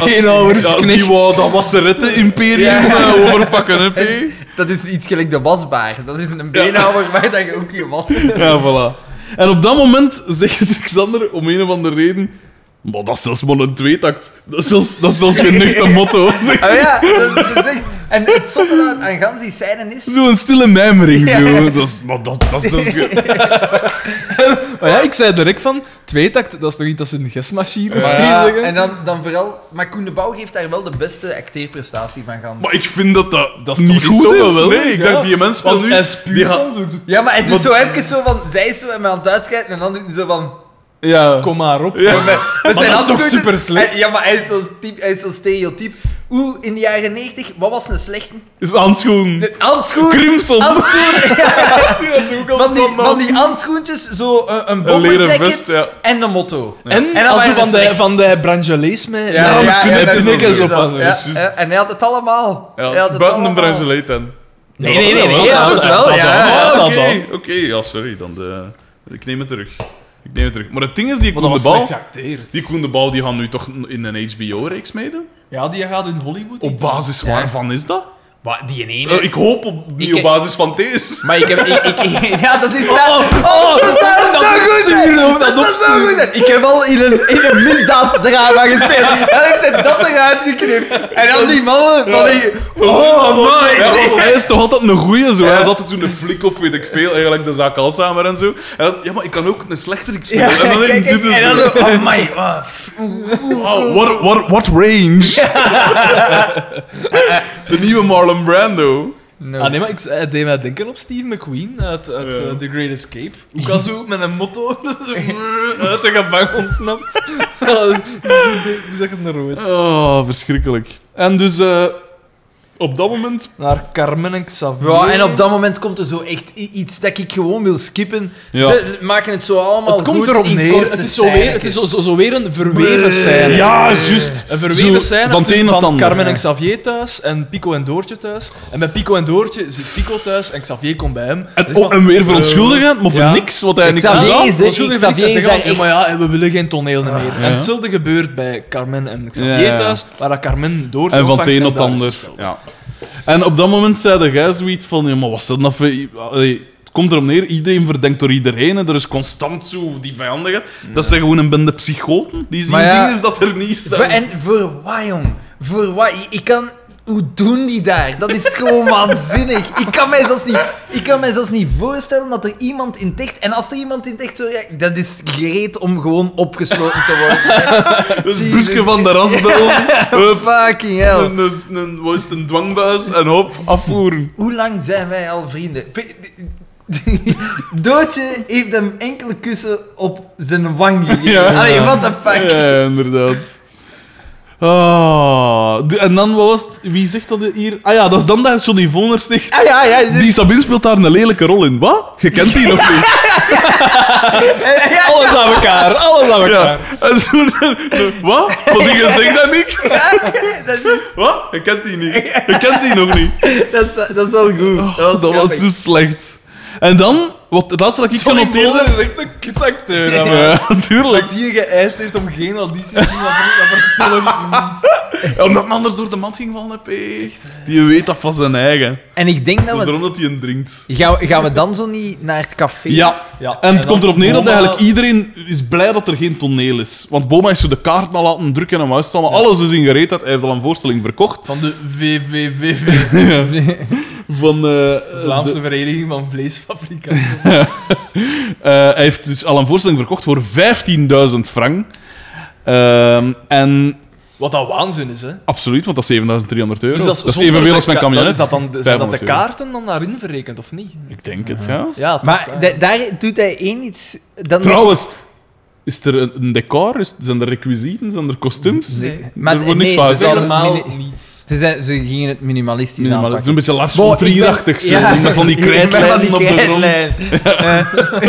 A: beenhouwersknecht.
B: Ja, die wou dat wasseretten-imperium
C: Ja.
B: eh, overpakken, hè, P.
C: Dat is iets gelijk de wasbaar. Dat is een beenhouwer waar dat je ook je was Oh in
B: Ja, voilà. En op dat moment zegt Xander om een of andere reden. Maar dat is zelfs maar een tweetakt. Dat is zelfs, dat is zelfs geen nuchter motto. Zeg.
C: Ah ja, dat, dat is echt... En het zotte aan, aan gans die scène is...
B: Zo'n stille mijmering. Zo. Dat is, maar dat, dat is dus ge-
A: Maar Oh ja, ik zei direct van, tweetakt, dat is toch iets als een gesmachine?
C: Maar
A: zou je
C: ja,
A: zeggen?
C: en dan, dan vooral... Maar Koen de Bouw geeft daar wel de beste acteerprestatie van gans.
B: Maar ik vind dat dat,
A: Dat is
B: niet
A: toch iets
B: goed
A: zo
B: is.
A: geweldig,
B: nee, ik
A: ja.
B: denk die mens van
A: Want
B: nu...
A: hij is puur
B: die gaat-
A: dan zo-
C: Ja, maar hij doet
B: Want-
C: zo even zo van... Zij is zo hem aan het uitschijten en dan doet hij zo van...
B: ja.
A: Kom maar op.
B: Ja.
C: Met
A: Maar dat is toch
C: handgroeten-
A: super slecht?
C: Hij- Ja, maar hij is zo, typ, hij is zo stereotyp. Oeh, in de jaren 90, wat was een slechte?
B: Is handschoen.
C: De handschoen!
B: Crimson.
C: Handschoen! Van die,
B: man.
C: van die handschoentjes, zo eh, een, bomberjacket
B: leren vest, ja.
C: en een motto.
A: En,
C: En dan
A: als
C: waren
A: je van
C: ze
A: de,
C: slecht.
A: van de Brangelés mee...
B: Ja,
A: dan
B: ja,
A: kun
B: ja,
A: je
B: dat
A: de
B: is
A: nikkels
B: zo.
A: op
C: Ja,
A: passen.
B: dat is juist.
C: en hij had het allemaal. Hij
B: Ja,
C: had het
B: buiten een
C: allemaal.
B: bracelet dan.
A: Nee, nee, nee.
C: Ja,
A: nee,
C: dat wel,
A: dat
C: ja.
A: dan,
B: Ah,
A: dat
B: oké.
A: dan.
B: Oké, ja, sorry. Dan de... Ik neem het terug. Ik neem het terug. Maar het ding is, die
A: Maar
B: Koen de
A: was
B: Bouw...
A: slecht geacteerd.
B: Die Koen de Bouw die gaan nu toch in een HBO-reeks meedoen?
A: Ja, die gaat in Hollywood.
B: Op
A: iets
B: basis waarvan is dat?
C: Maar die ene...
B: Eh, ik hoop op, niet
C: Ik-
B: op basis van deze.
C: Maar ik heb... Ik, ik- ik- ja, dat is...
A: Oh,
C: dat, oh, dat is dat, is zo goed! hè.
A: opsturen, dat
C: Dat is zo goed! hè. Ik heb al in een, in een misdaaddrama gespeeld. Hij heeft hij dat eruit geknipt. En dan die mannen van die... Oh, man!
B: Ja, want hij is toch altijd een goeie, zo. Hij is altijd zo'n flik of weet ik veel, eigenlijk de zaak Alzheimer en zo. En dan, ja, maar ik kan ook een slechterik spelen. en dan
C: kijk,
B: in
C: kijk,
B: dit en
C: en dan
B: zo.
C: zo... oh, Amai, wat
B: Wow, what, what, what range! de nieuwe Marlon Brando.
A: Ah nee, maar ik hij deed mij denken op Steve McQueen uit, uit
B: Ja.
A: eh, The Great Escape. Ook al zo met een motto zo uit de gevangen ontsnapt. Die zegt naar rood.
B: Oh, verschrikkelijk. En dus, eh, op dat moment...
A: Naar Carmen en Xavier.
C: Ja, en op dat moment komt er zo echt i- iets dat ik gewoon wil skippen.
B: Ja.
C: Ze maken het zo allemaal
A: het komt
C: goed
A: erop
C: in
A: neer.
C: korte
A: Het is zo weer, het is zo,
C: scènes.
A: zo, zo weer een verweven scène.
B: Eh, Ja, juist.
A: Een verweven
B: Zo,
A: scène
B: van
A: van,
B: het een op het
A: van
B: ander.
A: Carmen en
B: Ja.
A: Xavier thuis en Pico en Doortje thuis. En bij Pico en Doortje zit Pico thuis en Xavier komt bij hem. Dus
B: En, oh, en weer verontschuldigen, maar voor
A: Ja.
B: niks, wat hij niks
C: Xavier
B: gedaan.
C: is de-
A: Want zo zeggen
C: Xavier is
A: van,
C: daar
A: "Ja, maar
C: echt-
A: ja, we willen geen toneel meer.
B: Ja.
A: En hetzelfde gebeurt bij Carmen en Xavier
B: Ja, ja.
A: thuis, waar dat Carmen door
B: En van het een op het ander. Ja. En op dat moment zei jij zoiets van: ja, maar wat is dat nou voor- Allee, Het komt erop neer, iedereen verdenkt door iedereen en er is constant zo die vijandigheid. Dat zijn gewoon een bende psychoten. Die zien
C: Maar ja,
B: dingen dat er niet
C: Voor-
B: zijn.
C: En voor wat, jong? Voor wat? I- Ik kan... Hoe doen die daar? Dat is gewoon waanzinnig. Ik kan, mij zelfs niet, ik kan mij zelfs niet voorstellen dat er iemand in ticht... En als er iemand in ticht zo... reageert, dat is gereed om gewoon opgesloten te worden.
B: Dus een
C: Jezus.
B: busje van de rasbel, hup,
C: Fucking hell.
B: een, een, een, wat is het, een dwangbuis en hop, afvoeren.
C: Hoe lang zijn wij al vrienden? P- Doortje heeft hem enkele kussen op zijn wang gegeven.
B: Ja.
C: Allee, what the fuck?
B: Ja, inderdaad. Ah, de- en dan wat was het, wie zegt dat hier? Ah ja, dat is dan dat Johnny Voner zegt.
C: Ah, ja, ja, dit-
B: Die Sabine speelt daar een lelijke rol in. Wat? Je kent die nog niet?
A: Alles aan elkaar, alles aan
B: Ja.
A: elkaar.
B: En zo, wat? Wat je zegt dat niks?
C: dat, is-
B: Wat? Je kent die niet. Je kent die nog niet.
C: dat, dat, is wel goed.
B: Oh, dat was zo slecht. En dan, wat, het laatste dat ik kan
A: Johnny Mulder
B: noteren...
A: is echt een kutacteur. hè, man.
B: Ja, natuurlijk.
A: Wat die geëist heeft om geen auditie te doen, dat ver- dat verstel ik me niet.
B: Omdat men anders door de mat ging vallen, Peeg. Die weet dat van zijn eigen.
C: En ik denk
B: Dat
C: dat
B: is
C: we...
B: daarom dat hij een drinkt.
C: Gaan, we- gaan we dan zo niet naar het café? Oh,
B: Ja.
A: Ja,
B: En het
A: dan
B: komt erop neer dat
A: Boma-
B: eigenlijk iedereen is blij dat er geen toneel is. Want Boma is zo de kaart al laten drukken en hem uitstaan, maar alles is in gereedheid. Hij heeft al een voorstelling verkocht
A: Van de VVVV,
B: van... eh,
A: Vlaamse Vereniging van Vleesfabrikanten.
B: Eh, hij heeft dus al een voorstelling verkocht voor 15.000 frank. Ehm, en
A: Wat dat waanzin is, hè?
B: absoluut, want dat is 7.300 euro.
A: Dus
B: Dus dat is,
A: zonder
B: evenveel
A: de
B: als mijn
A: ka-
B: kamionet.
A: dan Is dat dan zijn dat de
B: 500 euro.
A: kaarten dan daarin verrekend, of niet?
B: Ik denk het, ja.
A: Ja, toch,
C: Maar
A: ja.
C: da- daar doet hij één iets... Dan
B: Trouwens, is er een, een decor? Is, zijn er requisieten? Zijn er kostuums?
A: Nee.
C: Maar-
B: er wordt niks van
C: nee, ze
A: Dus
B: gezegd.
C: zouden-
A: helemaal
C: mini-
A: niets.
C: Ze, zijn, ze gingen het minimalistisch
B: Nee, maar het is een
C: aanpakken.
B: beetje Lars
C: Bo,
B: van
C: Oh, ik ben-
B: Trierachtig, zo.
C: Ja.
B: met van die
C: Ik ben van
B: krijtlijnen
C: die
B: op de grond.
C: krijtlijn.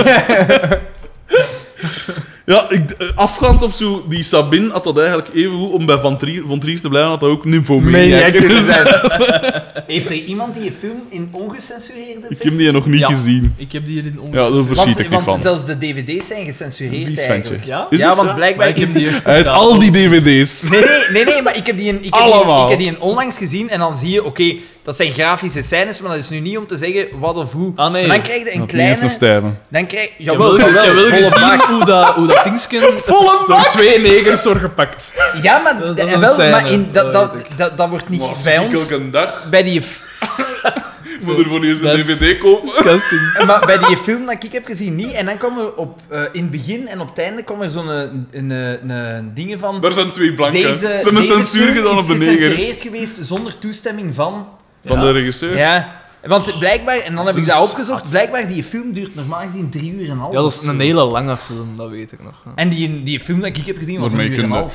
B: Ja, ik, eh, afgaand op zo, die Sabine had dat eigenlijk even goed om bij Van Trier, van Trier te blijven, had dat ook Dus
C: Maniac
B: nymphomaniac
C: kunnen
B: kunnen
C: zijn.
B: zijn.
C: Heeft er iemand die je film in ongecensureerde
B: Ik heb die nog niet
A: Ja.
B: gezien.
A: Ik heb die hier in
B: Ja,
A: onderzoek.
B: daar verschiet ik niet
C: want,
B: van.
C: want zelfs de dvd's zijn gecensureerd
B: Vies
C: eigenlijk.
B: ventje.
A: Ja?
B: Is
C: ja,
B: het
C: want
B: zo?
A: Maar ik
C: blijkbaar
A: heb
C: is...
A: die hier
B: Hij heeft
A: gedaan.
B: al die dvd's.
C: Nee, nee, nee, nee, maar ik heb die, een, ik heb die, een-
B: Allemaal.
C: ik heb die een onlangs gezien en dan zie je, oké, dat zijn grafische scènes, maar dat is nu niet om te zeggen wat of hoe.
A: Ah, nee.
C: Maar dan krijg je een
B: Dat niet eens
C: kleine...
B: een stijve.
C: dan krijg je...
A: Ik heb wel, ik heb wel
C: volle
A: gezien
C: bak.
A: hoe dat, hoe dat dingsken door twee negers wordt gepakt.
C: Ja, maar,
A: Dat- dat is
C: eh,
A: een
C: wel,
A: scène,
C: maar in, dat,
A: dat
C: dat,
A: weet
C: dat, dat wordt niet bij ons...
B: elke dag.
C: Bij die,
B: Ik moet er voor eerst een
A: That's-
B: dvd kopen.
A: Disgusting.
C: Eh, maar bij die film dat ik heb gezien niet. En dan kwam er op, eh, in het begin en op het einde kwam er zo'n eh, een, een, een, een dingen van...
B: Daar zijn twee blanken.
C: Deze,
B: Ze hebben een
C: deze
B: censuur
C: film
B: gedaan
C: is
B: op de neger.
C: gecensureerd geweest zonder toestemming van.
B: Van
A: Ja.
B: de regisseur.
C: Ja. Want blijkbaar, en dan heb ik
A: Zo'n
C: dat opgezocht,
A: zat.
C: blijkbaar die film duurt normaal gezien drie uur en een half.
A: Ja, dat is
C: of
A: een
C: zo.
A: hele lange film, dat weet ik nog.
C: En die, die film dat ik heb gezien was een
B: Daarmee
C: uur en een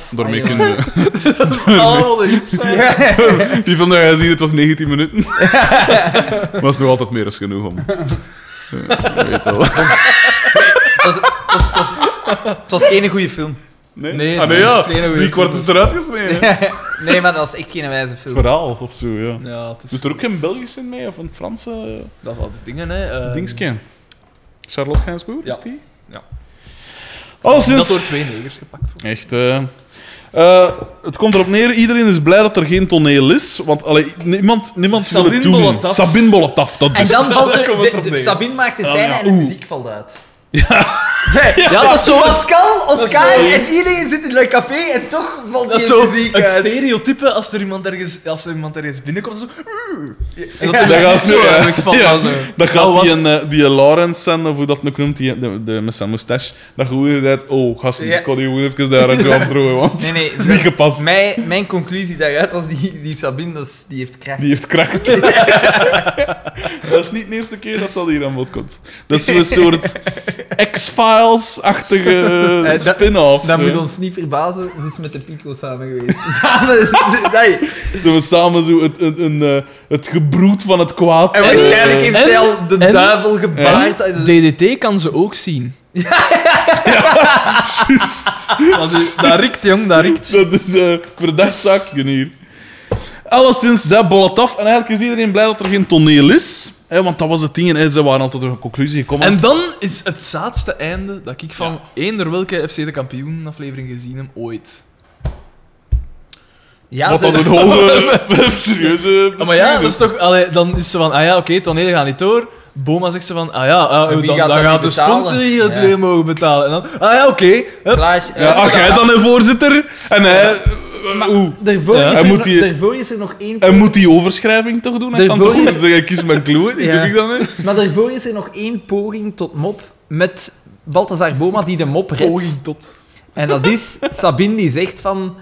B: kunnen, daarmee
C: half. Ah, ja.
B: kunnen.
A: Oh, wat een hip zijn.
B: Die van de gezien, het was 19 minuten. maar het is nog altijd meer dan genoeg om. Eh, je weet wel.
C: Het was, het was, het was, het was geen goede film.
B: Nee,
A: Nee,
B: ah,
A: het
B: nee
A: is
B: ja.
A: geen goeie
B: drie kwart
A: film.
B: is eruit gesneden. Het
C: Nee, maar dat was echt geen wijze film.
B: verhaal of zo, ja.
A: Ja, het is,
B: Doet er ook geen Belgisch in mee of een Franse eh,
A: dat is altijd dingen, hè. eh,
B: dingetje? Charlotte Gainsbourg,
A: ja.
B: is die?
A: Ja.
B: Alleszins-
A: Dat door twee negers gepakt wordt.
B: Echt. eh. Eh, het komt erop neer, iedereen is blij dat er geen toneel is, want allee, niemand, niemand wil
A: Sabine
B: het doen.
A: Bolotaf.
B: Sabine Bolotaf, dat
C: En
B: is
C: dan
B: het.
C: valt
A: daar
C: er...
A: komt het
C: de-
A: op
C: de-
A: neer.
C: Sabine maakt de
B: Ah,
C: scène
B: ja.
C: en de
B: Oeh.
C: muziek valt uit. Nee,
A: Ja, dat is zo-
C: Pascal, Oscar
A: dat is zo-
C: en iedereen zit in Le Café en toch valt
A: Dat
C: die
A: is zo
C: muziek
A: het
C: uit.
A: stereotype als er iemand ergens, als er iemand ergens binnenkomt. Zo, en dat
C: Ja,
A: doet
B: dat
A: hij
B: gaat
A: zo.
B: zo, ja.
A: eigenlijk van,
B: Ja.
A: ja, zo.
B: Dan
A: Al
B: gaat
A: was
B: die,
A: het-
B: een, eh, die Lawrence zijn, of hoe dat ook noemt, die, de, de, met zijn moustache, dat gewoon gezegd, oh, gasten,
C: Ja.
B: ik kan die gewoon even daar aan gaan strooien, want
C: Nee, nee,
B: het is niet gepast.
C: Mijn, mijn conclusie daaruit was die, die Sabine, dat is- die heeft kracht.
B: Die heeft krak. dat is niet de eerste keer dat dat hier aan bod komt. Dat is een soort X-Files-achtige
C: Eh, dat-
B: spin-off.
C: Dat
B: zo.
C: moet ons niet verbazen, ze is met de Pico samen geweest. Samen, nee.
B: Zullen we samen zo het, een, een, eh, het gebroed van het kwaad...
C: En
B: eh,
C: waarschijnlijk heeft hij
A: en-
C: al de
A: en-
C: duivel gebaard. uit de-
A: DDT kan ze ook zien. Want die- Dat rikt, jong, dat rikt.
B: Dat is eh verdacht zaakje hier. Alleszins, zij bollet af. En eigenlijk is iedereen blij dat er geen toneel is. Hè, want dat was het ding. En hè, ze waren al tot een conclusie gekomen.
A: En dan is het zaadste einde dat ik van eender welke FC de Kampioen aflevering gezien heb ooit.
C: Ja,
B: wat
C: ze-
B: dan een hoge, serieuze...
A: Ah, maar ja, dat is toch, allee, dan is ze van, ah ja, oké, het toneel gaat niet door. Boma zegt ze van, ah ja, ah,
C: En
A: dan,
C: wie
A: dan
C: gaat
A: gaat,
C: dat nu
A: de
C: betalen?
A: sponsor hier het
C: Ja.
A: weer mogen betalen. En dan, ah ja, oké. hup.
C: Klaas, eh,
B: Ja, ach, jij dan een voorzitter. En hij... eh, Oeh.
C: Daarvoor,
A: Ja.
C: is
B: Hij
C: er
B: moet
C: nog,
B: die-
C: daarvoor is er nog één...
B: Hij moet die overschrijving toch doen? Hij kan
C: Daarvoor
B: toch niet
C: is-
B: zeggen, kies mijn kloe. Die
C: Ja.
B: vind ik dan, hè.
C: Maar daarvoor is er nog één poging tot mop met Balthazar Boma die de mop redt.
A: Poging tot.
C: En dat is Sabine die zegt van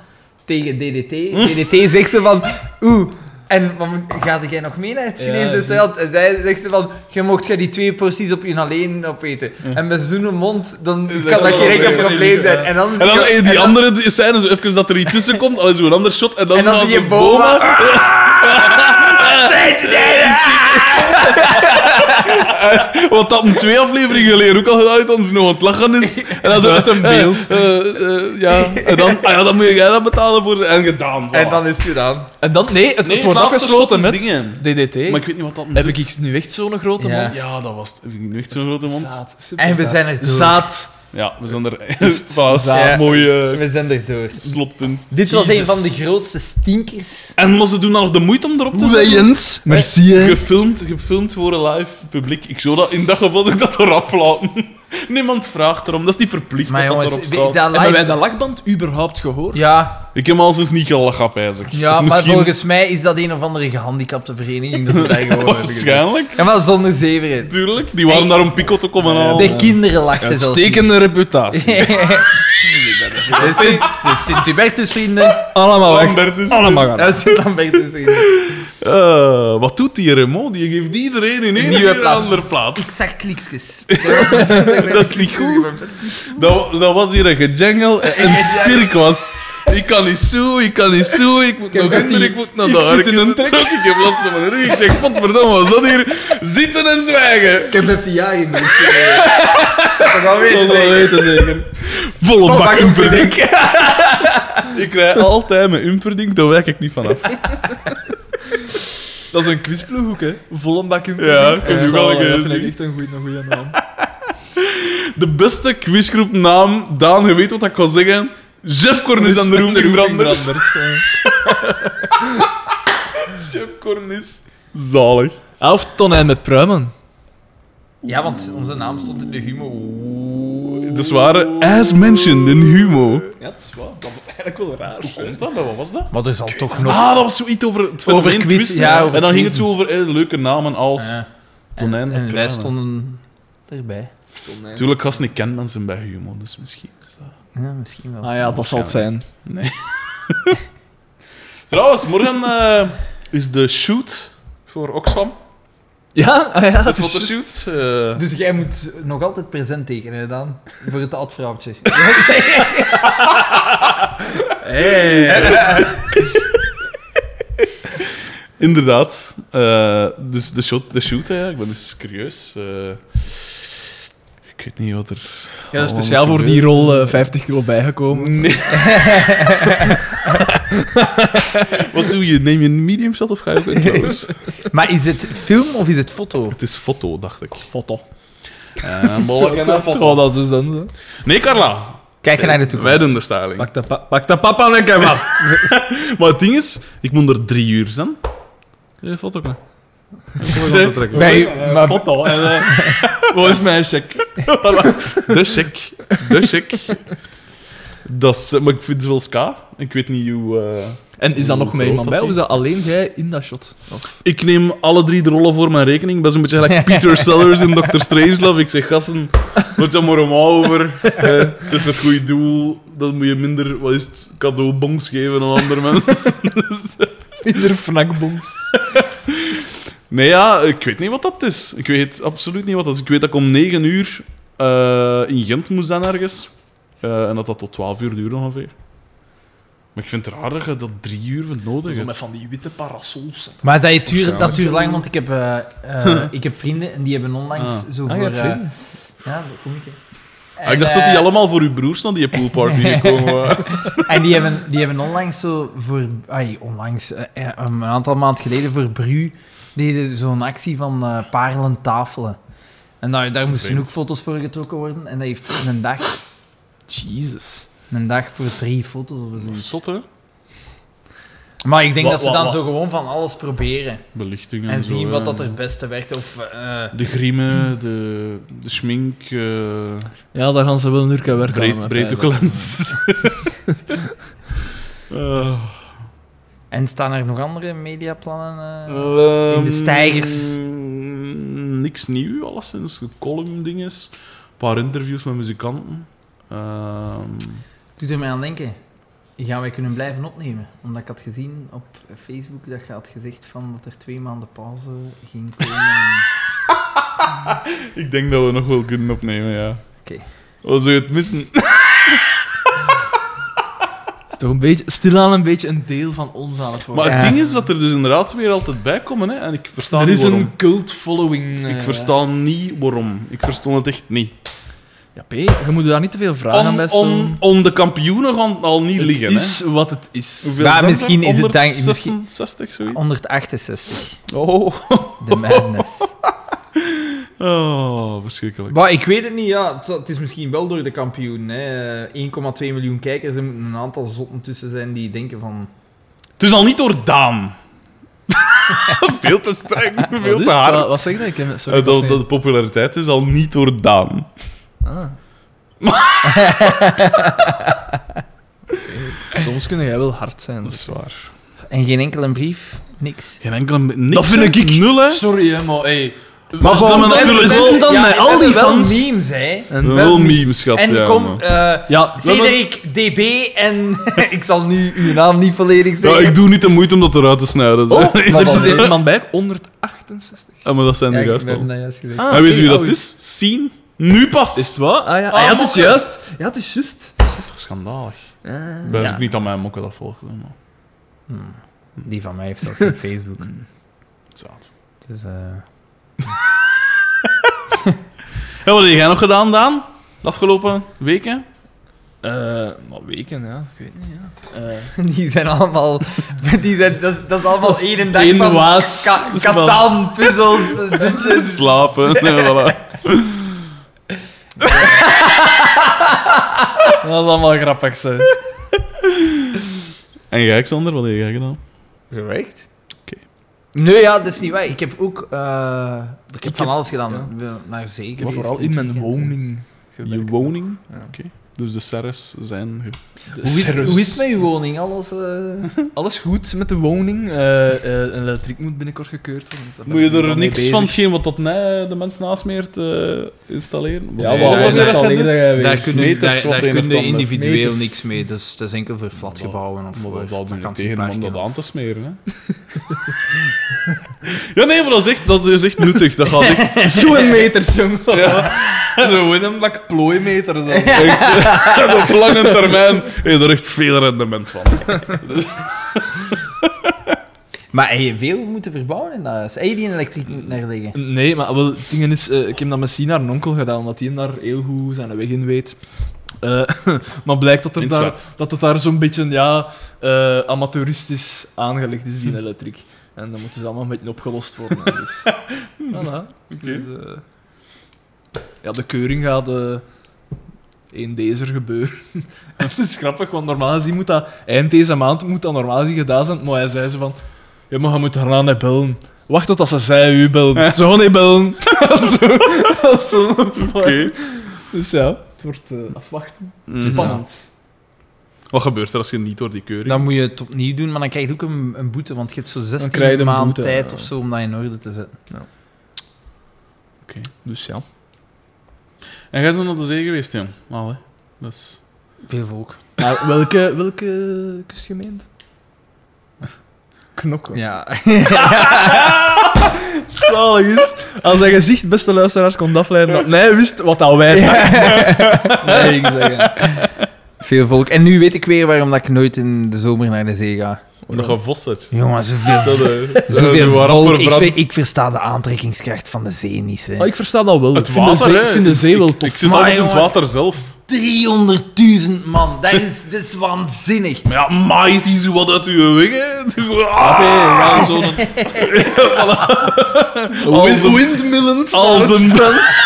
C: tegen DDT.
B: Hm.
C: DDT zegt ze van oeh. En wat moet- ga jij nog mee naar het
A: Ja,
C: Chinese
A: juist.
C: restaurant? En zij zegt ze van, je mocht jij die twee porties op je alleen opeten. En met zo'n mond, dan
B: Hm. Is dat
C: kan dat
B: wel
C: geen enkel
B: zeker.
C: probleem zijn. En dan,
B: En dan eh, die andere die scène, zo even dat er iets tussen komt, al is een ander shot, en dan,
C: en dan zie je
B: zo
C: Boma...
B: Want dat moet twee afleveringen geleden ook al gedaan heeft, als hij nog aan het lachen is. En dan zo,
A: Uit een
B: eh,
A: beeld.
B: eh, eh, ja, en dan, ah ja, dan moet jij dat betalen voor. En gedaan. voilà.
C: En dan is het gedaan.
A: En dan, nee, het,
B: Nee,
A: het wordt
B: het laatste
A: afgesloten
B: slot
A: met
B: is dingen.
A: DDT.
B: Maar ik weet niet wat dat moet
A: Heb ik nu echt zo'n grote
C: Ja.
A: mond?
B: Ja, dat was het. Heb ik nu echt zo'n grote mond.
A: Zaad. Super
C: En we
A: zaad.
C: zijn er door.
A: Zaad.
B: Ja, we zijn er.
A: Is-
B: Dat was
A: Ja.
B: een mooie
C: We zijn er door.
B: slotpunt.
C: Dit was
A: Jezus.
C: een van de grootste stinkers.
B: En maar ze doen dan nog de moeite om erop te zetten.
A: Jens. Merci, hè.
B: Gefilmd, gefilmd voor een live publiek. Ik zou dat in dat geval zou ik dat eraf laten. Niemand vraagt erom. Dat is niet verplicht
C: Maar
B: dat dat
C: jongens,
B: erop staat.
C: dat
A: Hebben wij
C: live...
A: dat lachband überhaupt gehoord?
C: Ja,
B: Ik heb al sinds niet gelachen, eigenlijk.
C: Ja,
B: Misschien-
C: maar volgens mij is dat een of andere gehandicapte vereniging dat ze daar gewoon hebben gedaan.
B: Waarschijnlijk.
C: Ja, maar zonder zeverheid.
B: Tuurlijk, die waren
C: Hey. Eh,
B: daar om Pico te komen halen.
C: De kinderen lachten zelfs niet.
A: Stekende reputatie.
C: De Sint- de Sint-Hubertus vrienden.
A: Allemaal weg.
B: Eh, Lambert is-
A: Allemaal gaan.
C: Ja, Sint-Lambertus vrienden.
B: Eh, wat doet die Raymond? Die geeft iedereen in één
C: Nieuwe
B: keer een
C: plaat.
B: andere plaats.
C: Ik zag kliksjes. Dat was- dat
B: is niet goed. Dat, dat was hier een gejengel, een- een cirk was het. Ik kan niet zo, ik kan niet zo, ik moet nog in, ik moet naar
A: Ik
B: daar.
A: zit in een
B: trek. Ik heb last van mijn rug. Ik zeg, godverdomme, wat is dat hier? Zitten en zwijgen.
C: Ik heb 15 jaar in mijn Dat zou wel
A: Dat
C: weten.
A: wel
C: zeker.
A: weten, zeker.
B: Volle bak
C: bak
B: Umperdink. ik rij altijd met Umperdink, daar wijk ik niet vanaf.
A: Dat is een quizploeghoek, hè. Volle bak in
B: Ja, ik heb
A: dat
B: die wel gezien.
A: vind ik echt een goede, een goede naam.
B: De beste quizgroepnaam, Daan, je weet wat ik ga zeggen. Jeff Cornis en de Roemdingbranders. Jeff Cornis. Zalig.
A: Ah, Of Tonijn met pruimen.
C: Ja, want onze naam stond in de humo.
B: Dat is waar. As mentioned in Humo.
A: Ja, dat is waar. Dat is eigenlijk wel raar.
B: Komt dat? Wat was dat?
C: Maar er zal toch nog...
B: Ah, dat was zoiets over het fenomeen
C: Over quiz,
B: quizzen.
C: ja, over
B: en dan ging het
C: quizzen.
B: zo over eh, leuke namen als...
C: Ja.
B: Tonijn.
C: En wij
B: Kramer.
C: stonden erbij.
B: Tuurlijk, gast, ik ken mensen bij Humo, dus misschien is dat...
C: Ja, misschien wel.
A: Ah ja, dat zal het zijn.
B: Nee. Trouwens, morgen eh, is de shoot voor Oxfam.
A: Ja, ah ja.
B: De
A: het is juist.
B: fotoshoot. eh,
C: Dus jij moet nog altijd present tekenen, Daan. Voor het advrouwtje.
B: Eh. Inderdaad. Eh, dus de shoot, de shoot hè. ik ben dus curieus. Eh, ik weet niet wat er...
A: Ja, dat is speciaal voor Oh, die rol eh, 50 kilo bijgekomen.
B: Nee. wat doe je? Neem je een medium shot of ga je ook in close?
C: Maar is het film of is het foto?
B: Het is foto, dacht ik.
A: Foto.
B: Eh,
A: Oh, dat is dus dan. zo.
B: nee, Carla.
C: Kijk je naar de toekomst.
B: Wij doen de styling.
A: Pak dat, pa- pak dat papa nek hem af.
B: Maar het ding is, ik moet er drie uur zijn. Eh, valt ook nog.
C: Bij, maar,
A: Foto. En, eh, wat is mijn check?
B: De check. De check. Dat is, eh, maar ik vind het wel ska. Ik weet niet hoe... eh,
A: En is dat nog met
B: Groot
A: iemand
B: dat
A: bij? Of
B: die.
A: is dat alleen jij in dat shot? Of?
B: Ik neem alle drie de rollen voor mijn rekening. Ik ben zo'n beetje gelijk Peter Sellers in Dr. Strangelove. Ik zeg, gasten, moet je maar om over. Eh, het is voor het goede doel. Dan moet je minder, wat is het, cadeaubonks geven aan andere mensen.
A: Minder fnakbongs.
B: Nee, ja, ik weet niet wat dat is. Ik weet absoluut niet wat dat is. Ik weet dat ik om 9 uur eh, in Gent moest zijn ergens. Eh, en dat dat tot 12 uur duurde ongeveer. Maar ik vind het raar dat je dat drie uur voor nodig
A: Zo met
B: hebt.
A: van die witte parasols.
C: maar dat duurt natuurlijk lang, want ik heb, eh, eh, ik heb vrienden en die hebben onlangs
B: Ah.
C: zo voor... eh, ja, dat kom ik. hè.
B: Ah, ik dacht
C: En,
B: dat die
C: eh,
B: allemaal voor uw broers naar die poolparty gekomen waren.
C: En die hebben, die hebben onlangs zo voor... Ai, onlangs, eh, eh, een aantal maanden geleden voor Bru deden zo'n actie van eh parelen tafelen. En daar, daar moesten
B: Vreemd.
C: ook foto's voor getrokken worden. En dat heeft een dag,
A: Jesus.
C: een dag voor drie foto's of zo.
B: Zot, hè?
C: Maar ik denk
B: Wa-
C: dat ze
B: wa-
C: dan
B: wa-
C: zo gewoon van alles proberen.
B: Belichting en,
C: En
B: zo,
C: zien
B: ja.
C: wat dat er beste werkt. Of, eh,
B: De griemen, de, de schmink, eh
A: Ja, daar gaan ze wel een uur aan werken.
B: breed, breedhoekelens. Eh,
C: En staan er nog andere mediaplannen? eh?
B: Ehm,
C: In de stijgers.
B: Niks nieuw, alleszins. Column-dinges. Een paar interviews met muzikanten. Ehm,
C: Doet er mij aan denken. Gaan wij kunnen blijven opnemen? Omdat ik had gezien op Facebook dat je had gezegd van dat er twee maanden pauze ging komen.
B: ik denk dat we nog wel kunnen opnemen, ja.
C: Oké. Oh.
B: Wat zou je het missen?
A: is toch een beetje, stilaan een beetje een deel van ons aan het worden.
B: Maar het
C: Ja.
B: ding is dat er dus inderdaad weer altijd bij komen, hè. En ik versta
A: er
B: niet
A: is
B: waarom.
A: een cult following. eh,
B: Ik versta niet waarom. Ik verstond het echt niet.
A: Ja, P, je moet daar niet te veel vragen aan
B: Om,
A: bij
B: om,
A: stellen.
B: om de kampioenen gaan het al niet
A: Het
B: liggen, hè.
A: is wat het is.
B: Hoeveel
C: Maar
B: zijn er?
C: misschien is het dan-
B: 166, zoiets.
C: 168,
B: Oh.
C: de madness.
B: oh, verschrikkelijk.
C: maar ik weet het niet, ja. Het, zal- het is misschien wel door de kampioen. hè. Eh, 1,2 miljoen kijkers. Er moeten een aantal zotten tussen zijn die denken van...
B: Het is al niet door Daan. veel te streng, veel
A: Wat
B: te
A: is
B: hard.
A: dat? Wat zeg je? Ik heb- Sorry,
B: Eh,
A: ik was
B: dat,
A: niet-
B: dat de populariteit is al niet door Daan.
A: Ah. Soms kun jij wel hard zijn.
B: Dat is waar.
C: En geen enkele brief, niks.
B: Geen enkele... Niks,
A: Dat vind
B: hè. Nul, hè.
A: Sorry, hè, maar hey.
B: Maar
A: zijn
B: gewoon-
A: we natuurlijk
B: we-
A: wel dan
C: Ja,
A: met
C: we
A: al
C: hebben
A: die
C: wel
A: fans.
C: memes, hè.
A: En
B: Nul memes, schat.
C: En
B: ja,
C: kom,
B: maar.
C: eh
A: Ja, we hebben-
C: Cedric DB en... ik zal nu uw naam niet volledig
B: Ja,
C: zeggen.
B: ik doe niet de moeite om dat eruit te snijden. zeg.
A: Oh, er
C: wel.
A: zit iemand bij. 168.
B: Ah, maar dat zijn
C: Ja,
B: de
C: ik
B: juist
C: ben
B: al.
C: dat juist gezegd.
A: Ah,
B: En weet je wie
A: oké,
B: dat
A: oh,
B: is? Sien. Nu pas.
A: Is het waar? Ah ja, ah, ja het is
B: mokken.
A: juist. Ja, het is juist. Het is juist.
B: Schandalig.
A: Ah.
B: Ik ben dus
C: Ja.
B: ook niet aan mijn mokken dat volgt. hè, Maar...
C: Die van mij heeft dat op Facebook.
A: Hmm.
B: Zaad.
C: Dus, eh,
B: En wat heb jij nog gedaan, Daan? De afgelopen weken?
A: Eh, maar weken, ja. Ik weet niet, ja. Eh,
C: die zijn allemaal... Die zijn, dat, is, dat is allemaal
A: Dat is
C: één dag
A: één
C: van
A: waas.
C: ka- katan, puzzels, eh, dutjes.
B: Slapen. Nee, voilà.
A: dat is allemaal grappig, zo.
B: En jij, Xander, wat heb jij gedaan?
C: Echt?
B: Oké.
C: Nee, ja, dat is niet waar. Ik heb ook... eh, ik heb van
A: heb-
C: alles gedaan. Ik ben Naar zee geweest.
A: Vooral in mijn
C: dit weekend.
A: woning.
B: Je
A: gewerkt.
B: woning?
C: Ja.
B: Oké. Dus de serres zijn... ge-
A: De
C: Hoe is,
A: serres.
C: hoe is het met uw woning? Alles... eh?
A: Alles goed met de woning. eh eh een elektriek moet binnenkort gekeurd worden. dus daar ben
B: Moet
A: ik
B: je
A: wel
B: er
A: mee
B: niks
A: bezig.
B: van hetgeen wat dat mij de mens nasmeert eh, installeren?
A: Ja,
B: Wat
A: maar
B: is dat
A: dat
B: weer
A: is
B: dat
A: al
B: jij
A: eerder eh,
B: doet?
A: geweest.
C: daar kunnen,
B: meters
C: daar,
B: wat
C: daar
B: een of
C: kunnen
B: ander.
C: individueel
A: Meters.
C: niks mee. Dus dat is enkel voor flatgebouwen of
B: Maar
C: voor
B: dat valt me niet tegen om
C: vakantieparken.
B: dat aan te smeren. Hè? ja, nee, maar dat is echt, dat is echt nuttig. Dat gaat echt.
A: Zo'n meters, jong. Zo'n een bak plooimeters. hè.
B: echt eh, op lange termijn heb je er echt veel rendement van.
C: Maar heb je veel moeten verbouwen in dat huis? Heb je die in elektriek moeten neerleggen?
A: Nee, maar wel, het ding is, eh, ik heb dat met Sina haar onkel gedaan, omdat hij daar heel goed zijn weg in weet. Eh, maar blijkt dat,
B: In
A: er
B: het
A: daar,
B: zwart.
A: dat het daar zo'n beetje ja, eh, amateuristisch aangelegd is, die elektriek. En dat moet dus allemaal een beetje opgelost worden. Dus. voilà. Dus, eh, ja, de keuring gaat eh, één dezer gebeuren. En dat is grappig, want normaal gezien moet dat eind deze maand moet dat normaal gezien gedaan zijn. Maar hij zei ze van, ja, maar je moet daarna niet bellen. Wacht tot als ze zij u bellen. Ze gaan niet bellen. zo, als zo'n
B: Oké.
A: Dus ja, het wordt eh, afwachten.
B: Mhm.
A: Spannend.
B: Wat gebeurt er als je niet door die keuring...
C: Dan moet je het opnieuw doen, maar dan krijg je ook een, een boete, want je hebt zo
A: krijg je
C: 16
A: een
C: maanden
A: boete, eh.
C: tijd
A: ja.
C: of zo om dat in orde te zetten.
A: Dus ja.
B: En jij bent naar de zee geweest, jong. Al, hè. Dat is...
C: Veel volk.
A: Maar welke, welke kustgemeente? Knokken.
C: Ja.
A: Zalig is. Als zijn gezicht, beste luisteraars, kon afleiden dat hij wist wat dat wij
C: Nee, ik zeggen. Veel volk. En nu weet ik weer waarom dat ik nooit in de zomer naar de zee ga.
B: Omdat je vos hebt.
C: Jongen, zoveel,
B: Dat, eh, dat is
C: zoveel
B: waar
C: volk. Ik,
B: verbrand.
C: ver- ik versta de aantrekkingskracht van de zee niet. Hè.
A: Oh, ik versta dat wel.
B: Het
A: ik, vind
B: water,
A: de zee,
B: hè.
A: ik vind de zee wel tof.
B: Ik zit
C: Maar,
B: altijd in het
C: jongen.
B: water zelf.
C: 300.000 man, dat is, dat is waanzinnig.
B: Maar ja, maai het is wat uit uw weg, hè.
A: ja,
B: Ah, zo'n... Als een,
A: windmillend.
B: als een,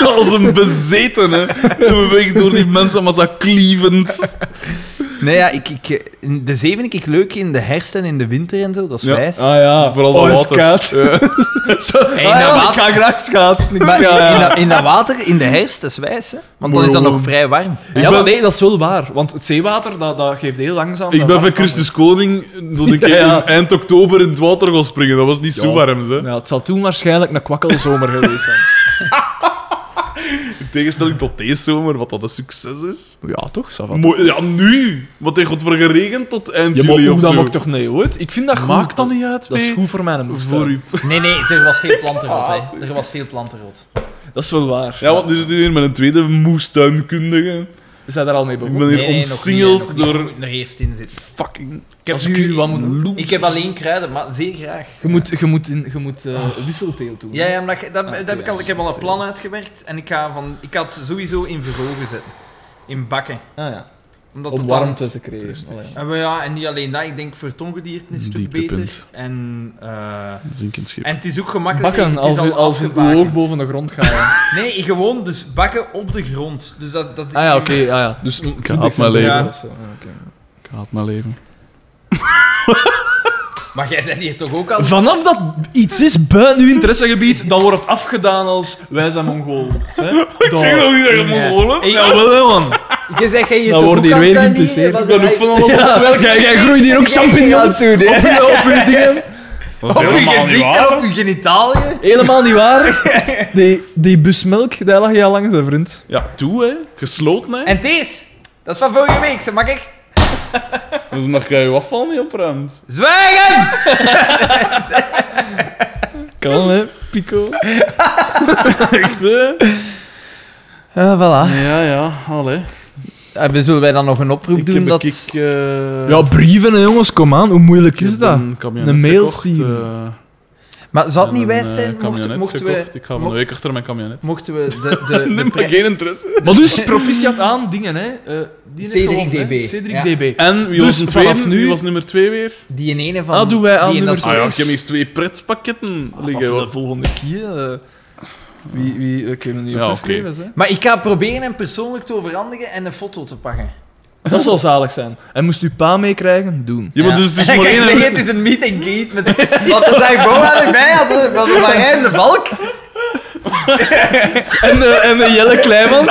B: als een bezetene. We weg door die mensenmassa klievend.
C: Nee, ja, ik, ik, eh, in de zee vind ik leuk in de herfst en in de winter en zo, dat is
B: Ja.
C: wijs.
A: Ah ja,
B: Vooral
A: oh,
B: dat
A: is
B: water.
A: koud. Zo, ah,
C: dat
A: ja, ik
C: water-
A: ga graag schaatsen. Ik-
C: Maar
A: ja, ja.
C: In, dat, in dat water, in de herfst, dat is wijs, hè? Want dan is dat nog vrij warm.
A: Ja, maar nee, dat is wel waar. Want het zeewater dat, dat geeft heel langzaam.
B: Ik
A: zijn
B: ben van
A: warmte af.
B: Christus Koning dat ik
A: Ja, ja.
B: eind oktober in het water gaan springen. Dat was niet zo
A: Ja.
B: warm, hè.
A: Ja, het zal toen waarschijnlijk een kwakkelzomer geweest zijn.
B: In tegenstelling tot deze zomer, wat dat een succes is.
A: Ja, toch? Ça va.
B: Mooi, ja, nu! Wat heeft het voor geregend tot eind
A: Je
B: juli of
A: dat
B: zo?
A: mag toch niet, hoor. Ik vind dat goed.
B: Maakt dat niet uit,
A: Dat is
B: P.
A: goed voor mijn moestuin.
B: Voor u.
C: Nee, nee, er was veel plantenrot, hè. Er was veel plantenrot.
A: Dat is wel waar.
B: Ja, want nu zit u hier met een tweede moestuinkundige.
A: Is hij daar al mee
B: Ik
A: begonnen?
B: ben hier omsingeld door...
C: er eerst in zitten.
B: Fuck, ik-
C: Ik heb,
A: Als ik u wat moet doen.
C: ik heb alleen kruiden, maar zeer graag.
A: Je moet, je moet, in, je moet eh, wisselteel doen.
C: Ja, ja, maar dat, dat,
A: Ah,
C: dat
A: oké,
C: heb ik, al, ik heb al een
A: ja.
C: plan uitgewerkt en ik, ga van, ik had het sowieso in verhogen zetten. In bakken.
A: Ah, ja.
C: Omdat
A: Om
C: het dan-
A: warmte te creëren. Oh, Allee.
C: En, we- ja, en niet alleen dat, ik denk voor het ongedierte is het een stuk
B: Dieptepunt.
C: beter. En, eh,
B: zinkend schip.
C: en het is ook gemakkelijk.
A: Bakken,
C: het is
A: als,
C: al
A: u- als een
C: afgebakend.
A: oog boven de grond gaan.
C: Nee, gewoon dus bakken op de grond. Dus dat, dat
A: ah ja, oké. ah, ja. Dus 20
B: haat mijn
A: centimeter
C: leven.
A: of zo. Ah, oké.
B: Ik haat mijn leven.
C: Maar jij bent hier toch ook al...
A: Vanaf dat iets is buiten uw interessegebied, dan wordt het afgedaan als wij zijn Mongolen. hè.
B: Ik zeg
A: Daar.
B: nog niet dat je Mongolen bent.
A: Ja, wel, hè, man.
C: Je zegt jij hier
A: Dan
C: toch
A: wordt
C: ook
A: hier
C: al
A: weer
C: kan
A: geïmpliceerd.
C: leren?
B: Ik ben ook van alles op.
A: Ja, wel, jij, jij groeit hier ook champignons
C: Ja,
A: op, je- op je dingen.
B: Dat
C: Op je gezicht en op je genitaliën?
A: Helemaal niet waar. Die, die busmelk, daar lag je al langs, hè, vriend.
B: Ja, toe, hè. Gesloten, hè.
C: En deze? Dat is van vorige week, ze mag ik...
B: Dus mag jij je afval niet opruimt.
C: Zwijgen!
A: Kan, hè, Pico.
B: Echt, hè?
C: Ja, voilà.
B: Ja, ja. Allee.
C: Eh, zullen wij dan nog een oproep
B: Ik
C: doen
B: heb
C: dat...
B: ik... eh,
A: Ja, brieven, hè, jongens, kom aan. Hoe moeilijk
B: ik
A: is
B: heb
A: dat?
B: Een, camionet
A: Een mail
B: gekocht,
A: sturen.
B: eh,
C: Maar zou het niet
B: en
C: wijs
B: een,
C: zijn
B: eh,
C: mochten,
B: camionet
C: mochten
B: gekocht.
C: we...
B: Ik ga van de
C: mo-
B: week achter mijn camionet.
C: Mochten we de... de, de
B: Neem maar
C: pre-
B: geen interesse.
A: Maar dus, proficiat aan dingen, hè. Eh die heeft
C: Cedric
A: gewonnen, hè.
C: DB.
A: Cedric
C: Ja.
A: DB.
B: En wie
A: Dus
B: was een
A: vanaf
B: tweede?
A: nu-
B: Wie was nummer twee weer?
C: die in ene van...
A: Ah, doen wij aan
C: die in dat-
A: nummer
B: Ah ja, ik
A: Yes.
B: heb hier twee pretpakketten
A: Liggen
B: liggen.
A: we
B: hoor.
A: volgende keer. eh, wie, wie, we kunnen niet
B: Ja,
A: opgeschreven zijn.
C: Maar ik ga proberen hem persoonlijk te overhandigen en een foto te pakken.
A: Dat zou zalig zijn. En moest u pa meekrijgen? Doen.
B: Ja, maar dus het is
C: En
B: maar
C: kijk,
B: één-
C: zeg, het is een meet and greet met... Wat de dag Boa erbij had, eh, hè, van de Marijn de Valk.
A: En, eh, en eh, Jelle Kleinman.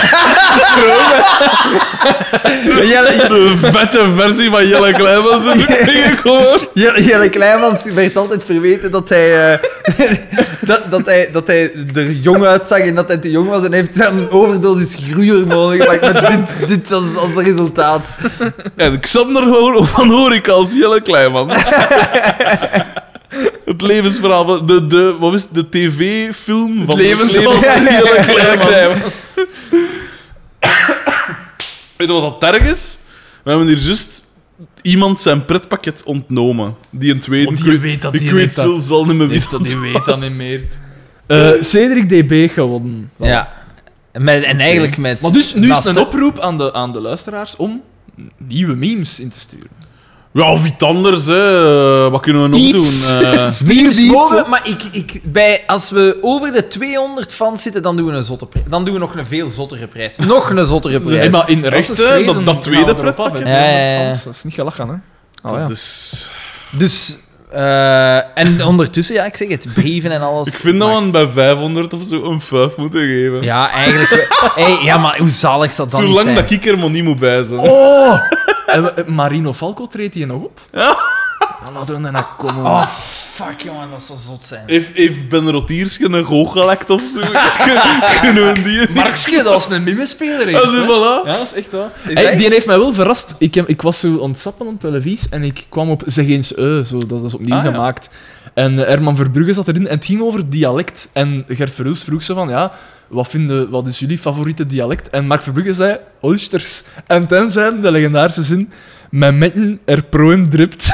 C: Jelle,
B: De vette versie van Jelle Kleimans is ook binnengekomen.
C: Jelle, Jelle Kleinmans werd altijd verweten dat hij, eh, dat, dat, hij, dat hij er jong uitzag en dat hij te jong was. En hij heeft daar een overdosis groeihormonen gemaakt met dit, dit als, als resultaat.
B: En Xander Ho- van Horik als Jelle Kleimans. Het levensverhaal van de, de, wat is het? de tv-film van
A: levensverhaal
B: van
A: van
B: Jelle
A: Jelle
B: Kleimans. Weet je wat dat erg is? We hebben hier juist iemand zijn pretpakket ontnomen. Die een tweede.
A: Want
B: ik
A: je
B: weet-
A: weet dat
B: Ik
A: Oh, die
B: weet
A: heeft dat-
B: zelfs al niet meer wie dat
A: weet
B: dat
A: niet meer. Eh, Cedric DB gewonnen.
C: Met, en
A: eigenlijk
C: met...
A: dus, Maar dus, nu is het een oproep aan de, aan de luisteraars om nieuwe memes in te sturen.
B: Ja, of iets anders, hè. Eh, Wat kunnen we nog
A: Iets.
B: doen? Eh,
A: Stier
C: Dus mogelijk, maar ik, ik, bij, als we over de 200 fans zitten, dan doen we, een zotte pri- dan doen we nog een veel zottere prijs. Nog een zottere prijs.
A: Nee, maar in
B: Echt,
A: rassen
B: hè? Dat- dat tweede pretpakket.
A: Ja,
C: Ja, ja, ja.
A: Dat is niet gelachen, hè? Oh,
B: dat
A: ja.
B: is...
C: Dus, eh, en ondertussen, ja, ik zeg het, brieven en alles.
B: Ik vind
C: Maar-
B: dat we aan bij 500 of zo een 5 moeten geven.
C: Ja, eigenlijk. wel. hey, ja, maar hoe zalig zou dat dan
B: Zolang
C: niet zijn?
B: dat ik er maar niet moet bij zijn.
A: Oh! En we- eh, Marino Falco treedt hier nog op. Dan laten we naar komen.
C: Oh, fuck, jongen, dat zou zot zijn.
B: Heeft, heeft Ben Rotierske een goochelect of zo? kunnen we die...
A: Marksje, dat was een mimespeler.
B: Dat is
A: hè?
B: voilà.
A: Ja, dat is echt waar.
C: Is
A: Hey,
C: dat
A: die
C: echt?
A: heeft mij wel verrast. Ik, heb, ik was zo ontsappen op televisie en ik kwam op Zeg eens eu, zo, dat is opnieuw
B: Ah, ja.
A: gemaakt. En eh, Herman Verbrugge zat erin en het ging over dialect. En Gert Verhulst vroeg zo van, ja, wat, vinden, wat is jullie favoriete dialect? En Mark Verbrugge zei, Ulsters. En tenzij de legendarische zin, mijn metten er proem dript.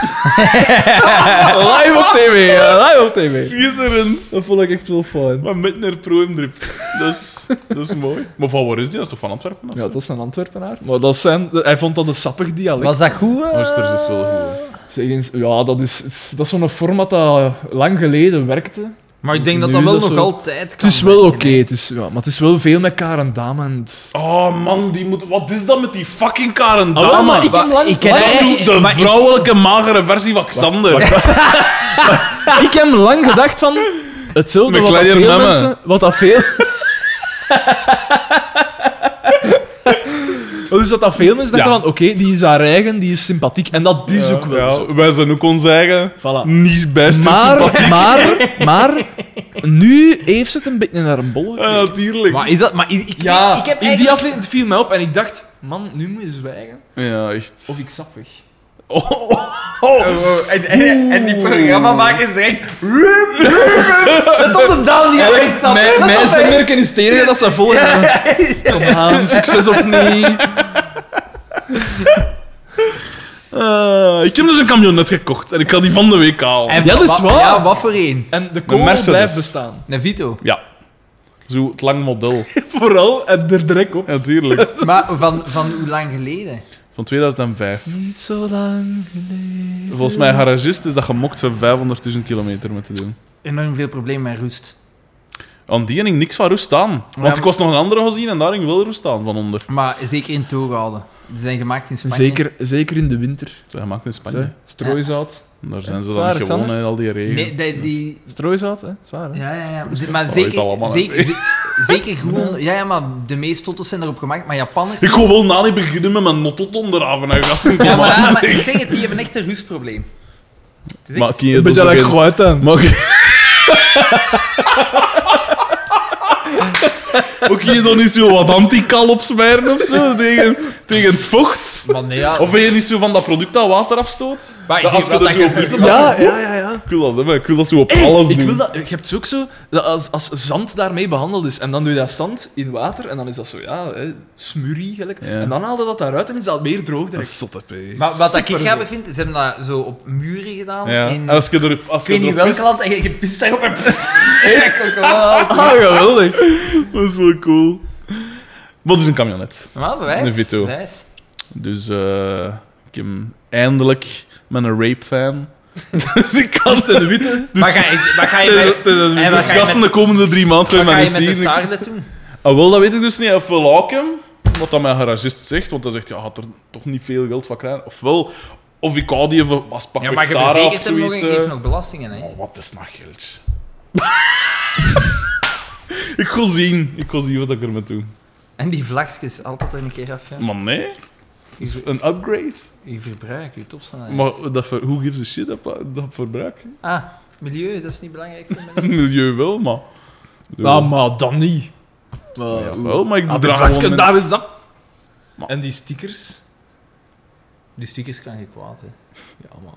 A: live op tv, ja, live op tv.
B: Schitterend.
A: Dat vond ik echt wel fijn.
B: Maar met naar Proemdrip. Dat is, dat is mooi. Maar van waar is die? Dat is toch van Antwerpen? of
A: Ja,
B: zo?
A: dat is een Antwerpenaar. Maar dat zijn, hij vond dat een sappig dialect.
C: Was dat goed? eh?
B: Oosters
A: dus-
B: is wel goed. hè.
A: Zeg eens, ja, dat is, dat is zo'n format dat lang geleden werkte.
C: Maar ik denk dat
A: Nu
C: dat
A: is
C: wel
A: dat
C: nog
A: zo-
C: altijd
A: Het
C: kan.
A: is wel
C: werken,
A: oké, het is- ja, maar het is wel veel met Karen Dame. En...
B: Oh man, die moet... wat is dat met die fucking Karen
A: Ah, wel,
B: Dama?
A: maar
C: Maar
A: heb lang-
C: ik ken
A: lang-
B: Dat is zo de
C: Maar ik-
B: vrouwelijke magere versie van Xander.
A: ik heb lang gedacht van hetzelfde
B: Met
A: wat dat veel
B: kleine mannen.
A: mensen... Wat dat veel... dus dat dat veel mensen dachten
B: Ja.
A: van, oké, die is haar eigen, die is sympathiek. En dat is ook wel
B: Ja,
A: zo.
B: Wij zijn ook ons eigen.
A: Voilà.
B: Niet best sympathiek.
A: Maar, maar, maar, nu heeft ze het een beetje naar een bol gekregen.
B: Ja, natuurlijk.
C: Maar is dat... Maar ik, ik,
A: Ja,
C: ik heb
A: in die
C: eigenlijk-
A: aflevering het viel mij op en ik dacht, man, nu moet je zwijgen.
B: Ja, echt.
A: Of ik sap weg.
B: Oh, oh, oh.
D: Oh, en, en, en die programmamakers direct...
C: Tot de Daan die erin zat.
A: Mijn,
C: Wat
A: mijn
C: dat wij-
A: stemmerken is het enige dat ze vol hebben. Kom aan, succes of niet.
B: Eh, ik heb dus een camionet gekocht en ik ga die van de week halen.
C: En
A: Ja, dat is
C: wa-
A: waar.
C: Ja, wat voor een?
A: En de kogel
B: Mercedes.
A: blijft bestaan.
C: Een Vito.
B: Ja. Zo, het lang model.
A: Vooral, en er direct op.
B: Natuurlijk.
C: Maar van, van hoe lang geleden?
B: Van 2005.
A: Niet zo lang geleden.
B: Volgens mij, garagist is dat gemokt voor 500.000 kilometer met te doen.
C: Enorm veel problemen met roest.
B: Aan die ging niks van roest staan. Want
C: maar-
B: ik was nog een andere gezien en daar ging wel roest staan van onder.
C: Maar zeker in Toeghouden. Die zijn gemaakt in Spanje.
A: Zeker, zeker in de winter.
B: Ze gemaakt in Spanje.
A: Zo, Strooizout.
B: En Daar zijn ze
A: Zwaar,
B: dan niet gewoon,
A: Xander?
B: hè, al die regen.
C: Nee, die, die,
A: Strooizout, hè? Zwaar, hè?
C: Ja, ja, ja. Ze- Maar
B: dat
C: zeker,
B: weet Oh, allemaal, hè.
C: zeker, ze- zeker gewoon... Ja, ja, maar de meeste tottels zijn erop gemaakt, maar Japanners...
B: Ik wil wel na niet beginnen met mijn notot onderhaven en gasten.
C: Ja,
B: kom
C: maar,
B: aan,
C: maar
B: zeg.
C: ik zeg het, die hebben echt een rustprobleem. Het is echt-
B: Maar kun je
A: Een beetje
B: dat
A: like
B: nog geen-
A: geluid aan.
B: Mag ik... Ook je dan niet zo wat antikal opsmeren of zo tegen, tegen het vocht?
C: Maar nee, ja.
B: Of ben je niet zo van dat product dat water afstoot?
C: Maar
B: Dat als
C: wat
B: je er
C: dat
B: zo
C: je-
B: op drukt, dat
A: Ja, ja, ja. ja.
B: Ik wil dat, hè, maar ik wil dat zo op
A: Hey,
B: alles
A: ik
B: doen.
A: wil dat, je hebt het ook zo, dat als, als zand daarmee behandeld is, en dan doe je dat zand in water, en dan is dat zo, ja, hè, smurrie, gelijk.
B: Ja.
A: En dan haal je dat daaruit en is dat meer droog
B: Dat
A: direct.
B: is zotte pees.
C: Maar wat ik
A: Super
C: grappig vind, ze hebben dat zo op muren gedaan.
B: Ja.
C: In,
B: En als je er, als
C: ik
B: je
C: weet niet
B: erop
C: welk
B: pist,
C: land, en je, je pist daarop en... Echt? Maar
A: Ah, geweldig.
B: Dat is wel cool. Wat is een camionet?
C: bewijs.
B: Een Vito.
C: bewijs.
B: Dus eh, ik heb hem eindelijk met een rape-fan. dus ik kan...
A: Als het een witte.
B: Dus,
C: Maar ga je, maar ga je,
B: Het is-
C: met-
B: het is een-
C: en wat
B: dus
C: ga je
B: gasten
C: met-
B: de komende drie maanden
C: wat
B: gaan
C: ga
B: mij
C: je met de
B: zien. Ik-
C: staarden doen?
B: Ah, wel, dat weet ik dus niet. Ofwel haak ik hem, wat dat mijn garagist zegt, want hij zegt, ja, had er toch niet veel geld van krijgen. Ofwel, of ik hou die even als pak
C: Ja,
B: ik
C: maar je
B: Sarah of
C: verzekert hem nog en
B: zoiets.
C: geeft
B: eh.
C: nog belastingen, hè.
B: Oh, wat is nou geld? ik ga zien. Ik ga zien wat ik ermee doe.
C: En die vlagjes, altijd er een keer af, ja.
B: Maar nee,
C: Is-
B: een upgrade.
C: Je verbruik, je topsnelheid.
B: Maar dat ver, who gives a shit dat, dat verbruik?
C: Ah, milieu, dat is niet belangrijk voor mij.
B: Milieu wel, maar...
A: Nou, maar dan niet. Maar,
B: Ja, wel, maar ik
A: Ah, de
B: draag
A: vlakken,
B: gewoon een-
A: daar is dat.
B: Maar-
A: En die stickers.
C: Die stukjes kan je kwaad, hè.
A: Ja, man.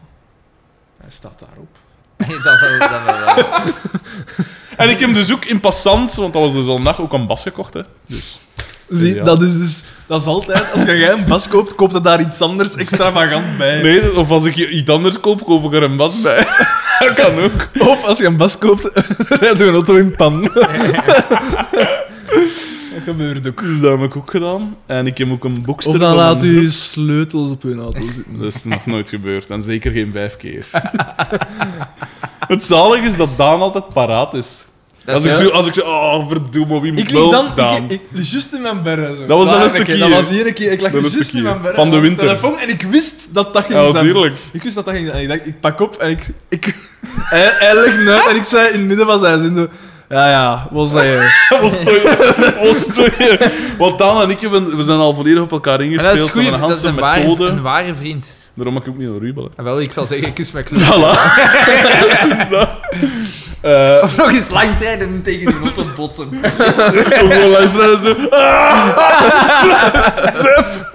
A: Hij staat daarop.
C: Nee, dat wel, dat wel. wel.
B: En ik heb dus ook in passant, want dat was dus al een dag, ook een bas gekocht. Hè.
A: Zie,
B: Ja.
A: dat is dus... Dat is altijd... Als je jij een bas koopt, koopt er daar iets anders extravagant bij.
B: Nee, of als ik iets anders koop, koop ik er een bas bij. dat kan ook.
A: Of als je een bas koopt, rijdt je een auto in pan. Dat gebeurt ook.
B: Dus dat heb ik ook gedaan. En ik heb ook een boekster
A: Of dan
B: van
A: laat
B: een-
A: u sleutels op hun auto zitten.
B: Dat is nog nooit gebeurd. En zeker geen vijf keer. Het zalige is dat Daan altijd paraat is. als, ik
A: ja.
B: zo, als ik zo... Oh, verdomme, wie moet
A: Ik lig
B: wel
A: dan
B: Daan?
A: ik, ik, juist in mijn bergen. Zo.
B: Dat was de
A: Daar,
B: laatste
A: oké,
B: keer.
A: Dat was de ene keer. Ik lag
B: De laatste
A: juist in
B: keer.
A: mijn bergen.
B: Van de
A: op mijn
B: winter.
A: telefoon en ik wist dat dat ging
B: Ja,
A: zijn.
B: natuurlijk.
A: Ik wist dat dat ging zijn. En ik dacht, ik pak op en ik... ik hij, hij legt neer en ik zei in het midden van zijn zin zo... Ja, ja, wat zei je?
B: Ons tweeën. Ons tweeën. Want Daan en ik hebben, we zijn al volledig op elkaar ingespeeld.
C: dat is,
B: we
C: goeie,
B: hebben
C: dat is
B: een
C: een,
B: handse
C: ware,
B: methode.
C: een ware vriend.
B: Daarom mag ik ook niet naar u bellen.
C: En wel, ik zal zeggen, kus mijn kleur.
B: Voilà. Eh,
C: Of nog eens langs rijden en tegen die auto botsen.
B: Ook gewoon luisteren en zo. Ah! Tep.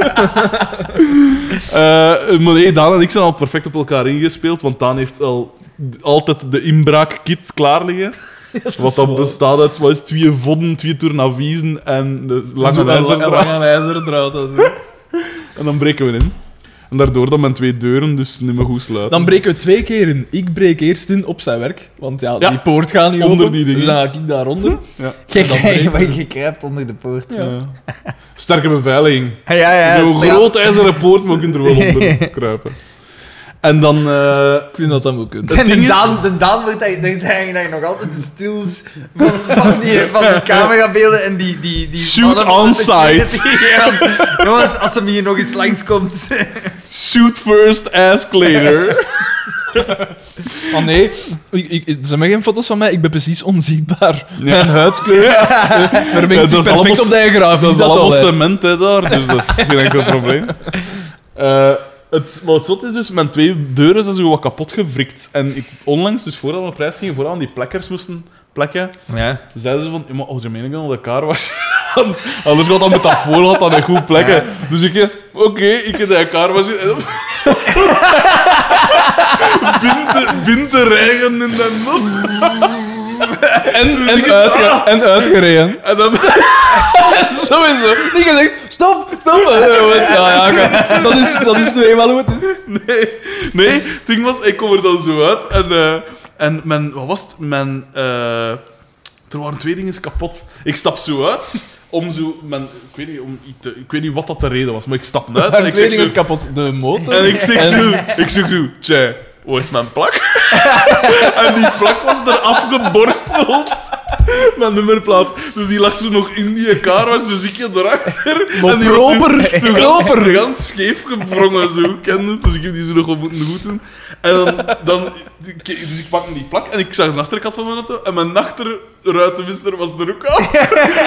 B: Eh, maar nee, Daan en ik zijn al perfect op elkaar ingespeeld, want Daan heeft al d- altijd de inbraakkit klaar liggen. Wat dan bestaat uit wat is, het, twee vodden, twee tournaviezen en de lange ijzerdraad.
A: Lange ijzerdraad. en zo.
B: En dan breken we in. En daardoor dan mijn twee deuren dus niet meer goed sluiten.
A: Dan breken we twee keer in. Ik breek eerst in op zijn werk. Want ja,
B: Ja.
A: die poort gaat niet
B: Onder
A: open.
B: die dingen.
A: Dus dan ga ik daaronder.
B: Ja.
A: En dan breken we.
C: je kruipt onder de poort.
B: Ja. Sterke beveiliging.
C: Ja, ja, ja.
B: Zo'n
C: ja.
B: groot ijzeren poort, maar je kunt er wel onder kruipen. En dan... eh,
A: Ik vind dat dat moet kunnen.
C: En
B: ding
C: de
B: is-
C: Daan, de Daan wordt daar- denkt eigenlijk nog altijd de stils van, van, die, van die camerabeelden en die... die, die
B: Shoot
C: mannen van
B: on
C: de security. Ja, jongens, als hem hier nog eens langskomt...
B: Shoot first, ask later.
A: Oh nee, ik, ik, er zijn maar geen foto's van mij. Ik ben precies onzichtbaar.
B: Ja.
A: Mijn huidskleur. Daar ben
B: Ja,
A: ik
B: dat is
A: perfect
B: allemaal-
A: op de eigen graaf.
B: Dat is
A: dat
B: allemaal
A: al uit.
B: cement hè, daar, dus dat is geen enkel probleem. Eh, het, maar het zot is dus, mijn twee deuren zijn zo wat kapot gewrikt. En ik, onlangs, dus voordat we op prijs gingen, vooral die plekkers moesten plekken,
C: Ja.
B: zeiden ze van, "Ja, maar als je mening aan elkaar was, want anders gaat dat met dat voorhand aan een goed plekken. Dus ik, eh, oké, ik heb de elkaar was. en dan- Bind de- Bind de regen in de not.
A: En, en, uitge- en uitgereden.
B: En dan...
A: Sowieso. Niet gezegd, stop, stop. Ja, ja, oké. dat, is, dat is nu eenmaal hoe het is.
B: Nee, nee, het ding was, ik kom er dan zo uit en, eh, en mijn, wat was het? Mijn, eh, er waren twee dingen kapot. Ik stap zo uit om zo, mijn, ik, weet niet, om, iets te- ik weet niet wat dat de reden was, maar ik stap uit en
A: Haar
B: ik zeg
A: kleding
B: zo,
A: is kapot. De motor.
B: en ik zeg zo, ik zeg zo, tja, hoe is mijn plak? en die plak was er afgeborsteld. Mijn nummerplaat. Dus die lag zo nog in die kar was, dus ik ging erachter.
A: Maar
B: en die was zo-
A: proper,
B: zo gans-
A: proper.
B: gans scheef gevrongen, zo kende het. Dus ik heb die zo nog op moeten goed doen. En dan, dan, ik- dus ik pakte die plak en ik zag de achterkant van mijn auto. En mijn achterruitenwisser was er ook af.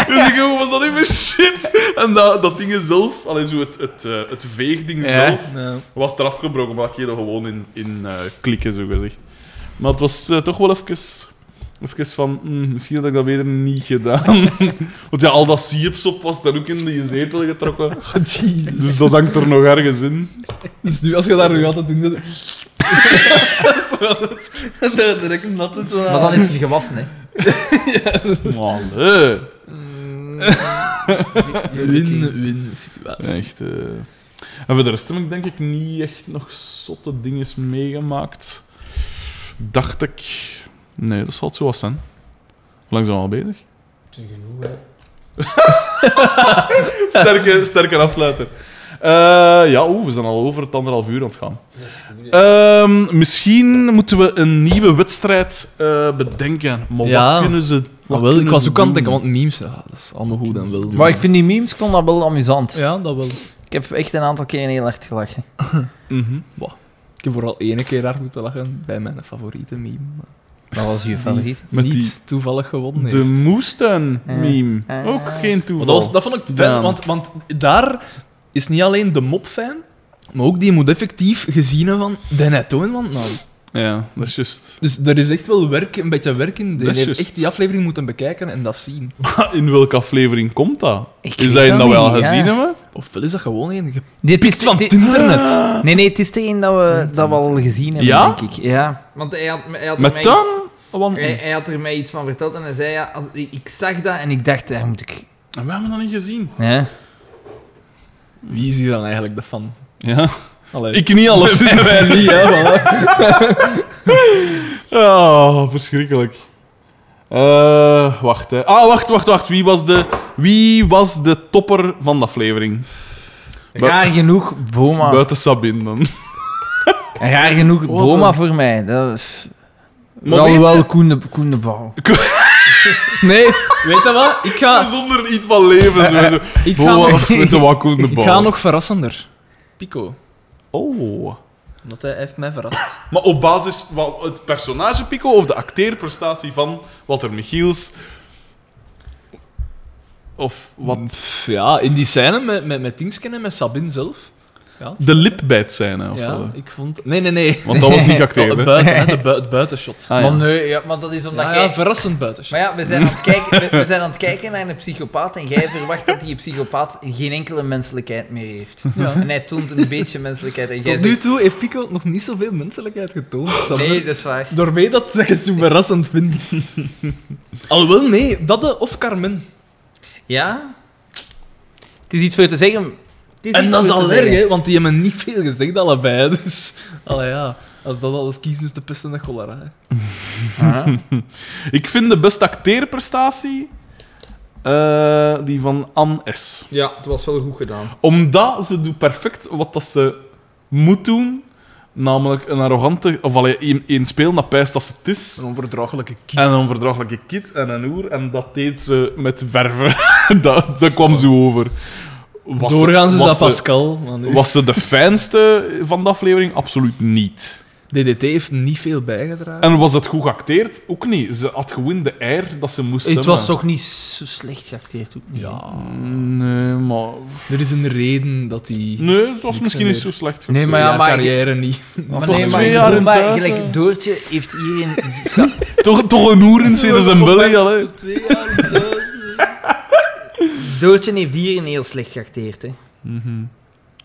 B: dus ik dacht, was dat niet meer shit? En dat, dat ding zelf, alleen zo het, het, eh, het veegding
C: Ja.
B: zelf,
A: Ja.
B: was eraf gebroken, maar ik je er gewoon in, in eh, klikken, zo gezegd. Maar het was eh, toch wel even, even van, "Hmm, misschien had ik dat beter niet gedaan. Want ja, al dat siepsop was dan ook in die zetel getrokken.
A: Jezus.
B: Dus dat hangt er nog ergens in.
A: Dus nu, als je daar nu altijd in zit... Zo altijd. Daar direct een natte toe
C: Maar dan is hij gewassen, hè.
B: Maar nee.
A: Win-win situatie.
B: Echt. eh. En voor de rest heb ik denk ik niet echt nog zotte dingen meegemaakt. Dacht ik. Nee, dat zal het zo wat zijn. Langzaam al bezig. sterke, sterke afsluiter. Eh, ja, oeh, we zijn al over het anderhalf uur aan het gaan. Ehm, misschien moeten we een nieuwe wedstrijd eh, bedenken. Maar
A: Ja.
B: wat kunnen ze. Wat
A: Maar wel, ik
B: kunnen
A: was
B: ze
A: ook aan het
B: doen?
A: denken, want memes, ja, dat is allemaal goed en wel.
C: Maar ik vind die memes, ik vond dat wel amusant.
A: Ja, dat wel.
C: Ik heb echt een aantal keren heel hard gelachen.
B: Mhm.
A: Ik heb vooral ene keer daar moeten lachen bij mijn favoriete meme. maar
C: Dat was je favoriet.
B: Met
A: niet
B: die-
A: toevallig gewonnen heeft.
B: De moestuin-meme.
C: Ja.
B: Ook geen
A: Maar
B: toeval.
A: dat, was, dat vond ik vet,
B: Ja.
A: want, want daar is niet alleen de mop fijn, maar ook die moet effectief gezien hebben van de nettoon want nou.
B: Ja, dat is juist.
A: Dus er is echt wel werk, een beetje werk in. Die
B: Dat is
A: heeft
B: juist.
A: echt die aflevering moeten bekijken en dat zien.
B: In welke aflevering komt dat?
C: Ik
B: is
C: weet
B: dat in
C: dat
B: dat we al
C: niet,
B: gezien
C: ja.
B: hebben?
A: Ofwel is dat gewoon een gepikt
C: Dit is
A: van het
C: dit-
A: internet.
B: Ah.
C: Nee, nee, het is er een dat we, dat we al gezien hebben,
B: Ja?
C: denk ik. Ja? Want hij had, hij had
B: Met dan? Oh, Want...
C: Hij, hij had er mij iets van verteld en hij zei, ja, als- ik ik zag dat en ik dacht, daar moet ik...
B: En we hebben dat niet gezien.
C: Ja.
A: Wie is hier dan eigenlijk de fan?
B: Ja.
A: Allee.
B: Ik niet alles.
A: Wij niet, hè, voilà.
B: Ah, verschrikkelijk. Eh, wacht, hè. Ah, wacht, wacht, wacht. Wie was de, wie was de topper van de aflevering? Bu-
C: Raar genoeg Boma.
B: Buiten Sabine dan.
C: Raar genoeg
B: Wat
C: Boma
B: een-
C: voor mij. Dat is...
B: Maar
C: wel,
B: weet-
C: wel Koen de, Koen de Bouw.
A: Nee, weet je wat? Ik ga,
B: Zonder iets van leven. Zo, zo.
A: ik ga,
B: Boa
A: nog,
B: met de wakkoende
A: ik
B: bal.
A: ga nog verrassender. Pico.
B: Oh.
A: Omdat hij heeft mij verrast.
B: Maar op basis van het personage Pico of de acteerprestatie van Walter Michiels? Of wat?
A: Ja, in die scène met, met, met Tingsken en met Sabine zelf.
B: De lipbijtscène of
A: ja,
B: wat?
A: ik vond... Nee, nee, nee.
B: Want dat was niet geacteerd.
A: Het,
B: hè?
A: buiten, hè, de bui- het buitenshot.
B: Ah, ja.
C: Maar nee, ja, maar dat is omdat
A: Ja,
C: jij...
A: ja, verrassend buitenshot.
C: Maar ja, we zijn, aan het kijken, we, we zijn aan het kijken naar een psychopaat en jij verwacht dat die psychopaat geen enkele menselijkheid meer heeft.
A: Ja.
C: En hij toont een beetje menselijkheid en jij
A: Tot nu
C: zegt...
A: toe heeft Pico nog niet zoveel menselijkheid getoond. Sander.
C: Nee, dat is waar.
A: Doormee dat ze het zo verrassend vindt. Alhoewel, nee, dat de, of Carmen.
C: Ja? Het is iets voor te zeggen. Het is
A: En
C: iets
A: dat is
C: voor te
A: al erg,
C: zeggen.
A: hè, want die hebben niet veel gezegd, allebei. Dus, allee, ja, als dat alles kiezen is de pest en de cholera. hè.
B: Ik vind de beste acteerprestatie eh, die van Anne S.
C: Ja, het was wel goed gedaan.
B: Omdat ze doet perfect wat dat ze moet doen. Namelijk een arrogante... Of allee, één, één speel dat pijst als het is.
A: Een onverdraaglijke kiet.
B: En een onverdraaglijke kit en een oer. En dat deed ze met verven. dat, dat kwam zo over. Was ze-
A: Doorgaans is
B: was
A: dat
B: ze-
A: Pascal. maar nu-
B: Was ze de fijnste van de aflevering? Absoluut niet.
A: DDT heeft niet veel bijgedragen.
B: En was het goed geacteerd? Ook niet. Ze had gewoon de air dat ze moest
C: Het
B: hebben.
C: was toch niet zo slecht geacteerd ook niet.
A: Ja,
B: Nee, maar...
A: er is een reden dat die
B: Nee, ze was
A: Niks
B: misschien
A: meer.
B: niet zo slecht
C: Nee,
B: geacteerd.
C: maar ja,
A: haar
C: maar-
A: carrière niet.
C: Maar
B: toch
C: nee, maar
B: twee
C: ik
B: jaar
C: bedoel
B: in
C: maar,
B: thuis, hè.
C: gelijk Doortje heeft hierin... Schat,
B: Toch, toch een oer in Ceres en Belly, allee.
A: twee jaar thuis.
C: Doortje heeft hierin heel slecht geacteerd, hè.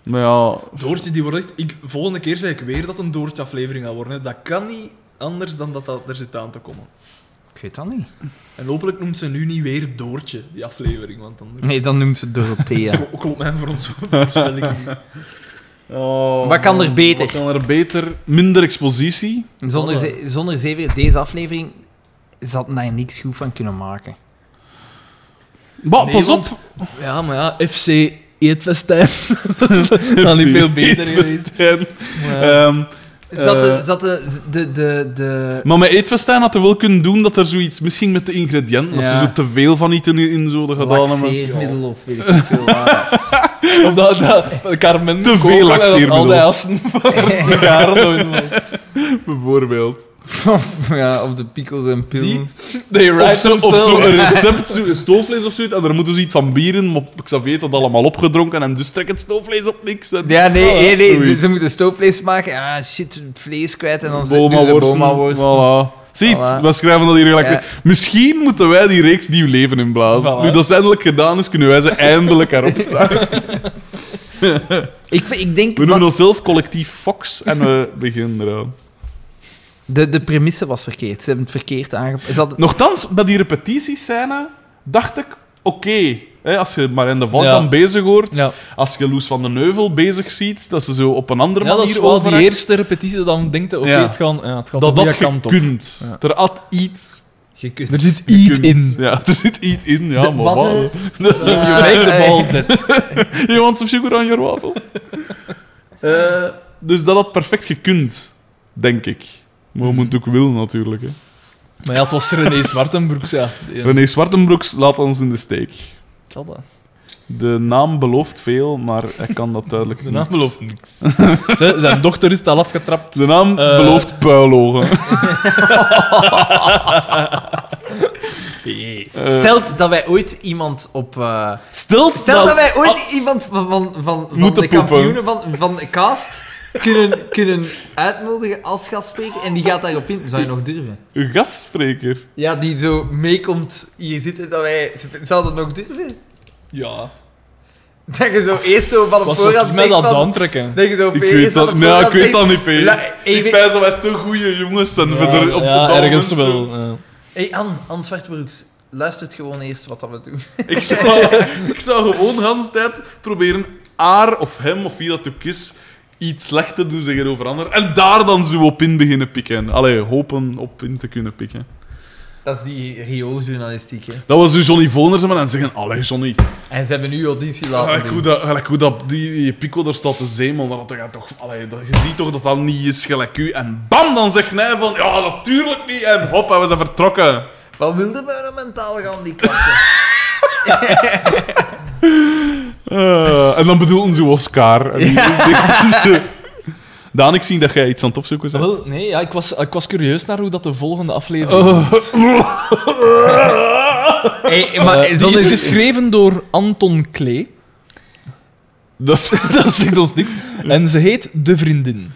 B: Maar ja...
A: Doortje, die wordt echt... Ik, volgende keer zeg ik weer dat een Doortje-aflevering gaat worden. Hè. Dat kan niet anders dan dat, dat er zit aan te komen.
C: Ik weet dat niet.
A: En hopelijk noemt ze nu niet weer Doortje, die aflevering, want anders...
C: Nee, dan noemt ze Dorothea.
A: Klo- Klopt mij voor ons voorspelling. niet.
B: Oh,
C: Wat kan er
B: man.
C: beter?
B: Wat kan er beter? Minder expositie.
C: Zonder, ze zonder zeven, deze aflevering zat daar niks goed van kunnen maken.
B: Bah,
A: Nee,
B: pas op.
A: want- Ja, maar ja, FC Eetfestijn. dat is dan niet veel beter geweest.
B: Eetfestijn.
A: Maar ja.
B: Ehm,
C: Zat
B: Eh.
C: de, zat de, de, de, de...
B: maar met Eetfestijn had hij wel kunnen doen dat er zoiets... Misschien met de ingrediënten, dat
C: Ja.
B: ze zo te veel van iets in, in zouden gedaan hebben.
C: laxeermiddel of weet ik veel waar.
A: Of dat, dat Carmen...
B: Te veel
A: Kokel en dat
B: laxeermiddel.
A: Al die assen van het sigaren doen, man.
B: Bijvoorbeeld.
C: Of, ja, of de pickles en
A: Zie,
C: pillen.
A: They
B: Of
A: write
B: zo, of zo een
A: themselves.
B: recept, zo een stoofvlees of zoiets. En daar moeten ze iets van bieren, maar Xavier heeft dat allemaal opgedronken en dus trekt het stoofvlees op niks. En... Ah,
C: Ja, nee, nee, nee,
B: Zoiets.
C: ze moeten stoofvlees maken. Ah, shit, vlees kwijt en dan ze- doen ze
B: Boma-worsten.
C: boma-worsten.
B: Voilà. Ziet,
C: Voilà.
B: we schrijven dat hier gelijk
C: Ja.
B: weer. Misschien moeten wij die reeks nieuw leven inblazen.
A: Voilà.
B: Nu dat ze eindelijk gedaan is, kunnen wij ze eindelijk erop staan.
C: Ik, vind- ik denk,
B: We noemen
C: van-
B: onszelf collectief Fox en we beginnen eraan.
C: de, de premisse was verkeerd. Ze hebben het verkeerd aangepakt. Ze hadden-
B: Nochtans, bij die repetitiescène dacht ik, oké, hè, als je Marijn de Valk
A: Ja.
B: dan bezig hoort,
A: Ja.
B: als je Loes van den Neuvel bezig ziet, dat ze zo op een andere
A: Ja, dat
B: manier
A: is wel die
B: overhangt,
A: eerste repetitie, dan denkt je, oké,
B: Ja.
A: het gaat, ja, het gaat
B: dat
A: op
B: dat
A: die kant op.
B: gekund. Er had iets
A: Er zit iets
B: gekund.
A: in.
B: Ja, er zit iets in, ja,
C: De-
B: maar
C: wat,
B: wat?
A: You make the ball dead.
B: Je want some sugar on your waffle? Eh, dus dat had perfect gekund, denk ik. Maar
A: Hmm.
B: we moeten ook willen, natuurlijk. Hè.
A: Maar ja, het was René Zwartenbroek, ja. Die-
B: René Zwartenbroeks laat ons in de steek.
A: Het zal dat.
B: De naam belooft veel, maar hij kan dat duidelijk
A: De
B: niet.
A: naam belooft niks. Zijn- Zijn dochter is al afgetrapt.
B: Zijn naam
A: Eh.
B: belooft puilogen.
C: Stelt dat wij ooit iemand op... eh,
B: Stelt,
C: Stel dat, wij ooit iemand van, van, van, van
B: Moeten
C: de
B: poepen.
C: kampioenen van, van de cast kunnen, kunnen uitnodigen als gastspreker en die gaat daarop in. Zou je nog durven?
B: Een gastspreker.
C: Ja, die zo meekomt hier zitten, dat wij... Zou dat nog durven?
A: Ja.
C: Dat je zo eerst zo van op
A: Wat zou
C: voorhand
A: ik mij
C: zegt
A: dat
C: van...
A: dan trekken?
C: Dat je zo op
B: Ik
C: eerst
B: weet
C: van
B: dat,
C: op
B: nee, ik
C: voorhand
B: weet
C: zegt,
B: dat niet, P.
C: La-
B: Ik
C: even-
B: wijs dat wij te goede jongens zijn voor de- op
A: ja,
B: dat
A: ergens
B: moment zo.
A: wel. ja.
C: hey, Anne, Anne Zwartbroeks, luistert gewoon eerst wat dat we doen.
B: Ik zou, ik zou gewoon de hele tijd proberen haar of hem of wie dat ook is iets slecht te doen zeggen over anderen. En daar dan zo op in beginnen pikken. Allee, hopen op in te kunnen pikken.
C: Dat is die riooljournalistiek, hè.
B: Dat was dus Johnny Voners en dan zeggen: Allee, Johnny,
C: En ze hebben nu auditie laten
A: Ah,
B: gelijk Ah, hoe,
C: doen.
B: dat, gelijk hoe dat, die, die Pico daar staat te zeemel, dat dat gaat toch, allee, dat, je ziet toch dat dat niet is gelijk u. En bam, dan zegt hij van: Ja, natuurlijk niet. En hop, en we zijn vertrokken.
C: Wat wilde wij nou mentaal gaan, die klappen?
B: Eh, en dan bedoelden ze Oscar. En die is dik- dus, eh, Daan, ik zie dat jij iets aan het opzoeken bent.
A: Wel, nee, ja, ik, was, ik was curieus naar hoe dat de volgende aflevering
B: Oh.
A: wordt.
C: Hey,
A: Eh,
C: maar
A: die is geschreven door Anton Klee.
B: Dat,
A: Dat zegt ons niks. En ze heet De Vriendin.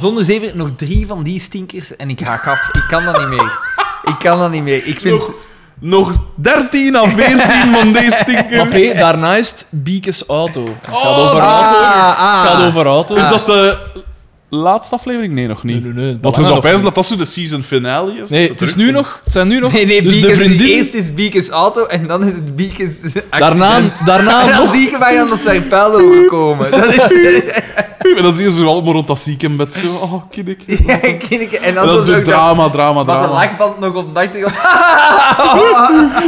C: Zonder zeven nog drie van die stinkers en ik haak af. Ik kan dat niet meer. Ik kan dat niet meer. Ik vind...
B: nog, nog 13 à 14 van deze
A: Maar
B: stinkers.
A: P, daarna is het Biekes Auto. Het gaat
B: Oh,
A: over
B: ah,
A: auto's.
C: ah.
A: Het gaat over auto's.
B: Is dat de laatste aflevering? Nee, nog
A: Nee,
B: niet.
A: nee, nee. dat
B: Want je
A: waren
B: zou
A: nog
B: pijzen
A: niet.
B: dat dat zo de season finale is.
A: Nee, het is nu nog... Het zijn nu nog...
C: Nee, nee,
A: dus
C: Beacons,
A: De Vriendin...
C: eerst is Beacons auto en dan is het Beacons accident.
A: Daarna, Ah,
C: En
A: daarna
C: dan
A: nog...
C: zie ik mij aan dat serpel overkomen. Dat is...
B: En dan zie je ze allemaal rond dat ziekenbed zo. Oh, kinnik.
C: Ja, kindje, en
B: En
C: dan,
B: dan
C: is
B: zo
C: ook dat...
B: drama, drama,
C: Maar de
B: drama.
C: lakband nog op nacht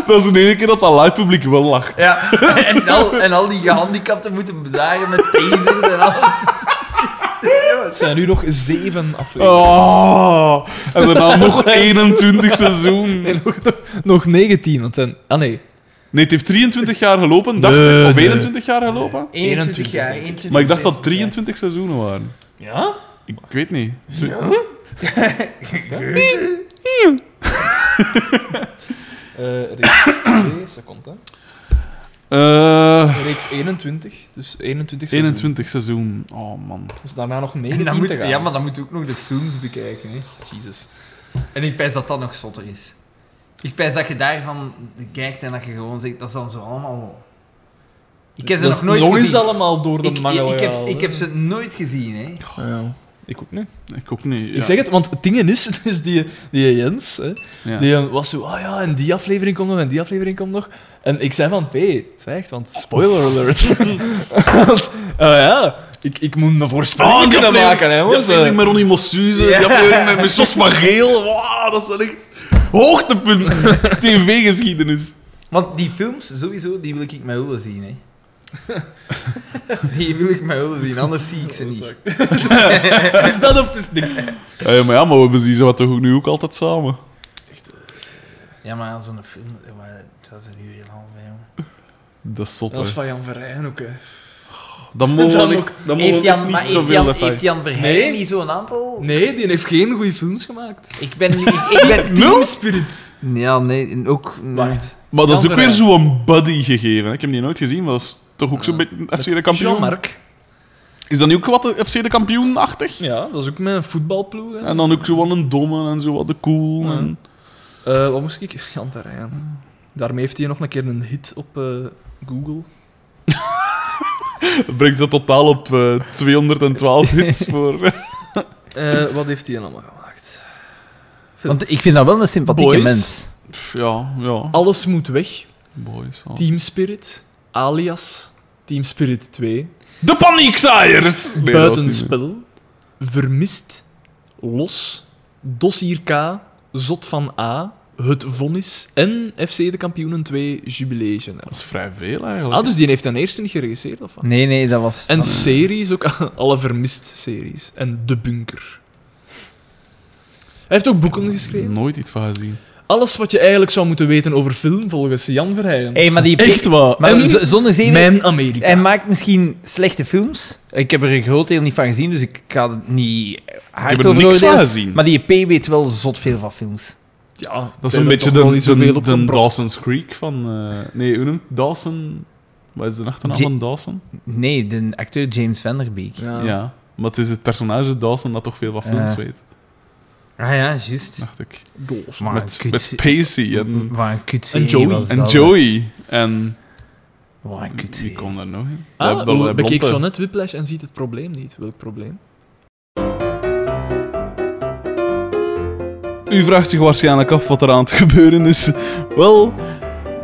B: Dat is de enige keer dat dat live publiek wel lacht.
C: Ja. En al, en al die gehandicapten moeten bedaren met tasers en alles.
A: Het zijn nu nog zeven afleveringen.
B: Oh, en daarna nog 21 seizoen.
A: Nee, nog, nog 19. Want het zijn... Ah, nee.
B: Nee, het heeft 23 jaar gelopen, dacht
A: Nee,
B: ik. Of
A: nee.
B: 21 jaar gelopen.
C: 21 jaar.
A: denk ik.
C: 21,
B: Maar ik dacht dat 23 seizoenen waren.
A: Ja?
B: Ik, ik weet niet. Twe-
A: Eh, reeks 2, seconde.
B: Eh,
A: Reeks 21. Dus 21 seizoen.
B: 21 seizoen. Oh man.
A: Dus daarna nog
C: En
A: 19
C: dan moet,
A: te gaan.
C: ja, maar dan moet je ook nog de films bekijken. Hè.
A: Jezus.
C: En ik pijs dat dat nog zotter is. Ik pijs dat je daarvan kijkt en dat je gewoon zegt, dat is dan zo allemaal... Ik heb ze
A: Dat
C: nog nooit
A: is
C: gezien.
A: eens allemaal door de
C: ik,
A: mangel
C: ik, ik, heb,
A: gehaald,
C: ik heb
A: hè.
C: ze nooit gezien, hè.
A: Ja. Ik ook niet.
B: Ik ook niet. ja.
A: Ik zeg het, want het ding is, is die, die Jens, hè,
B: Ja.
A: die was zo, ah ja, en die aflevering komt nog, en die aflevering komt nog. En ik zei van, P, zwijg, want spoiler alert. want, eh, ja, ik, Ah, ik moet een voorspelling
B: Ah, die
A: kunnen
B: aflevering-
A: maken, hè, eh,
B: Die
A: jongens.
B: aflevering met Ronnie Mossuze, die aflevering met, met Jos van Geel. Wauw, dat zijn echt hoogtepunten. TV-geschiedenis.
C: Want die films, sowieso, die wil ik met Ulle zien, hè. die wil ik met Ulle zien, anders zie ik ze niet.
A: Is dat of het is niks?
B: Eh, maar ja, maar we hebben ze wat toch ook nu ook altijd samen.
C: Ja, maar als een film... eh, maar Dat is een uur en een half, hè, jongen.
B: Dat is zot, hè.
A: Dat is van Jan Verheyen ook, hè.
B: Dan mogen
A: dan
B: we
A: ook.
B: niet- dan mogen we
C: Heeft Jan,
B: nog
C: maar
B: niet te
C: heeft
B: veel
C: Jan,
B: detail.
C: heeft Jan Verheyen
A: Nee.
C: niet zo'n aantal?
A: Nee, die heeft geen goede films gemaakt.
C: Ik ben... Ik, ik ben
A: Team Spirit.
C: Ja, nee, en ook...
A: Wacht.
B: Maar dat is
A: Jan
B: ook
A: Verheyen.
B: weer zo'n buddy gegeven. hè. Ik heb die nooit gezien, maar dat is toch ook zo'n beetje FC de kampioen.
A: Jean-Marc.
B: Is dat niet ook wat FC de kampioen-achtig?
A: Ja, dat is ook mijn voetbalploeg. hè.
B: En dan ook zo wat een domme en zo wat de cool.
A: Ja.
B: En...
A: Eh, wat moest ik? Jan Verheyen. Daarmee heeft hij nog een keer een hit op eh, Google.
B: Dat brengt dat totaal op eh, 212 hits voor.
A: Eh, wat heeft hij allemaal gemaakt? Films.
C: Want ik vind dat wel een sympathieke
A: Boys.
C: mens.
B: Pff, ja, ja.
A: Alles moet weg.
B: Boys. ja.
A: Oh. Team Spirit, alias Team Spirit 2,
B: De paniekzaaiers! Nee, dat was niet meer.
A: Buitenspel, Vermist, Los, Dossier K, Zot van A, Het Vonnis en FC de Kampioenen 2 Jubilation.
B: Dat is vrij veel eigenlijk.
A: Ah, dus die heeft ten eerste niet geregisseerd, of wat?
C: Oh, Nee, Ah, nee, dat was...
A: En
C: van-
A: series ook, alle Vermist-series. En De Bunker. Hij heeft ook boeken geschreven.
B: Nooit iets van gezien.
A: Alles wat je eigenlijk zou moeten weten over film, volgens Jan Verheyen.
C: Hé, maar die...
A: Echt waar.
C: Maar
A: en
C: z- zonder zeven...
A: Mijn Amerika.
C: Hij maakt misschien slechte films. Ik heb er een groot deel niet van gezien, dus ik ga het niet
B: ik
C: hard
B: heb
C: over
B: er niks van
C: oordelen.
B: gezien.
C: Maar die P weet wel zot veel van films.
A: ja, ik
B: dat
A: ben
B: is een
A: er
B: beetje
A: toch wel
B: de,
A: niet
B: de,
A: zoveel
B: de,
A: op gepropt.
B: Dawson's Creek van... eh, nee, hoe noemt Dawson... Wat is de achternaam
C: J-
B: van Dawson?
C: Nee, de acteur James Vanderbeek.
A: Ja.
B: Ja. Maar het is het personage Dawson dat toch veel van films
C: Eh.
B: weet,
C: Ah ja, juist.
B: dacht ik.
A: Doos.
C: Maar
B: Met,
C: kut-
B: met Pacey en,
C: Wat een kut
A: En Joey.
C: was
B: en
C: dat,
B: Joey. En
C: hè. Wat een E. kut
B: wie
C: serie.
B: kon daar nog in?
A: Ah,
B: Dat- dat- dat
A: bekeek
B: blonde.
A: zo net Whiplash en ziet het probleem niet. Welk probleem?
B: U vraagt zich waarschijnlijk af wat er aan het gebeuren is. Wel,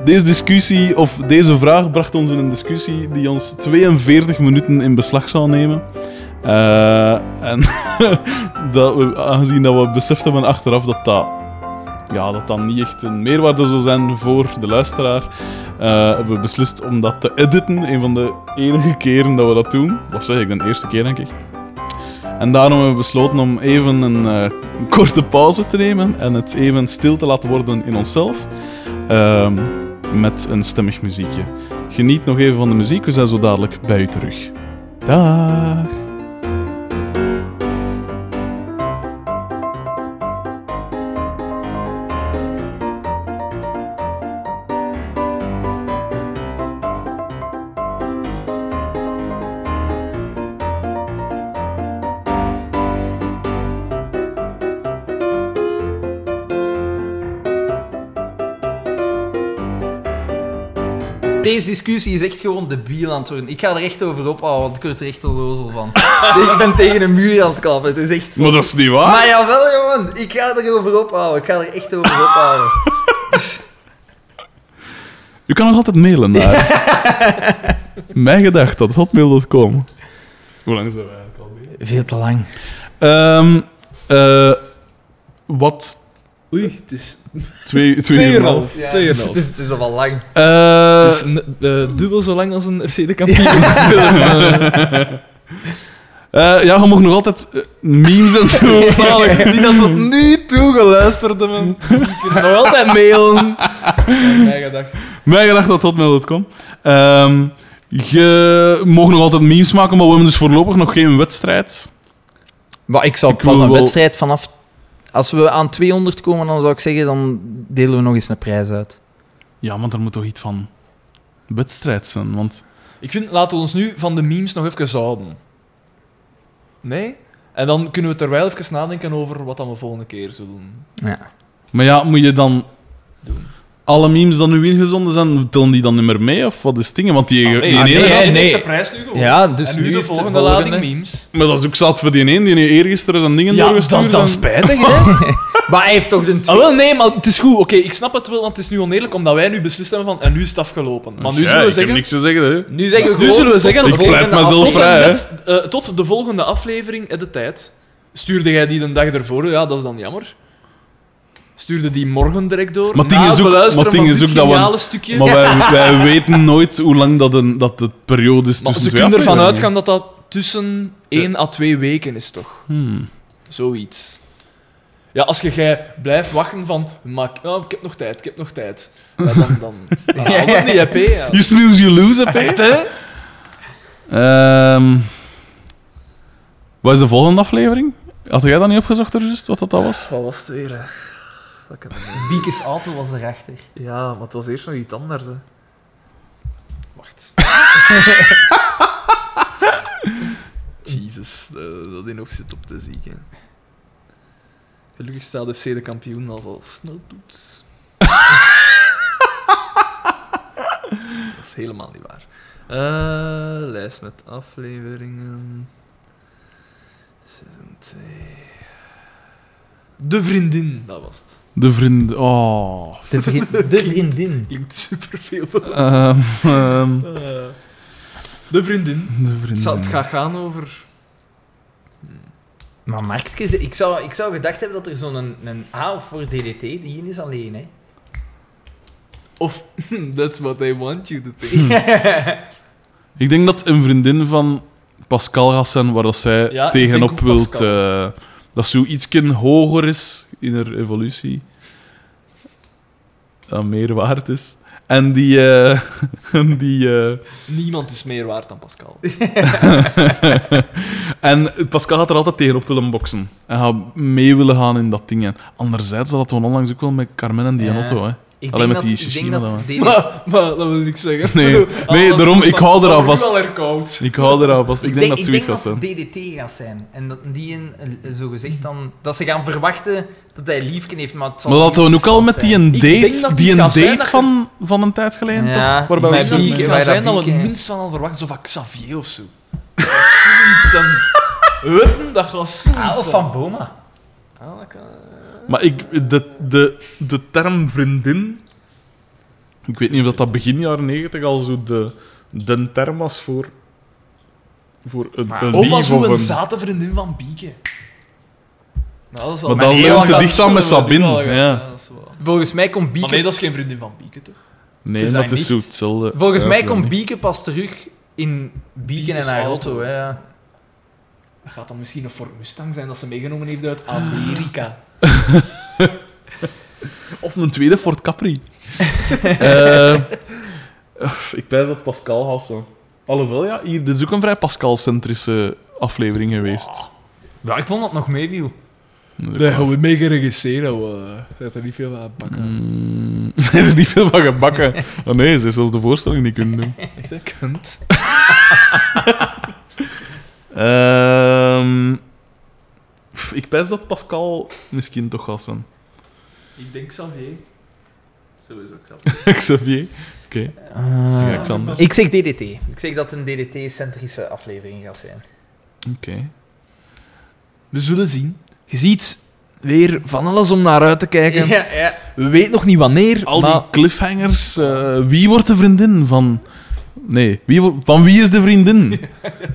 B: deze discussie of deze vraag bracht ons in een discussie die ons 42 minuten in beslag zou nemen. Eh, en dat we, aangezien dat we beseften van achteraf dat dat ja, dat dan niet echt een meerwaarde zou zijn voor de luisteraar, eh, hebben we beslist om dat te editen. Een van de enige keren dat we dat doen. Wat zeg ik, de eerste keer denk ik. En daarom hebben we besloten om even een eh, een korte pauze te nemen en het even stil te laten worden in onszelf. ehm, met een stemmig muziekje. Geniet nog even van de muziek, we zijn zo dadelijk bij u terug. Dag!
C: Deze discussie is echt gewoon debiel aan het worden. Ik ga er echt over ophouden, want ik word er echt onlozel van. ik ben tegen een muur aan het klappen, het is echt... zo-
B: Maar dat is niet waar!
C: Maar jawel, jongen. Ik ga erover ophouden. oh, Ik ga er echt over oh. ophouden.
B: U kan nog altijd mailen naar mijngedacht.hotmail.com Hoe lang is dat eigenlijk al?
C: Veel te lang.
B: Ehm eh, wat?
A: Oei, het is
B: Twee, twee,
A: 2,5.
B: uur en een half.
A: 2,5.
C: Ja, het, is, het is al wel lang.
B: Eh,
C: Dus
A: Het is n- eh, dubbel zo lang als een FC de kampioen.
B: eh, ja, je mag nog altijd eh, memes en zo zalig.
A: Niet dat tot nu toe geluisterd hebben. Die kunnen nog altijd mailen. Ja, gedacht.
B: Mijngedacht.hotmail.com Ehm Je mag nog altijd memes maken, maar we hebben dus voorlopig nog geen wedstrijd.
C: Maar ik zou
B: Ik
C: pas
B: wil
C: een
B: wel-
C: wedstrijd vanaf... Als we aan 200 komen, dan zou ik zeggen, dan delen we nog eens een prijs uit.
B: Ja, want er moet toch iets van wedstrijd zijn, want...
A: Ik vind, laten we ons nu van de memes nog even houden. Nee? En dan kunnen we terwijl even nadenken over wat dan we volgende keer zullen doen.
C: Ja.
B: Maar ja, moet je dan... Alle memes die nu ingezonden zijn, tellen die dan niet meer mee? Of wat is het ding? Want die, die
A: ah,
B: ene...
A: nee,
C: nee,
A: dat is
C: nee.
A: echt de prijs nu gewoon.
C: Ja, dus
A: en nu,
C: nu
A: de
C: is de
A: volgende,
C: volgende.
A: lading memes.
B: Maar dat is ook zat voor die ene, die eergisteren zijn dingen doorgestuurd. en-
A: spijtig, hè?
C: Maar hij heeft toch de...
A: Ah, wel, nee, maar het is goed. Oké, ik snap het wel, want het is nu oneerlijk, omdat wij nu beslist hebben van... En nu is het afgelopen. Maar nu
B: Ja,
A: zullen we
B: ik heb
A: zeggen...
B: niks te zeggen, hè.
C: Nu zeggen we
A: Nu
C: gewoon
A: zullen we
C: tot
A: zeggen...
C: de
B: Ik pleit
C: volgende
B: mezelf
A: tot, en
B: vrij, hè.
A: met, eh, tot de volgende aflevering en de tijd. Stuurde jij die de dag ervoor? Ja, dat is dan jammer. Stuurde die morgen direct door?
B: Maar het ding
A: na
B: is
A: het
B: ook-
A: beluisteren
B: maar het
A: van
B: ding is
A: dit
B: ook dat we-
A: geniale stukje?
B: Maar wij, wij weten nooit hoe lang dat, een, dat de periode is
A: Maar
B: tussen
A: ze
B: twee
A: kunnen ervan
B: afleveringen.
A: uitgaan dat dat tussen 1 à 2 weken is, toch?
B: Hmm.
A: Zoiets. Ja, als je jij blijft wachten van, maar ik, oh, ik heb nog tijd, ik heb nog tijd. Ja, dan, dan, dan haal je het niet, hè, P, ja.
B: You snooze, you lose, hè, P.
A: Echt, hè?
B: Ehm, wat is de volgende aflevering? Had jij dat niet opgezocht, er, juist, wat dat dat was?
A: Wat was het weer, hè? Wat ik heb-
C: Biekes auto was erachter.
A: Ja, maar het was eerst nog iets anders, hè. Wacht. Jezus, eh, dat in nog zit op te zieken. Gelukkig staat FC de kampioen als al snel doet. dat is helemaal niet waar. Eh, lijst met afleveringen. Seizoen 2. De vriendin, dat was het.
B: De vriend... Oh.
C: De, vri- de vriendin.
A: Klinkt superveel. veel.
B: Ehm, ehm,
A: de vriendin.
B: de vriend...
A: Het, zal, het gaat gaan over.
C: Maar Markske, ik zou, ik zou gedacht hebben dat er zo'n een, een A of voor DDT, die is alleen, hè.
A: Of that's what I want you to
B: Hm.
A: think.
B: Ik denk dat een vriendin van Pascal gaat zijn waar dat zij
A: Ja, ik
B: tegenop
A: denk ook
B: wilt.
A: Pascal.
B: eh, dat ze iets hoger is in haar evolutie. Dat meer waard is. En die. eh, en die eh,
A: Niemand is meer waard dan Pascal.
B: en Pascal gaat er altijd tegenop willen boksen. En gaat mee willen gaan in dat ding. En anderzijds, dat hadden we onlangs ook wel met Carmen en Dianotto.
C: Ja.
B: hè.
C: Ik
B: Alleen
C: denk
B: met
C: dat-
B: die
C: ik denk
B: Shishima
C: dat
B: dan, hè.
C: DDT
A: Maar, maar dat wil niks zeggen.
B: Nee, nee,
A: Alles
B: daarom,
A: goed,
B: ik hou
A: maar-
B: eraan
A: maar nu
B: vast.
A: al herkoud.
B: Ik hou er vast. Ik, denk dat zoiets gaat zijn.
C: dat DDT gaat zijn. En dat die een, eh, zo gezegd dan... Dat ze gaan verwachten dat hij liefken heeft, maar het zal
B: Maar dat we
C: een
B: ook al met die een
A: Ik denk
B: date,
A: dat
B: die
A: het
B: een
A: gaat zijn
B: date
A: dat je-
B: van, van een tijd geleden,
C: Ja,
B: toch? Waarbij we
C: bij
A: Ik
B: zo-
A: denk dat
C: Bieke,
A: die
C: bij
A: gaan zijn
C: dat
A: dat we
C: Bieke,
A: het
C: hè.
A: minst van al verwachten. Zo van Xavier of zo. Zoiets. En... Wetten, dat gaat zoiets.
C: Ah, of
A: zijn.
C: Van Boma.
A: Ah, dat kan-
B: Maar ik, de, de, de term vriendin. Ik weet niet of dat, dat begin jaren negentig al zo de, de term was voor. voor een, een
A: Of
B: lief
A: als hoe
B: of
A: een
B: een-
A: zate vriendin van Bieke. Nou, dat is al
B: Maar dan
A: heel
B: leunt
A: lang
B: het dicht aan met
A: geleden.
B: Sabine,
A: Dat is wel-
B: ja.
A: dat is wel-
C: Volgens mij komt
A: Maar
C: Bieke...
A: nee, dat is geen vriendin van Bieke, toch?
B: Nee,
C: zijn
B: maar het is
C: niet.
B: zo hetzelfde.
C: Volgens
B: Ja,
C: mij
B: het is
C: komt
B: niet.
C: Bieke pas terug in Bieke en
A: Bieke's
C: haar
A: auto.
C: auto. hè, Ja.
A: Dat gaat dan misschien een Ford Mustang zijn dat ze meegenomen heeft uit Amerika.
B: Of een tweede Ford Capri. Eh, uf, ik wijs dat Pascal had zo. Alhoewel, ja, hier, dit is ook een vrij Pascal-centrische aflevering
C: Oh.
B: geweest.
C: Ja, ik vond dat nog meeviel.
A: Daar gaan we mee geregisseerd houden. Dat er niet veel aan pakken.
B: Mm, er is niet veel van gebakken. Oh nee, ze heeft zelfs de voorstelling niet kunnen doen.
A: Echt, hè? Kunt.
B: Ehm, pff, ik wijs dat Pascal misschien toch gaat zijn.
A: Ik denk Xavier. Zo is ook Xavier.
B: Xavier. Oké,
C: Eh, Ah.
B: zeg Xander.
C: ik zeg DDT. Ik zeg dat het een DDT-centrische aflevering gaat zijn.
B: Oké.
A: We zullen zien. Je ziet weer van alles om naar uit te kijken.
C: ja.
A: We weten nog niet wanneer,
B: Al
A: maar
B: die cliffhangers. eh, wie wordt de vriendin van. Nee, wie, wo- van wie is de vriendin?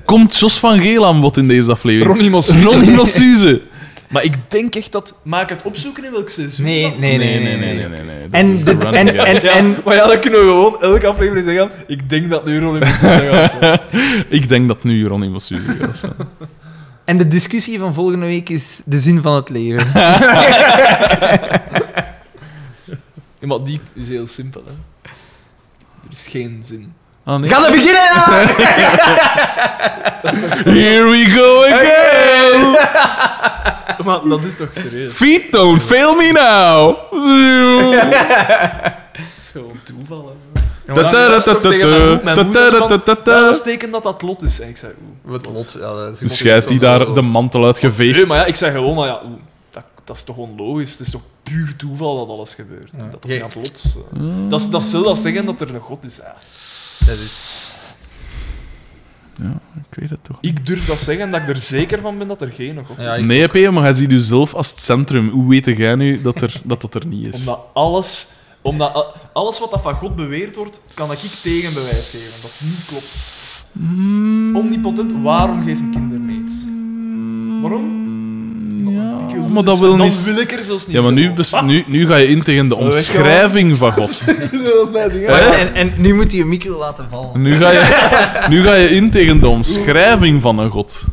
B: Komt Jos van Geel aan bod in deze aflevering?
A: Ronnie Mos.
B: Ronnie Massuze.
A: Maar ik denk echt dat... Maak het opzoeken in welk seizoen.
C: Nee,
A: dat-
C: nee, nee. nee, nee,
B: nee.
C: En
B: Dat is de
C: de-
B: running
C: en-
B: gag.
A: Ja,
C: En-
A: Maar ja, dan kunnen we gewoon elke aflevering zeggen. Ik denk dat nu Ronnie Mos gaat zijn.
B: Ik denk dat nu Ronnie Massuze gaat zijn.
C: En de discussie van volgende week is de zin van het leven.
A: Ja, maar die is heel simpel, hè. Er is geen zin.
B: Ah, nee.
C: Gaan we beginnen!
B: Here we go again!
A: Maar dat is toch serieus?
B: Feet don't fail me now!
A: Dat is gewoon toeval, hè. Ja, dat is
B: Ta-ta-ra-ta-ta-ta.
A: teken dat dat lot is. En ik zei oeh.
C: Wat lot. Ja, dat is-
B: Dus jij hebt die daar de mantel
A: Nee,
B: uitgeveegd.
A: maar ja, ik zei gewoon, maar ja, oeh, dat, dat is toch onlogisch. Het is toch puur toeval dat alles gebeurt. hè.
C: Ja.
A: Dat toch niet aan het lot. eh. Dat is dat is zelfs als zeggen dat er een god is. ja.
C: Dat is...
B: Ik weet het toch.
A: Ik durf dat zeggen dat ik er zeker van ben dat er geen god is.
C: Ja, ik-
B: Nee, P, maar jij ziet jezelf als het centrum. Hoe weet jij nu dat er, dat, dat er niet is?
A: Omdat alles, omdat a- alles wat dat van God beweerd wordt, kan ik tegenbewijs geven. Dat niet klopt. Mm. Omnipotent, waarom geven kinderen niets? Waarom? Omdat ik
B: Ja,
A: wil
B: maar dat
A: dus-
B: wil
A: dan
B: niet...
A: wil ik er zelfs niet Ah!
B: Ja, maar nu,
A: komen.
B: bes-
A: Wat?
B: nu, nu ga je in tegen de
A: Oh, weet je wel.
B: omschrijving van God.
C: Wacht, en, en nu moet hij een micro laten vallen.
B: Nu ga, je, nu ga je in tegen de omschrijving van een God.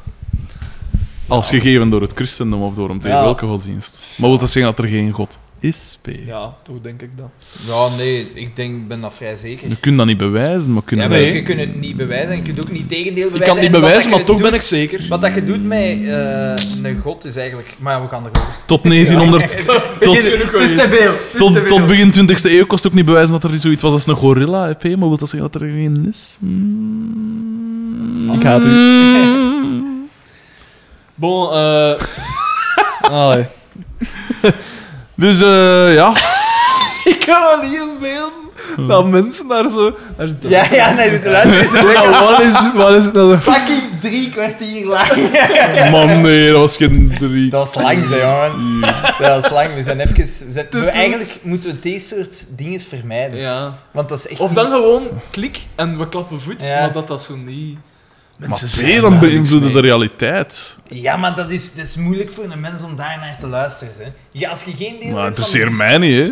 B: Als gegeven door het christendom of door hem tegen
A: Ja.
B: welke godsdienst. Maar wil dat zeggen dat er geen God is, P?
A: Ja, toch denk ik dat.
C: Ja, nee, ik denk, ben dat vrij zeker.
B: Je kunt dat niet bewijzen, maar kunnen
C: Ja, maar
B: wij-
C: je kunt het niet bewijzen en je kunt ook niet tegendeel
A: Ik kan
C: bewijzen.
A: het niet
C: En wat
A: bewijzen,
C: dat
A: maar
C: je
A: toch ben
C: doet-
A: ik zeker.
C: Wat dat je doet met eh, een god is eigenlijk... Maar ja, we gaan erover.
B: tot 1900... Tot,
C: Het is te veel. het is te
B: tot,
C: veel.
B: tot begin 20e eeuw kost ook niet bewijzen dat er zoiets was als een gorilla, hè, P? Maar wil dat zeggen dat er geen is? Hm. Mm.
A: Ik haat u.
B: Mm.
A: Bon, eh. Allee.
B: Dus eh, ja,
A: Ik kan me niet inbeelden dat mensen daar zo. Daar zitten.
C: Ja, ja, nee, dit luistert
A: Ja, wat is, wat is het nou? zo?
C: fucking drie kwartier lang.
B: man, nee, dat was geen drie.
C: Dat is lang, zeg, jongen.
B: Ja.
C: Dat is lang. We zijn even... We zijn,
A: Doet,
C: we
A: doet.
C: eigenlijk moeten we deze soort dingen vermijden. Want dat is echt
A: Of
C: niet-
A: dan gewoon klik en we klappen voet,
C: Ja.
A: maar dat dat zo niet.
B: Maar
A: Mensen
B: P,
A: zijn
B: dan
A: daar
B: beïnvloedde
A: niks mee.
B: de realiteit.
C: Ja, maar dat is, dat is moeilijk voor een mens om daar naar te luisteren. Hè. Ja, als je geen deel
B: Maar
C: hebt van
B: interesseert
C: de-
B: mij niet, hè.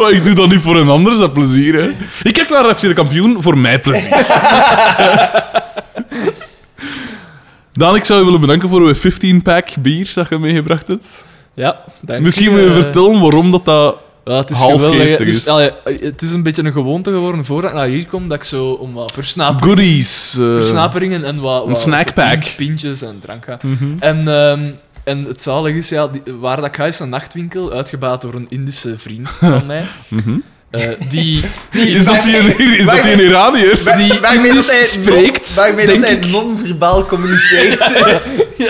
B: Maar ik doe dat niet voor een ander, dat plezier, hè. Ik kijk naar FC de kampioen voor mijn plezier. Daan, ik zou je willen bedanken voor uw 15-pack bier dat je meegebracht hebt.
A: Ja, dank
B: Misschien
A: u,
B: wil je
A: eh.
B: vertellen waarom dat dat...
A: Ja, het is
B: half
A: geweldig, hè.
B: geestig
A: Dus,
B: is.
A: allee, het is een beetje een gewoonte geworden voordat ik naar hier kom dat ik zo om wat versnap
B: Goodies. eh,
A: versnaperingen en wat,
B: een
A: wat
B: snackpack. Mhm.
A: pin- pintjes en drank ga. En, ehm, en het zalig is, ja, die- waar dat ik ga is een nachtwinkel, uitgebaat door een Indische vriend van mij.
B: mhm.
A: eh, die,
B: Is dat die, is dat die een Iranier?
A: die
C: Waarmee
A: Indisch
C: dat hij non-
A: spreekt,
C: Waarmee dat
A: denk
C: hij
A: ik.
C: non-verbaal communiceert.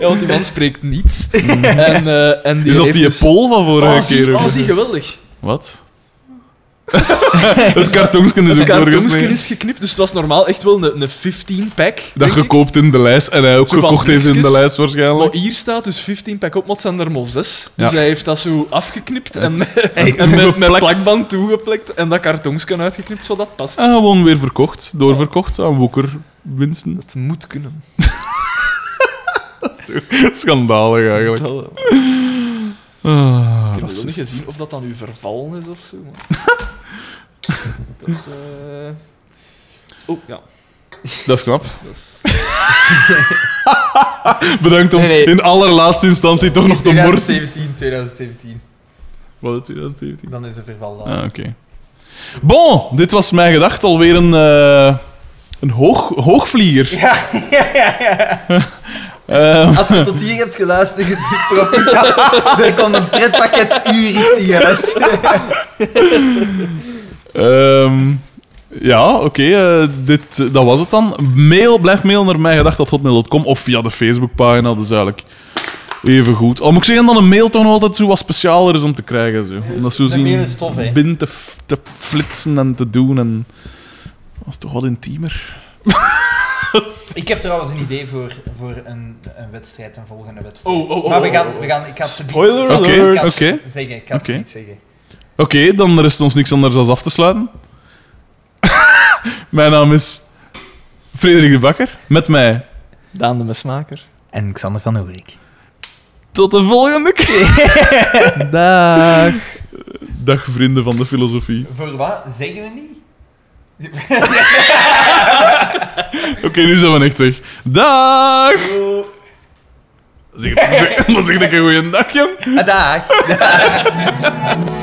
A: Ja, want die man spreekt niets. en, eh, en die
B: Is dat
A: heeft
B: die
A: dus-
B: Pol van
A: Oh,
B: vorige
A: zie,
B: keer?
A: oh, zie, geweldig.
B: Wat? het kartonsken is
A: Het
B: ook
A: kartonsken
B: doorgesneden.
A: is geknipt, dus het was normaal echt wel een, een 15-pack.
B: Dat
A: denk ik.
B: gekoopt in de lijst en hij ook
A: Zo van
B: gekocht heeft in de
A: blikjes.
B: lijst waarschijnlijk.
A: Maar hier staat dus 15 pack op, maar het zijn er maar 6. Dus
B: Ja.
A: hij heeft dat zo afgeknipt en, met- en met, met
B: toegeplakt.
A: plakband toegeplakt en dat kartonsken uitgeknipt, zodat dat past.
B: En Ah, gewoon weer verkocht, doorverkocht aan woekerwinsten.
A: Het moet kunnen.
B: Schandalig eigenlijk.
A: Wel,
B: Ah,
A: Ik heb nog
B: racist.
A: niet gezien of dat dan nu vervallen is of zo. maar- dat, eh, Oh, ja.
B: Dat is knap.
A: Dat is...
B: Bedankt om
C: Nee, nee.
B: in allerlaatste instantie toch nog te morsen.
D: 2017, 2017.
B: Wat is 2017?
D: Dan is de verval dan.
B: Ah, oké. Bon, dit was mijn gedacht alweer een, eh, een hoog, hoogvlieger.
D: Ja, ja, ja, ja.
B: Ehm,
D: Als je tot hier hebt geluisterd, het is trots. er komt een pretpakket u richting uit.
B: ehm, ja, oké. eh, dit, eh, dat was het dan. Mail, blijf mailen naar mijngedacht.hotmail.com of via de Facebookpagina. Dat is eigenlijk even goed. Al moet ik zeggen dat een mail toch nog altijd zo wat specialer is om te krijgen. Zo. Om dat zo
D: Zijn dus mail
B: zien
D: is tof, hè.
B: binnen te, f- te flitsen en te doen. En... Dat is toch wat intiemer.
D: Ik heb trouwens een idee voor, voor een, een wedstrijd, een volgende wedstrijd.
A: Oh, oh, oh,
D: maar we gaan,
A: oh,
D: we gaan, ik ga het zo
A: Spoiler
B: Oké,
A: alert.
B: oké.
D: niet zeggen. Ik ga het zo
B: Oké.
D: niet zeggen.
B: Oké, dan rest ons niks anders dan af te sluiten. Mijn naam is Frederik de Bakker. Met mij.
A: Daan de Mesmaker.
D: En Xander van Oerik.
B: Tot de volgende keer.
A: Dag.
B: Dag vrienden van de filosofie.
D: Voor wat zeggen we niet?
B: Oké, nu zijn we echt weg. Dag! Zeg, zeg, zeg, zeg een goeiedag, jong.
D: Ah, Dag.